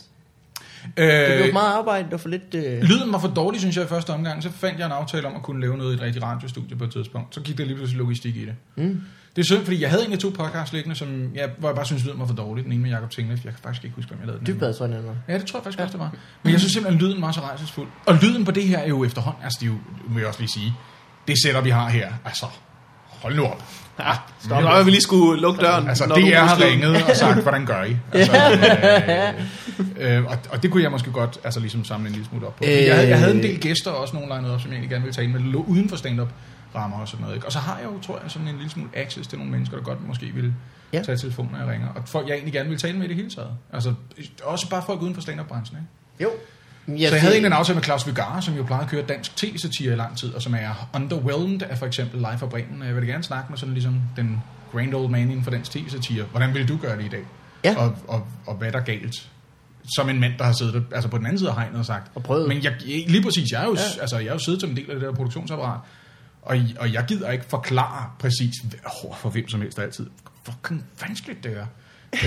S3: Det blev
S2: Øh,
S3: meget arbejde og for lidt... Øh...
S2: Lyden var for dårlig, synes jeg, i første omgang. Så fandt jeg en aftale om at kunne lave noget i et rigtigt radiostudie på et tidspunkt. Så gik der lige pludselig logistik i det.
S3: Mm.
S2: Det er synd, fordi jeg havde egentlig to podcasts liggende, som jeg, hvor jeg bare synes, lyden var for dårlig. Den ene med Jacob Tingleff. Jeg kan faktisk ikke huske, hvem jeg lavede den. anden
S3: Dybbad, tror jeg, den var.
S2: med. Ja, det tror jeg faktisk også, det var. Men jeg synes simpelthen, at lyden var så rejsesfuld. Og lyden på det her er jo efterhånden, altså det er jo, vil jeg også lige sige, det setup, vi har her, altså, hold nu op. Ja,
S1: Nå, jeg vil lige skulle lukke døren.
S2: Altså,
S1: når
S2: DR
S1: du
S2: har
S1: husker.
S2: ringet og sagt, hvordan gør I? Altså, øh, øh, og, og det kunne jeg måske godt altså, ligesom samle en lille smule op på. Øh, jeg, havde, jeg havde en del gæster og også nogle lined op, som jeg egentlig gerne ville tale med, der lå uden for stand-up rammer og sådan noget. Ikke? Og så har jeg jo, tror jeg, sådan en lille smule access til nogle mennesker, der godt måske vil
S3: Ja.
S2: ja. tage telefonen, når jeg ringer. Og folk, jeg egentlig gerne vil tale med i det hele taget. Altså, også bare folk uden for stand-up-branchen. Ikke?
S3: Jo.
S2: Ja, så jeg havde egentlig en aftale med Claus Vygar, som jo plejede at køre dansk tv-satire i lang tid, og som er underwhelmed af for eksempel Live fra Bremen. Og Jeg vil da gerne snakke med sådan ligesom den grand old man inden for dansk tv-satire. Hvordan ville du gøre det i dag?
S3: Ja.
S2: Og, og, og hvad er der galt? Som en mand, der har siddet altså på den anden side af hegnet og sagt.
S3: Og prøvet.
S2: Men jeg, lige præcis, jeg er, jo, ja. altså, jeg er jo siddet som en del af det der produktionsapparat, og, og jeg gider ikke forklare præcis hv- over for hvem som helst altid. Fucking vanskeligt det er.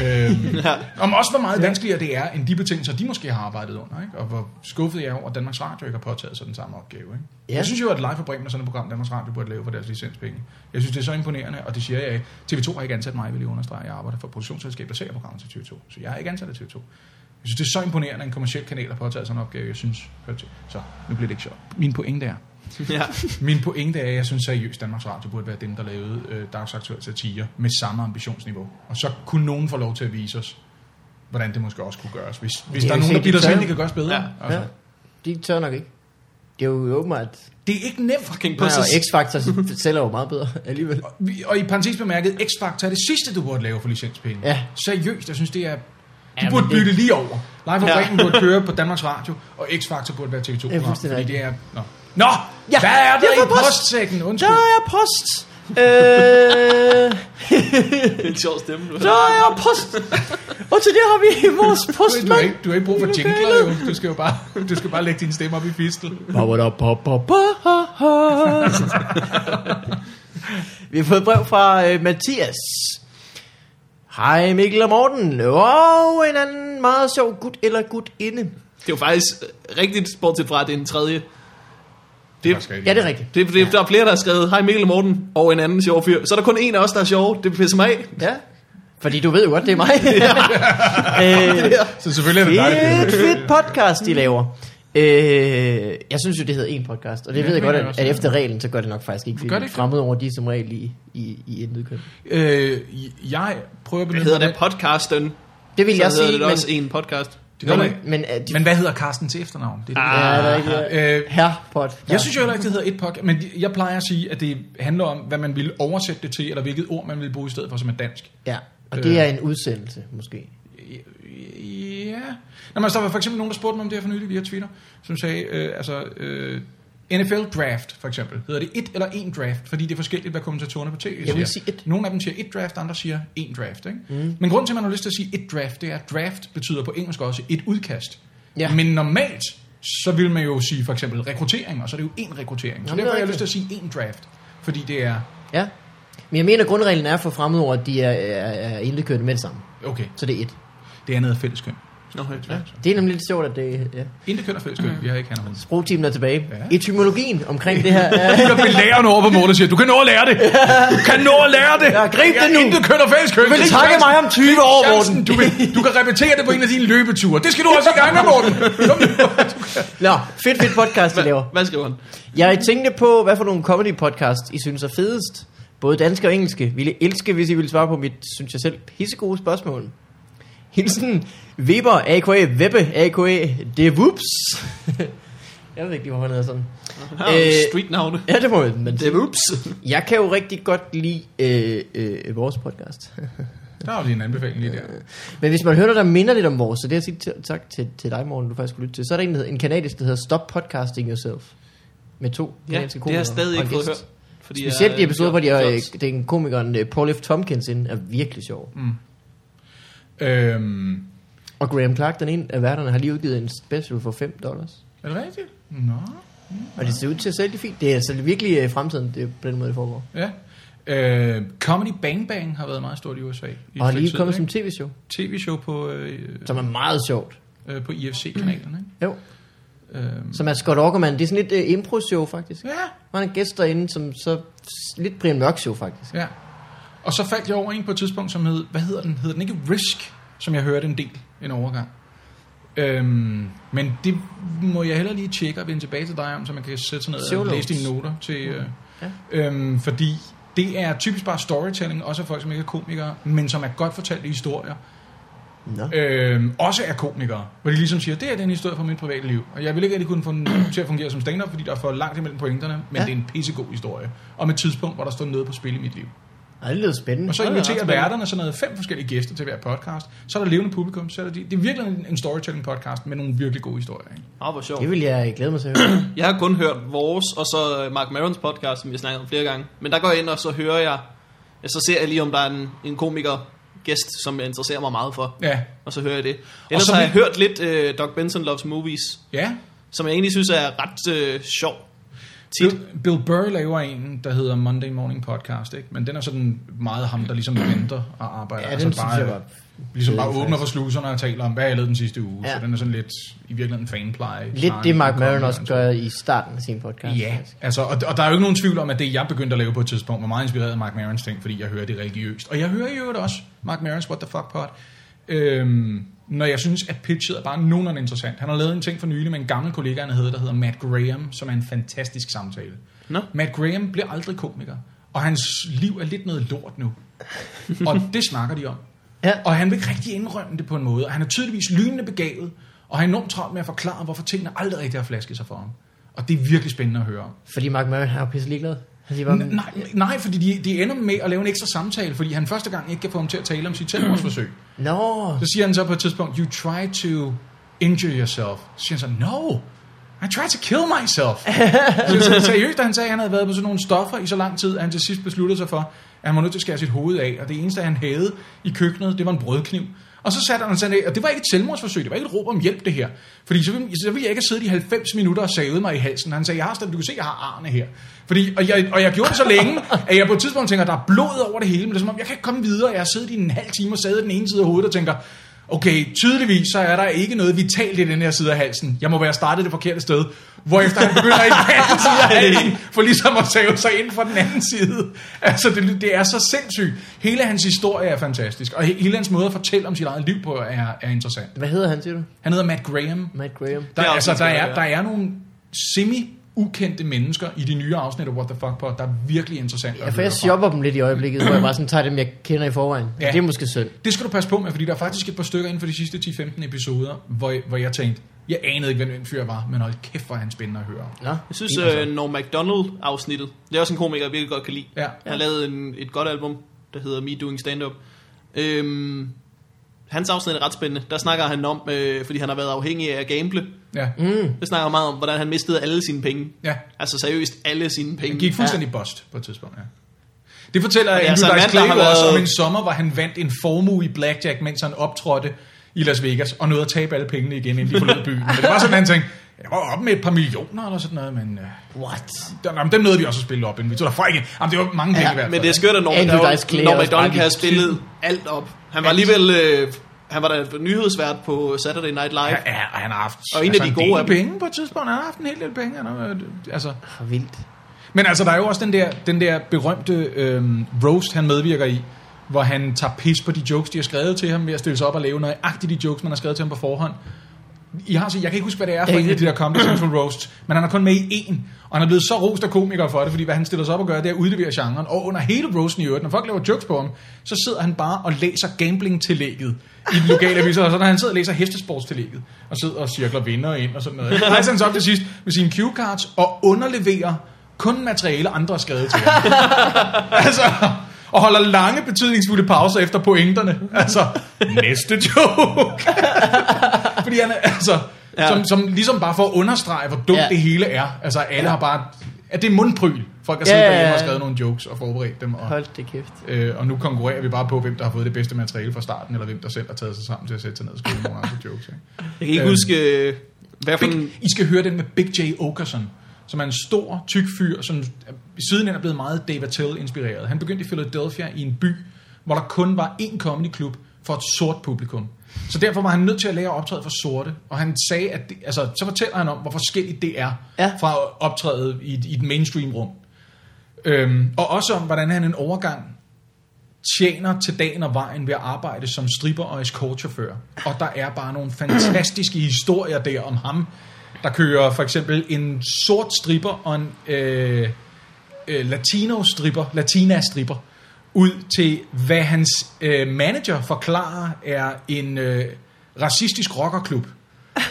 S2: øhm, om også hvor meget vanskeligere det er, end de betingelser, de måske har arbejdet under. Ikke? Og hvor skuffet jeg er over, at Danmarks Radio ikke har påtaget sig den samme opgave. Ikke?
S3: Ja.
S2: Ja. Jeg synes jo, at Live for Bremen er sådan et program, Danmarks Radio burde lave for deres licenspenge. Jeg synes, det er så imponerende, og det siger jeg ikke. TV2 har ikke ansat mig, vil jeg understrege. Jeg arbejder for et produktionsselskab, der sælger programmet til TV2. Så jeg er ikke ansat af TV2. Jeg synes, det er så imponerende, at en kommersiel kanal har påtaget sig en opgave, jeg synes hører til. Så nu bliver det ikke sjovt. Min pointe er,
S1: Ja.
S2: min pointe er, at jeg synes seriøst, Danmarks Radio burde være dem, der lavede øh, dagsaktuel satire med samme ambitionsniveau. Og så kunne nogen få lov til at vise os, hvordan det måske også kunne gøres. Hvis, hvis
S3: Det
S2: der
S3: er
S2: er
S3: jo
S2: nogen, der
S3: set,
S2: bilder
S3: de
S2: sig ind,
S3: tør.
S2: det kan gøres bedre.
S1: Ja,
S2: altså.
S3: Ja. De tør nok ikke. Det er jo åbenbart...
S2: Det er ikke nemt.
S1: Fucking på
S3: Nej, og
S1: sig.
S3: X-Factor sælger jo meget bedre alligevel.
S2: Og, vi- og i parentes bemærket, X-Factor er det sidste, du burde lave for licenspenge.
S3: Ja.
S2: Seriøst, jeg synes, det er... De
S3: Ja,
S2: ja, burde
S3: men det-
S2: bytte lige over. Live for
S1: Ja.
S2: Bremen burde køre på Danmarks Radio, og X-Factor burde være TV2.
S3: Ja,
S2: -program,
S3: fuldstændig
S2: fordi
S3: rigtigt.
S2: det er... Nå, Nå
S3: Ja,
S2: ja, hvad er
S3: jeg
S2: der
S3: får
S2: i
S3: post.
S2: postsækken? Undskyld.
S3: er post! Øh,
S1: Det er en sjov stemme, du har.
S3: der er post! Og til det har vi vores
S2: Du har ikke, du har ikke brug for jingler jo. Du skal jo bare, du skal bare lægge din stemme op i fistel.
S3: Vi har fået brev fra øh, Mathias. Hej Mikkel og Morten. Og en anden meget sjov gut eller gut inde.
S1: Det er jo faktisk øh, rigtigt, bortset fra, at det er en tredje. Det, det,
S3: Ja, det er rigtigt.
S1: det, det der er flere, der har skrevet, hej Mikkel og Morten, og en anden sjov fyr. Så er der kun en af os, der er sjov. Det pisser mig af.
S3: Ja. Fordi du ved jo godt, det er mig. øh,
S2: Så selvfølgelig er det dig.
S3: fedt,
S2: der-
S3: fedt podcast, de laver. Øh, jeg synes jo, det hedder en podcast, og det
S2: Ja,
S3: ja, ved
S2: det
S3: jeg godt,
S2: mener jeg
S3: at,
S2: også,
S3: at
S2: ja.
S3: efter reglen, så gør det nok faktisk ikke,
S2: Gør
S3: fordi
S2: det ikke
S3: fremmed over de er som regel i, i, i intet køn.
S2: Øh, jeg prøver at
S1: Hvad
S2: benytte
S1: hedder
S2: mig
S1: det? Podcasten.
S3: Det vil
S1: Så
S3: jeg
S1: hedder
S3: sige,
S1: det
S3: men,
S1: også en podcast.
S2: af. Nå, men-
S3: men, men, øh, de,
S2: Men hvad hedder Carsten til efternavn? Det er det.
S1: Ah,
S3: ja, det er rigtigt, ja.
S2: Øh,
S3: Herpod.
S2: jeg synes jo heller ikke, det hedder et podcast, men jeg plejer at sige, at det handler om, hvad man ville oversætte det til, eller hvilket ord man ville bruge i stedet for, som er dansk.
S3: Ja, og det
S2: Øh.
S3: er en udsendelse, måske.
S2: Ja. Nå, men altså, der var for eksempel nogen, der spurgte mig om det her for nylig via Twitter, som sagde, øh, altså, øh, NFL draft for eksempel, hedder det et eller en draft, fordi det er forskelligt, hvad kommentatorerne på tv
S3: Jeg vil
S2: siger.
S3: sige et.
S2: Nogle af dem siger et draft, andre siger en draft. Ikke? Mm. Men grunden til, at man har lyst til at sige et draft, det er, at draft betyder på engelsk også et udkast.
S3: Ja.
S2: Ja. Men normalt, så vil man jo sige for eksempel rekruttering, og så er det jo en rekruttering. Så
S3: Jamen, det er
S2: derfor har jeg
S3: rigtigt.
S2: lyst til at sige en draft, fordi det er,
S3: Ja. Men jeg mener, at grundreglen er for fremmedord, at de er, er, er intet køn med det samme.
S2: okay,
S3: Så det er et.
S2: det er noget fælleskøn.
S1: Nå, ja.
S3: Det er nemlig lidt sjovt, at det ja.
S2: Intet køn og fælleskøn,
S3: Mm.
S2: vi har ikke han og hun.
S3: sprogteamen er tilbage. Ja.
S2: Ja.
S3: Etymologien omkring det her er...
S2: Der bliver læreren over på Morten og siger, du kan nå at lære det. Du kan nå at lære det.
S3: Ja, grib det nu.
S2: Jeg intet køn og fælleskøn.
S3: Du vil takke mig om 20 år, Morten.
S2: Du, vil, du kan repetere det på en af dine løbeture. Det skal du også i gang med, Morten. Kom nu.
S3: Nå, fedt, fedt podcast, de laver.
S1: Hvad skriver han?
S3: Jeg tænkte på, hvad for nogle comedy podcast I synes er fedest. Både danske og engelske. Ville elske, hvis I ville svare på mit, synes jeg selv, pissegode spørgsmål. Hilsen Weber, a.k.a. Webbe, a.k.a. The Whoops. jeg ved ikke lige, hvorfor han hedder sådan.
S1: Her
S3: Øh,
S1: øh, streetnavne.
S3: Ja, det må jeg. Men
S1: Det er ups.
S3: jeg kan jo rigtig godt lide øh, øh, vores podcast.
S2: Der har vi en anbefaling lige der.
S3: Men hvis man hører noget, der minder lidt om vores, så det er jeg sige til- tak til, til dig, Morten, du faktisk skulle lytte til, så er der en, der hedder- en kanadisk, der hedder Stop Podcasting Yourself. Med to
S1: Ja,
S3: kanadiske
S1: det har jeg stadig ikke fået hørt. Fordi
S3: Specielt
S1: jeg-
S3: de episoder, hvor de
S1: jeg-
S3: er, det er en komikeren øh, Paul F. Tompkins ind, er virkelig sjov. Mm.
S2: Øhm,
S3: Og Graham Clark, den ene af værterne, har lige udgivet en special for 5 dollars.
S2: er det rigtigt? Nå.
S3: Og det ser ud til at sælge fint. Det er altså virkelig øh, fremtiden, det er på den måde, det foregår.
S2: Ja. Øh, Comedy Bang Bang har været meget stort i USA. I
S3: Og
S2: et
S3: har
S2: stykke
S3: lige
S2: tid,
S3: kommet som
S2: ikke?
S3: tv-show,
S2: tv-show på, øh,
S3: som er meget sjovt.
S2: øh, på IFC-kanalen. Ikke?
S3: Jo.
S1: Mm.
S2: Øh,
S3: Som er Scott Aukerman. Det er sådan lidt uh, impro-show, faktisk.
S2: ja,
S3: Der er en gæst derinde, som så lidt Brian Mørk show, faktisk.
S2: ja. Og så faldt jeg over en på et tidspunkt, som hed, hvad hedder den? Hedder den ikke Risk, som jeg hørte en del en overgang? Øhm, men det må jeg hellere lige tjekke og vende tilbage til dig om, så man kan sætte sig ned og
S3: Solo.
S2: læse dine noter til... Øh,
S3: Ja.
S2: øhm, fordi det er typisk bare storytelling, også af folk, som ikke er komikere, men som er godt fortalte historier,
S3: Nå.
S2: øhm, også er komikere, hvor de ligesom siger, det her det er en historie fra mit private liv, og jeg vil ikke rigtig kunne få den til at fungere som stand-up, fordi der er for langt imellem pointerne, men ja.
S3: Ja.
S2: det er en pissegod historie, om et tidspunkt, hvor der står noget på spil i mit liv.
S3: Ej, det lyder spændende.
S2: Øh, Og så
S3: Det lyder ret
S2: inviterer
S3: spændende.
S2: værterne sådan noget fem forskellige gæster til hver podcast, så er der levende publikum, så er der de, det er virkelig en, en storytelling-podcast med nogle virkelig gode historier. Ikke?
S1: Åh, hvor sjovt.
S3: Det vil jeg øh, glæde mig til at høre.
S1: Jeg har kun hørt vores, og så øh, Mark Marons podcast, som vi har snakket om flere gange. Men der går jeg ind, og så hører jeg, ja, så ser jeg lige, om der er en, en komiker gæst, som jeg interesserer mig meget for.
S2: Ja,
S1: Og så hører jeg det. Ellers
S2: så
S1: har
S2: vi-
S1: jeg hørt lidt øh, Doc Benson Loves Movies,
S2: ja.
S1: som jeg egentlig synes er ret øh, sjov. Tit.
S2: Bill, Bill Burr laver en, der hedder Monday Morning Podcast, ikke? men den er sådan meget ham, der ligesom venter og arbejder. Altså
S3: Ja, den synes jeg var...
S2: Ligesom bare
S3: fed,
S2: åbner for sluserne og taler om, hvad jeg lavede den sidste uge. Ja.
S3: Ja.
S2: Så den er sådan lidt, i virkeligheden, fanpleje.
S3: Lidt
S2: snarere
S3: det,
S2: end
S3: Mark
S2: en
S3: Maron
S2: comedy,
S3: også
S2: altså.
S3: gør i starten af sin podcast.
S2: Ja, altså, og, og der er jo ikke nogen tvivl om, at det, jeg begyndte at lave på et tidspunkt, var meget inspireret af Mark Marons ting, fordi jeg hører det religiøst. Og jeg hører i øvrigt også Mark Marons What the Fuck Pod, øhm, når jeg synes, at pitchet er bare nogenlunde interessant. Han har lavet en ting for nylig med en gammel kollega, han hedder, der hedder Matt Graham, som er en fantastisk samtale.
S1: Nå.
S2: Matt Graham blev aldrig komiker, og hans liv er lidt noget lort nu. og det snakker de om.
S3: Ja.
S2: Og han vil ikke rigtig indrømme det på en måde. Og han er tydeligvis lynende begavet, og har enormt travlt med at forklare, hvorfor tingene aldrig rigtig har flasket sig for ham. Og det er virkelig spændende at høre om.
S3: Fordi Mark Maron er jo pisse ligeglad. Han siger bare,
S2: N- Nej, nej fordi de, de ender med at lave en ekstra samtale, fordi han første gang ikke kan få ham til at tale om sit selvmordsforsøg.
S3: Nå,
S2: Så siger han så på et tidspunkt, you try to injure yourself. Så siger han så, no, I tried to kill myself. så, så altså, seriøst, da han sagde, at han havde været på sådan nogle stoffer i så lang tid, at han til sidst besluttede sig for, at han var nødt til at skære sit hoved af, og det eneste, han havde i køkkenet, det var en brødkniv. Og så satte han sig ned, og det var ikke et selvmordsforsøg, det var ikke et råb om hjælp, det her. Fordi så ville, så ville jeg ikke have siddet i 90 minutter og savet mig i halsen. Han sagde, jeg har stadig, du kan se, jeg har arne her. Fordi, og, jeg, og jeg gjorde det så længe, at jeg på et tidspunkt tænker, der er blod over det hele, men det er som om, jeg kan ikke komme videre. Jeg har siddet i en halv time og savet den ene side af hovedet og tænker, okay, tydeligvis så er der ikke noget vitalt i den her side af halsen. Jeg må være startet det forkerte sted. Hvorefter han begynder i den anden side af halsen, for ligesom at save sig ind fra den anden side. Altså, det, det er så sindssygt. Hele hans historie er fantastisk, og he- hele hans måde at fortælle om sit eget liv på er, er interessant.
S3: hvad hedder han, siger du?
S2: Han hedder Matt Graham.
S3: Matt Graham.
S2: Der,
S1: Det er
S2: er, altså,
S1: også
S2: der,
S1: en
S2: er,
S1: skøn,
S2: der er nogle semi ukendte mennesker i de nye afsnit af What the Fuck på, der er virkelig interessant
S3: Ja, for jeg
S2: fra.
S3: shopper dem lidt i øjeblikket, hvor jeg bare sådan tager dem, jeg kender i forvejen.
S2: Ja.
S3: Ja. Det er måske synd.
S2: Det skal du passe på med, fordi der er faktisk et par stykker inden for de sidste 10-15 episoder, hvor, hvor jeg tænkte, jeg anede ikke, hvem den fyr var, men hold kæft, hvor er han spændende at høre.
S3: Nå.
S1: Jeg synes, øh, Norm MacDonald afsnittet, det er også en komiker, jeg virkelig godt kan lide.
S2: Ja.
S1: Han lavede en, et godt album, der hedder Me Doing Stand-Up. Øhm, hans afsnit er ret spændende. Der snakker han om, øh, fordi han har været afhængig af at gamble.
S2: Ja.
S3: Mm.
S1: Der snakker han meget om, hvordan han mistede alle sine penge.
S2: ja.
S1: Altså seriøst, alle sine penge.
S2: Han gik fuldstændig bust på et tidspunkt, ja. Det fortæller
S1: det er
S2: Andrew
S1: altså en
S2: Dice
S1: mand, der har
S2: Clay også
S1: været-
S2: om en sommer, hvor han vandt en formue i blackjack, mens han optrådte i Las Vegas, og nåede at tabe alle pengene igen, inden de forlod byen. Men det var sådan, han tænkte, jeg var oppe med et par millioner eller sådan noget, men øh,
S3: What?
S2: der, jamen, dem nåede vi også at spille op, inden vi tog derfra igen. Jamen, det var mange penge ja, i hvert fald.
S1: Men det er skørt, at Norman,
S3: Andrew
S1: der,
S3: Dice Clay
S1: Norman
S3: er også
S1: McDonald
S3: bare
S1: kan have
S3: lidt
S1: spillet alt op. Han var alligevel... Øh, han var da nyhedsvært på Saturday Night Live.
S2: Ja, ja, og han har haft altså,
S1: Og en af de gode af
S2: del penge på et tidspunkt. Han har haft en hel del penge. Han har, været- altså.
S3: For vildt.
S2: Men altså, der er jo også den der, den der berømte øhm, roast, han medvirker i, hvor han tager pis på de jokes, de har skrevet til ham, ved at stille sig op og lave nøjagtigt de jokes, man har skrevet til ham på forhånd. I har, så, jeg kan ikke huske, hvad det er for
S3: Ja,
S2: en af
S3: det-
S2: de der Comedy Central roasts, men han er kun med i en, og han er blevet så rost af komikere for det, fordi hvad han stiller sig op og gør, det er at udlevere genren, og under hele roasten i øvrigt, når folk laver jokes på ham, så sidder han bare og læser gambling-tillægget i den lokale avis, og så når han sidder og læser hestesportstillægget, og sidder og cirkler vinder ind og sådan noget. Så rejser han så op til sidst med sine cue cards og underleverer kun materiale, andre har skrevet til ham. altså, og holder lange betydningsfulde pauser efter pointerne. Altså, næste joke. Fordi han er, altså, ja.
S1: Ja.
S2: som, som ligesom bare for at understrege, hvor dumt ja.
S3: Ja.
S2: det hele er. Altså, alle ja. har bare, at det er mundpryl. Folk har
S3: Ja,
S2: siddet
S3: ja, ja.
S2: derhjemme og skrevet nogle jokes og forberedt dem. Og,
S3: Hold det kæft.
S2: øh, og nu konkurrerer vi bare på, hvem der har fået det bedste materiale fra starten, eller hvem der selv har taget sig sammen til at sætte sig ned og skrive nogle andre jokes. Ikke?
S1: Jeg kan ikke
S2: Øhm.
S1: huske, øh, hvad for
S2: Big,
S1: en...
S2: I skal høre den med Big J. Okerson, som er en stor, tyk fyr, som sidenhen er blevet meget David Attell-inspireret. Han begyndte i Philadelphia i en by, hvor der kun var én comedyklub for et sort publikum. Så derfor var han nødt til at lære at optræde for sorte, og han sagde, at det, altså, så fortæller han om, hvor forskelligt det er
S3: Ja.
S2: fra at optræde i et, i et mainstream-rum. Øhm, og også om, hvordan han en overgang tjener til dagen og vejen ved at arbejde som stripper og escortchauffør. Og der er bare nogle fantastiske historier der om ham, der kører for eksempel en sort stripper og en øh, øh, latino-stripper, latina-stripper, ud til, hvad hans øh, manager forklarer er en øh, racistisk rockerklub,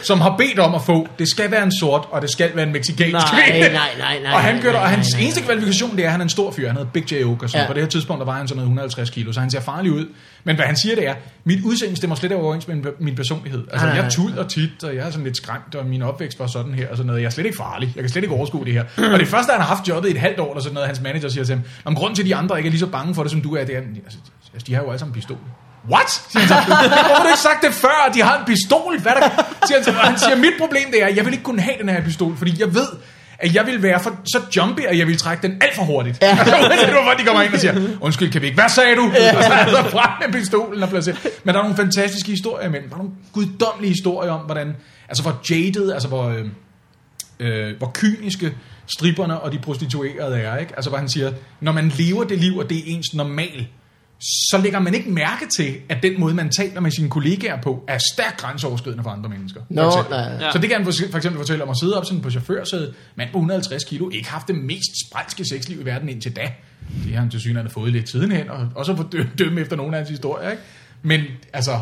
S2: som har bedt om at få, det skal være en sort, og det skal være en mexicansk
S3: Nej,
S2: kvinde.
S3: nej, nej, nej,
S2: Og han gør det, og
S3: nej, nej,
S2: hans
S3: nej, nej.
S2: eneste kvalifikation, det er, at han er en stor fyr. Han hedder Big J. Oak og sådan.
S3: Ja.
S2: Ja. På det her tidspunkt, der var han sådan noget 150 kilo, så han ser farlig ud. Men hvad han siger, det er, mit udseende stemmer slet ikke overens med min- min personlighed. Altså,
S3: Nej, nej,
S2: jeg tuller tit, og jeg er sådan lidt skræmt, og min opvækst var sådan her og sådan noget. Jeg er slet ikke farlig. Jeg kan slet ikke overskue det her. Og det første, han har haft jobbet i et halvt år, eller sådan noget, hans manager siger til ham, om grunden til, at de andre ikke er lige så bange for det, som du er, det er, altså, de har jo alle sammen pistol. What? Siger han så. Hvorfor har du ikke sagt det før, at de har en pistol? Hvad er der? Siger han, så. Og han siger, mit problem det er, at jeg vil ikke kunne have den her pistol, fordi jeg ved, at jeg ville være for, så jumpy, at jeg ville trække den alt for hurtigt. Ja. Uanset hvorfor de kommer ind og siger, undskyld, kan vi ikke? Hvad sagde du? Ja. Og så er der frem med pistolen og placerer. Men der er nogle fantastiske historier imellem. Der er nogle guddommelige historier om, hvordan, altså hvor jaded, altså hvor... Øh, øh, hvor kyniske stripperne og de prostituerede er. Ikke? Altså, hvor han siger, når man lever det liv, og det er ens normal, så lægger man ikke mærke til, at den måde, man taler med sine kollegaer på, er stærkt grænseoverskridende for andre mennesker.
S3: Nå,
S2: for eksempel.
S3: nej.
S1: Ja.
S2: Så det kan han for for eksempel fortælle om at sidde op sådan på chaufførsædet, mand på 150 kilo, ikke haft det mest sprælske sexliv i verden indtil da. Det har han til synligheden fået lidt tiden hen, og også få dø- dømme efter nogle af hans historier. Ikke? Men altså,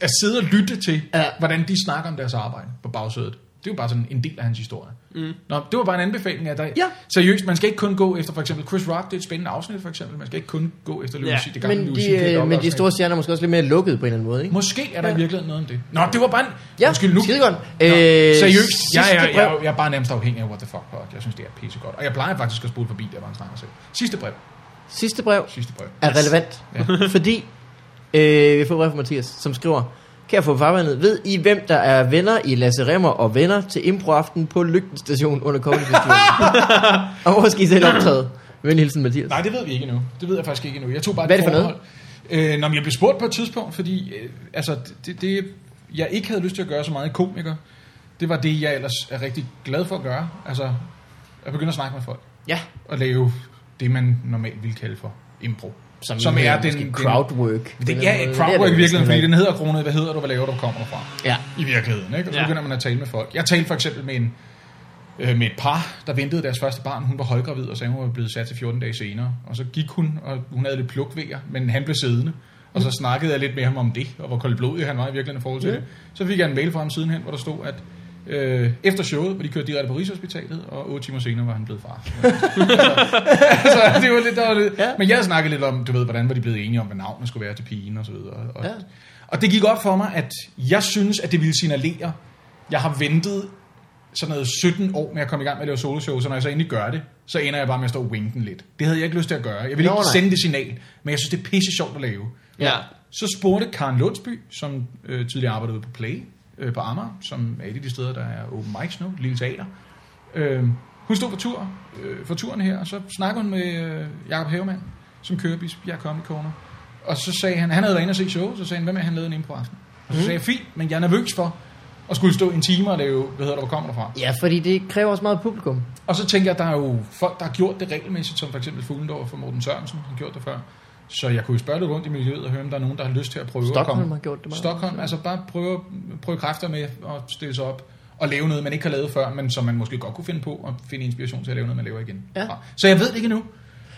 S2: at sidde og lytte til,
S3: Ja.
S2: ja. hvordan de snakker om deres arbejde på bagsædet. Det er jo bare sådan en del af hans historie. Mm. Nå, det var bare en anbefaling af dig.
S3: Ja.
S2: Seriøst, man skal ikke kun gå efter for eksempel Chris Rock, det er et spændende afsnit for eksempel. Man skal ikke kun gå efter Louis
S1: Ja.
S2: ja. det gamle
S3: Men
S2: Louis
S3: de,
S2: C.K.
S3: øh, men de
S2: afsnit.
S3: store stjerner er måske også lidt mere lukket på en eller anden måde, ikke?
S2: Måske er der ja. i virkeligheden noget om det. Nå, det var bare en...
S3: Ja,
S2: Undskyld, nu.
S3: skidegodt.
S2: Nå,
S3: Øh,
S2: seriøst, jeg
S3: sidste
S2: er, jeg,
S3: brev.
S2: jeg, jeg er bare nærmest afhængig af What the Fuck Pod. Jeg synes, det er pissegodt. Og jeg plejer faktisk at spole forbi, der var en snakker selv. Sidste brev.
S3: Sidste brev
S2: Sidste brev.
S3: er relevant, ja. fordi øh, vi får et brev fra Mathias, som skriver, kan jeg få farvandet, ved I hvem der er venner i Lasse Remmer og venner til improaften på Lygten Station under Comedy Festivalen? og hvor skal I selv optræde? Venlig hilsen, Mathias.
S2: Nej, det ved vi ikke endnu. Det ved jeg faktisk ikke endnu. Jeg tog bare et
S3: Hvad er det for
S2: forbehold. Øh, når jeg blev spurgt på et tidspunkt, fordi øh, altså, det, det, jeg ikke havde lyst til at gøre så meget i komiker, det var det, jeg ellers er rigtig glad for at gøre. Altså, at begynde at snakke med folk.
S3: Ja.
S2: Og lave det, man normalt ville kalde for impro.
S3: Som, som er den, crowdwork.
S2: Den, det, altså. ja, øh, crowdwork i virkeligheden, fordi den hedder kronet, hvad hedder du, hvad laver du, hvor kommer du fra?
S3: Ja.
S2: i virkeligheden. Ikke? Og
S1: Ja.
S2: så ja. begynder man at tale med folk. Jeg talte for eksempel med, en, øh, med et par, der ventede deres første barn. Hun var højgravid og sagde, hun var blevet sat til 14 dage senere. Og så gik hun, og hun havde lidt plukvejer, men han blev siddende. Og så snakkede jeg lidt med ham om det, og hvor koldblodig han var i virkeligheden i forhold til Mm. ja. det. Så fik jeg en mail fra ham sidenhen, hvor der stod, at øh, efter showet, hvor de kørte direkte på Rigshospitalet, og otte timer senere var han blevet far. altså, det var lidt, der var lidt.
S3: Ja.
S2: Ja. Men jeg snakkede lidt om, du ved, hvordan var de blevet enige om, hvad navnet skulle være til pigen og så videre. Og,
S3: Ja.
S2: ja. og det gik op for mig, at jeg synes, at det ville signalere, jeg har ventet sådan noget 17 år med at komme i gang med at lave soloshow, så når jeg så endelig gør det, så ender jeg bare med at stå og winke den lidt. Det havde jeg ikke lyst til at gøre. Jeg ville
S3: Nå,
S2: ikke
S3: nej.
S2: sende det signal, men jeg synes, det er pisse sjovt at lave.
S1: Ja.
S2: Så spurgte Karen Lundsby, som øh, tidligere arbejdede ude på Play øh, på Amager, som er et af de steder, der er open mics nu, lille teater. Øh, hun stod på tur, øh, for turen her, og så snakkede hun med øh, Jacob Havemann, som kører Bispebjerg Comedy Corner. Og så sagde han, han havde været inde og se showet, så sagde han, hvad med, at han lavede en impro aften? Og så sagde jeg, fint, men jeg er nervøs for at skulle stå en time og lave, hvad hedder det, hvor kommer du fra?
S3: Ja, fordi det kræver også meget publikum.
S2: Og så tænker jeg, der er jo folk, der har gjort det regelmæssigt, som for eksempel Fuglendorf og Morten Sørensen har gjort det før. Så jeg kunne jo spørge lidt rundt i miljøet og høre, om der er nogen, der har lyst til at prøve at
S3: Stockholm
S2: komme.
S3: har gjort det meget.
S2: Stockholm, altså bare prøve, prøve kræfter med at stille sig op og lave noget, man ikke har lavet før, men som man måske godt kunne finde på og finde inspiration til at lave noget, man laver igen.
S3: Ja.
S2: Så jeg ved det ikke endnu.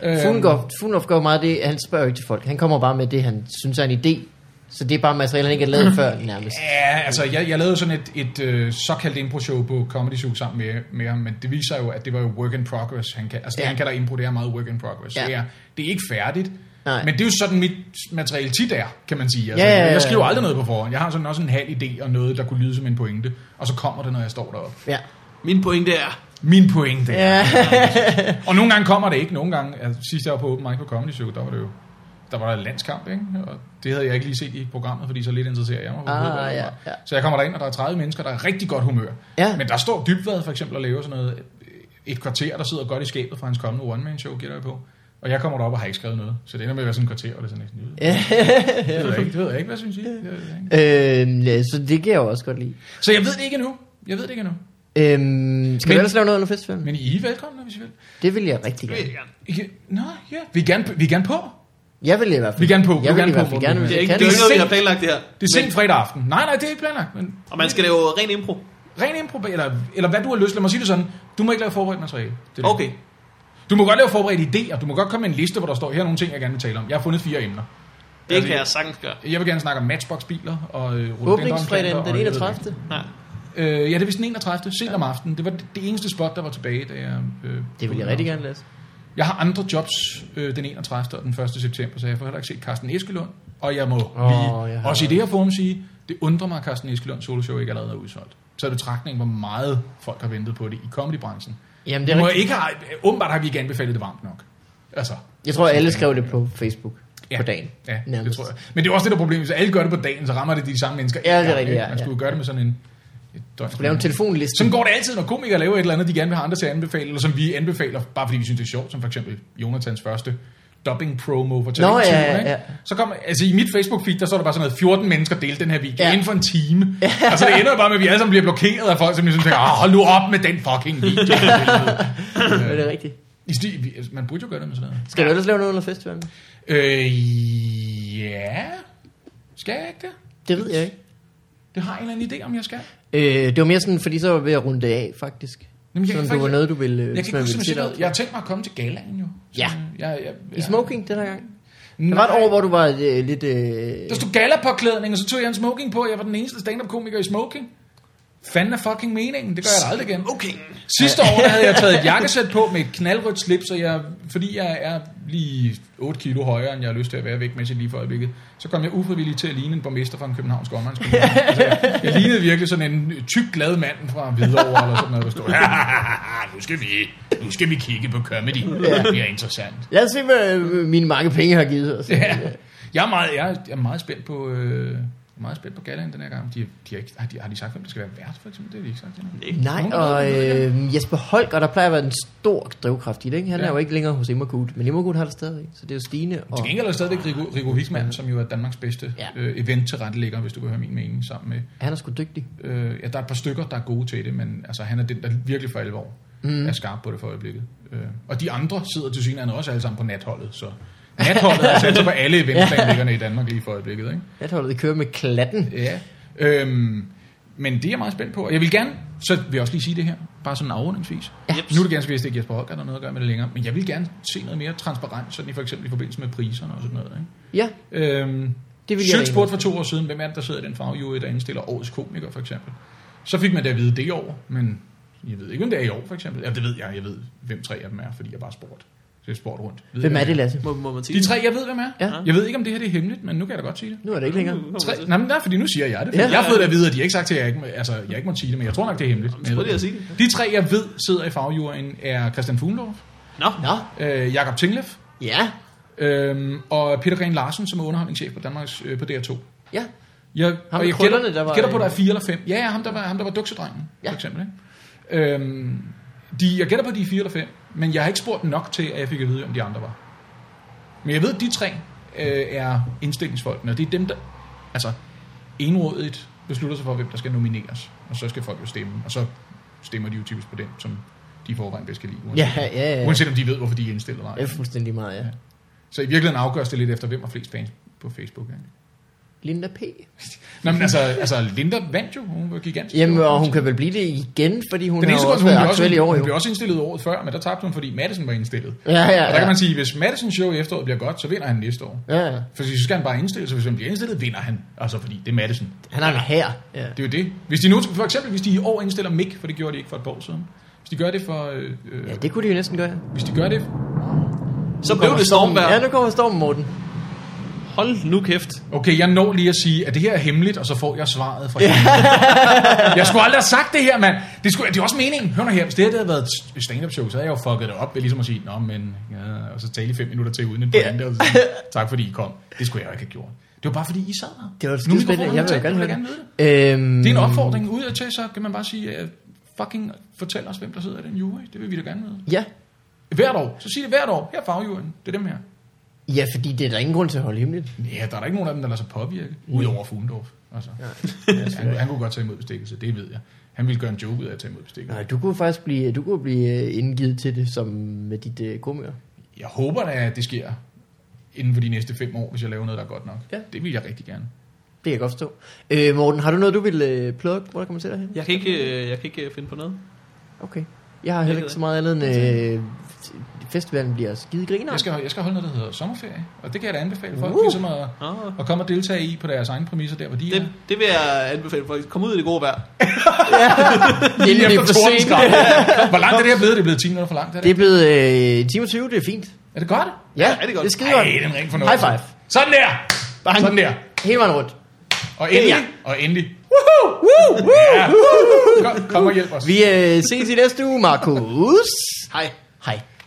S2: Øhm,
S3: Fuglendorf, Fuglendorf gør meget det, han spørger jo ikke til folk. Han kommer bare med det, han synes er en idé. Så det er bare materiale, han ikke har lavet før nærmest.
S2: Ja, altså jeg, jeg lavede sådan et, et øh, såkaldt impro-show på Comedy Zoo sammen med, med ham, men det viser jo, at det var jo work in progress. Han kan, altså det,
S3: Ja.
S2: han kalder impro, det er meget work in progress.
S3: Ja.
S2: Ja. Det, er, det er ikke færdigt,
S3: Nej.
S2: men det er jo sådan mit materiale tit er, kan man sige. Altså,
S3: Ja, ja, ja,
S2: Jeg skriver
S3: ja.
S2: aldrig noget på forhånd. Jeg har sådan også en halv idé og noget, der kunne lyde som en pointe, og så kommer det, når jeg står deroppe.
S3: Ja.
S1: Min pointe er,
S2: Min pointe er.
S3: ja.
S2: Og nogle gange kommer det ikke, nogle gange. Altså, sidst jeg var på Open Mic på Comedy Show, der var det jo der var landskamp, ikke? og det havde jeg ikke lige set i programmet, fordi så lidt interesserer jeg mig. for
S3: Ah,
S2: fodbold,
S3: ja,
S2: åbenbart.
S3: ja.
S2: Så jeg kommer derind, og der er 30 mennesker, der er rigtig godt humør.
S3: Ja.
S2: Men der står Dybvad for eksempel og laver sådan noget, øh, et kvarter, der sidder godt i skabet fra hans kommende one-man-show, gætter jeg på. Og jeg kommer derop og har ikke skrevet noget. Så det ender med at være sådan et kvarter, og det er sådan lidt, "Øh, det ved jeg ikke, det ved jeg ikke, hvad jeg synes I? Det ved jeg ikke.
S3: øhm, ja, så det kan jeg jo også godt lide.
S2: Så jeg ved det ikke endnu. Jeg ved det ikke endnu.
S3: Øhm, skal
S2: Men-
S3: vi ellers lave noget under festivalen?
S2: Men I er velkomne, hvis I vil.
S3: Det vil jeg rigtig gerne.
S2: I kan... Nå, ja. Vi er gerne, vi er gerne på.
S3: Jeg vil i hvert fald.
S2: Vi er gerne på, vi er
S3: Jeg vil
S2: gerne
S3: i hvert
S2: på,
S3: fald
S2: Morten.
S3: gerne. hvis
S1: Det er
S3: jeg
S1: ikke,
S3: kan.
S1: det er jo ikke noget, vi har
S2: sent.
S1: planlagt det her.
S2: Det er sent fredag aften. Nej, nej, det er ikke planlagt. Men
S1: Og man skal lave ren impro.
S2: ren impro, eller, eller hvad du har lyst. Lad mig sige det sådan. Du må ikke lave forberedt materiale. Det er det.
S1: Okay.
S2: Du må godt lave forberedt idéer. Du må godt komme med en liste, hvor der står, her er nogle ting, jeg gerne vil tale om. Jeg har fundet fire emner.
S1: Det kan jeg sagtens gøre.
S2: Jeg vil gerne snakke om Matchbox-biler og øh, rhododendronplanter
S3: Åbningsfredagen
S2: og
S3: den
S2: jeg ved det
S3: 31.
S1: Nej.
S2: ikke. Øh, ja, det er vist den 31. Sent om aftenen. Det var det, det eneste spot, der var tilbage, da jeg... Øh,
S3: Det vil jeg rigtig gerne læse.
S2: Jeg har andre jobs øh, den 31. og den 1. september, så jeg får heller ikke set Carsten Eskelund. Og jeg må oh, lige,
S3: jeg
S2: jeg
S3: har-
S2: også i det her forum sige, det undrer mig, at Carsten Eskelunds soloshow ikke allerede er udsolgt. Så er det betragtning, hvor meget folk har ventet på det i comedybranchen.
S3: Jamen, det
S2: Det
S3: er
S2: må
S3: rigtigt.
S2: ikke have, åbenbart har vi ikke anbefalet det varmt nok. Altså,
S3: Jeg tror, alle skrev det på Facebook på dagen.
S2: Ja, det
S3: nærmest.
S2: tror jeg. Men det er også det der problem, hvis alle gør det på dagen, så rammer det de samme mennesker.
S3: Ja, det er
S2: én gang,
S3: rigtigt,
S2: ikke?
S3: ja,
S2: Man skulle
S3: ja.
S2: jo gøre det med sådan en... et døgn.
S3: Du lave en telefonliste.
S2: Sådan går det altid, når komikere laver et eller andet, de gerne vil have andre til at anbefale, eller som vi anbefaler, bare fordi vi synes, det er sjovt, som for eksempel Jonathans første dubbing-promo for
S3: Nå,
S2: Talent
S3: ja,
S2: ikke?
S3: ja.
S2: Så kom, altså i mit Facebook-feed, der står der bare sådan noget, 14 mennesker delte den her video
S3: Ja.
S2: ja. inden for en time. Ja. Altså det ender jo bare med, at vi alle sammen bliver blokeret af folk, som ligesom tænker, "Ah, hold nu op med den fucking video.
S3: Ja, det er rigtigt.
S2: I sti- vi- altså, Man burde jo gøre det med sådan noget.
S3: Skal du ellers lave noget under festivalen?
S2: Øh, ja. Skal jeg ikke det?
S3: Det ved jeg ikke.
S2: Det har jeg en eller anden idé om, jeg skal.
S3: Øh, det var mere sådan, fordi så var jeg ved at runde det af, faktisk.
S2: Jamen,
S3: Jamen,
S2: jeg
S3: sådan,
S2: kan
S3: det var
S2: faktisk-
S3: noget, du ville... øh,
S2: Jeg
S3: hvis
S2: kan
S3: man
S2: ikke huske,
S3: ville
S2: om jeg siger
S3: sætte op.
S2: noget. Jeg har tænkt mig at komme til galaen jo. Så,
S3: Ja.
S2: øh, Jeg, jeg, jeg,
S3: I smoking den her gang.
S2: Nej,
S3: Der var et år, hvor du var øh, lidt... Øh,
S2: Der stod galapåklædning, og så tog jeg en smoking på. Jeg var den eneste stand-up-komiker i smoking. Fanden er fucking meningen. Det gør jeg da aldrig igen.
S1: Okay.
S2: Sidste år der havde jeg taget et jakkesæt på med et knaldrødt slips, og jeg, fordi jeg er lige 8 kilo højere, end jeg har lyst til at være vægtmæssigt lige for øjeblikket, så kom jeg ufrivilligt til at ligne en borgmester fra en københavnsk omgangskommune. Altså, jeg, jeg lignede virkelig sådan en tyk, glad mand fra Hvidovre, eller sådan noget, der stod. nu skal vi, nu skal vi kigge på comedy. Det bliver interessant.
S3: Lad os se, hvad øh, mine mange penge har givet os.
S2: Ja. Jeg er meget, jeg er, jeg er meget spændt på... Øh, jeg er meget spændt på galaen den her gang. De, de har, ikke, har, de, har de sagt, hvem der skal være vært, for eksempel? Det har de ikke sagt. endnu.
S3: Nej, og øh, Jesper Holger, der plejer at være en stor drivkraft i det, ikke? Han ja.
S2: Ja.
S3: er jo ikke længere hos Immergut, men Immergut har det stadig, så det er jo Stine. Og...
S2: Til gengæld er der stadigvæk Rico, Rico Wigman, som jo er Danmarks bedste
S3: Ja.
S2: ja. øh, event tilrettelægger, hvis du vil høre min mening sammen med.
S3: Han er sgu dygtig.
S2: Øh, ja, der er et par stykker, der er gode til det, men altså, han er den, der virkelig for alvor mm. er skarp på det for øjeblikket. Øh, og de andre sidder til synligheden også alle sammen på natholdet, så natholdet er sat på alle eventplanlæggerne i Danmark lige for øjeblikket. Ikke?
S3: Natholdet kører med klatten.
S2: Ja. Øhm, men det er jeg meget spændt på. Og Jeg vil gerne, så vil jeg også lige sige det her, bare sådan afrundingsvis.
S3: Ja.
S1: Jeps.
S2: Nu er det ganske vist ikke Jesper Holger, der har noget at gøre med det længere, men jeg vil gerne se noget mere transparent, sådan i for eksempel i forbindelse med priserne og sådan noget.
S3: Ja,
S2: Ikke? Øhm,
S3: Det vil jeg
S2: Sjøl
S3: da
S2: spurgte for to år siden, hvem er det, der sidder i den fagjury, der indstiller årets komiker for eksempel. Så fik man det at vide det år, men jeg ved ikke, om det er i år for eksempel. Ja, det ved jeg. Jeg ved, hvem tre af dem er, fordi jeg bare spurgte. Så jeg spurgte rundt. Ved
S3: hvem
S2: jeg,
S3: er det, Lasse?
S1: Må, må man sige
S2: De tre, jeg ved, hvem er.
S3: Ja.
S2: Jeg ved ikke, om det her det er hemmeligt, men nu kan jeg da godt sige det.
S3: Nu er det ikke længere.
S2: Tre,
S1: Tre.
S2: nej, men nej, fordi nu siger jeg det. Ja.
S3: Ja.
S2: Jeg har fået det at vide, at de har ikke sagt til, at jeg ikke, må- altså, jeg ikke må sige det, men jeg tror nok, det er hemmeligt.
S1: Jamen, så prøv lige at sige det.
S2: De tre, jeg ved, sidder i fagjuryen, er Christian Fuglendorf,
S1: Nå.
S3: Nå,
S2: øh, Jakob Tinglev
S3: ja,
S2: øh, og Peter Gren Larsen, som er underholdningschef på Danmarks øh, på DR2.
S3: ja.
S2: Jeg,
S3: Ham
S2: og jeg
S3: med
S2: gætter,
S3: krøllerne, der var-
S2: jeg gætter på, at der er fire eller fem. Ja, ja ham der var, ham, der var duksedrengen,
S3: Ja.
S2: for eksempel. Ikke? Øhm, de, jeg gætter på, at de er fire eller fem, men jeg har ikke spurgt nok til, at jeg fik at vide, om de andre var. Men jeg ved, at de tre øh, er indstillingsfolkene, og det er dem, der altså, enrådigt beslutter sig for, hvem der skal nomineres. Og så skal folk jo stemme, og så stemmer de jo typisk på den, som de i forvejen bedst kan lide.
S3: Ja,
S2: Uanset,
S3: ja, ja.
S2: uanset om de ved, hvorfor de er indstillet eller
S3: Det er
S2: ej.
S3: fuldstændig meget, ja.
S2: Så i virkeligheden afgøres det lidt efter, hvem har flest fans på Facebook. Ikke?
S3: Linda P.
S2: Nå, men altså, altså Linda vandt jo, hun var gigantisk.
S3: Jamen, og hun kan vel blive det igen, fordi hun
S2: den
S3: har
S2: eneste
S3: jo
S2: grund,
S3: også
S2: hun,
S3: været
S2: blev
S3: aktuel i
S2: også,
S3: år,
S2: hun blev
S3: jo.
S2: også indstillet året før, men der tabte hun, fordi Madison var indstillet.
S3: Ja, ja,
S2: Og der
S3: ja.
S2: kan man sige, hvis Madison show i efteråret bliver godt, så vinder han næste år.
S3: Ja, ja.
S2: Fordi så skal han bare indstille, så hvis han bliver indstillet, vinder han. Altså fordi det er Madison.
S3: Han har en her. Ja.
S2: Det er jo det. Hvis de nu, for eksempel hvis de i år indstiller Mick, for det gjorde de ikke for et par år siden. Hvis de gør det for... Øh, øh,
S3: ja, det kunne de jo næsten gøre.
S2: Hvis de gør det...
S1: Så blev det stormvær.
S3: Ja, nu kommer stormen, Morten.
S1: Hold nu kæft.
S2: Okay, jeg når lige at sige, at det her er hemmeligt, og så får jeg svaret fra hende. jeg skulle aldrig have sagt det her, mand. Det, skulle, det er også meningen. Hør nu her, hvis det her det havde været et stand-up show, så havde jeg jo fucket det op ved ligesom at sige, Nå, men, ja, og så tale i fem minutter til uden en pointe, og så sige, tak fordi I kom. Det skulle jeg jo ikke have gjort. Det var bare fordi, I sad her.
S3: Det
S2: Nu
S3: var
S2: er
S3: skide spændende.
S2: mikrofonen
S3: Jeg vil
S2: tændt.
S3: gerne
S2: Du
S3: høre
S2: gerne
S3: det.
S2: vide det.
S3: Øhm,
S2: Det er en opfordring ud af til, så kan man bare sige, øh, fucking fortæl os, hvem der sidder i den jury. Det vil vi da gerne vide.
S3: Ja.
S2: Hvert år. Så sig det hvert år. Her er fagjuryen. Det er dem her.
S3: ja, fordi det er der ingen grund til at holde hemmeligt.
S2: Ja, der er der ikke nogen af dem, der lader sig påvirke. Udover Fugendorf. Altså. han, han kunne godt tage imod bestikkelse, det ved jeg. Han ville gøre en joke ud af at tage imod bestikkelse.
S3: Nej, du kunne faktisk blive, du kunne blive øh, indgivet til det som med dit øh, komiker.
S2: Jeg håber da, at det sker inden for de næste fem år, hvis jeg laver noget, der er godt nok.
S3: Ja.
S2: Det vil jeg rigtig gerne.
S3: Det kan jeg godt forstå. Øh, Morten, har du noget, du vil øh, plukke? Hvor kan man se dig hen?
S1: Jeg kan ikke, øh, jeg kan ikke øh, finde på noget.
S3: Okay. Jeg har heller ikke så meget andet end... Øh, festivalen bliver skide griner.
S2: Jeg skal, jeg skal holde noget, der hedder sommerferie, og det kan jeg da anbefale folk,
S3: Uh.
S2: ligesom at,
S1: Nå.
S2: at komme og deltage i på deres egne præmisser, der hvor de er.
S1: Det, det vil jeg anbefale folk. Kom ud i det gode vejr.
S3: Inden det er for sent.
S2: tordenskrab. Ja. Hvor langt er det her blevet? Det er blevet 10 minutter for langt. Er
S3: Det
S2: det,
S3: er blevet øh, time og 20, det er fint.
S2: er det godt?
S3: Ja,
S1: det er godt.
S3: det er skide godt.
S2: Ej, det er en rigtig
S3: High
S2: fornøjelse.
S3: five.
S2: Sådan der!
S3: Bang.
S2: Sådan der.
S3: Hele vejen rundt.
S2: Og endelig,
S3: Ja.
S2: og endelig.
S3: Woo, woo.
S2: Kom, kom og hjælp os.
S3: Vi øh, ses i næste uge, Markus.
S1: Hej.
S3: Hej.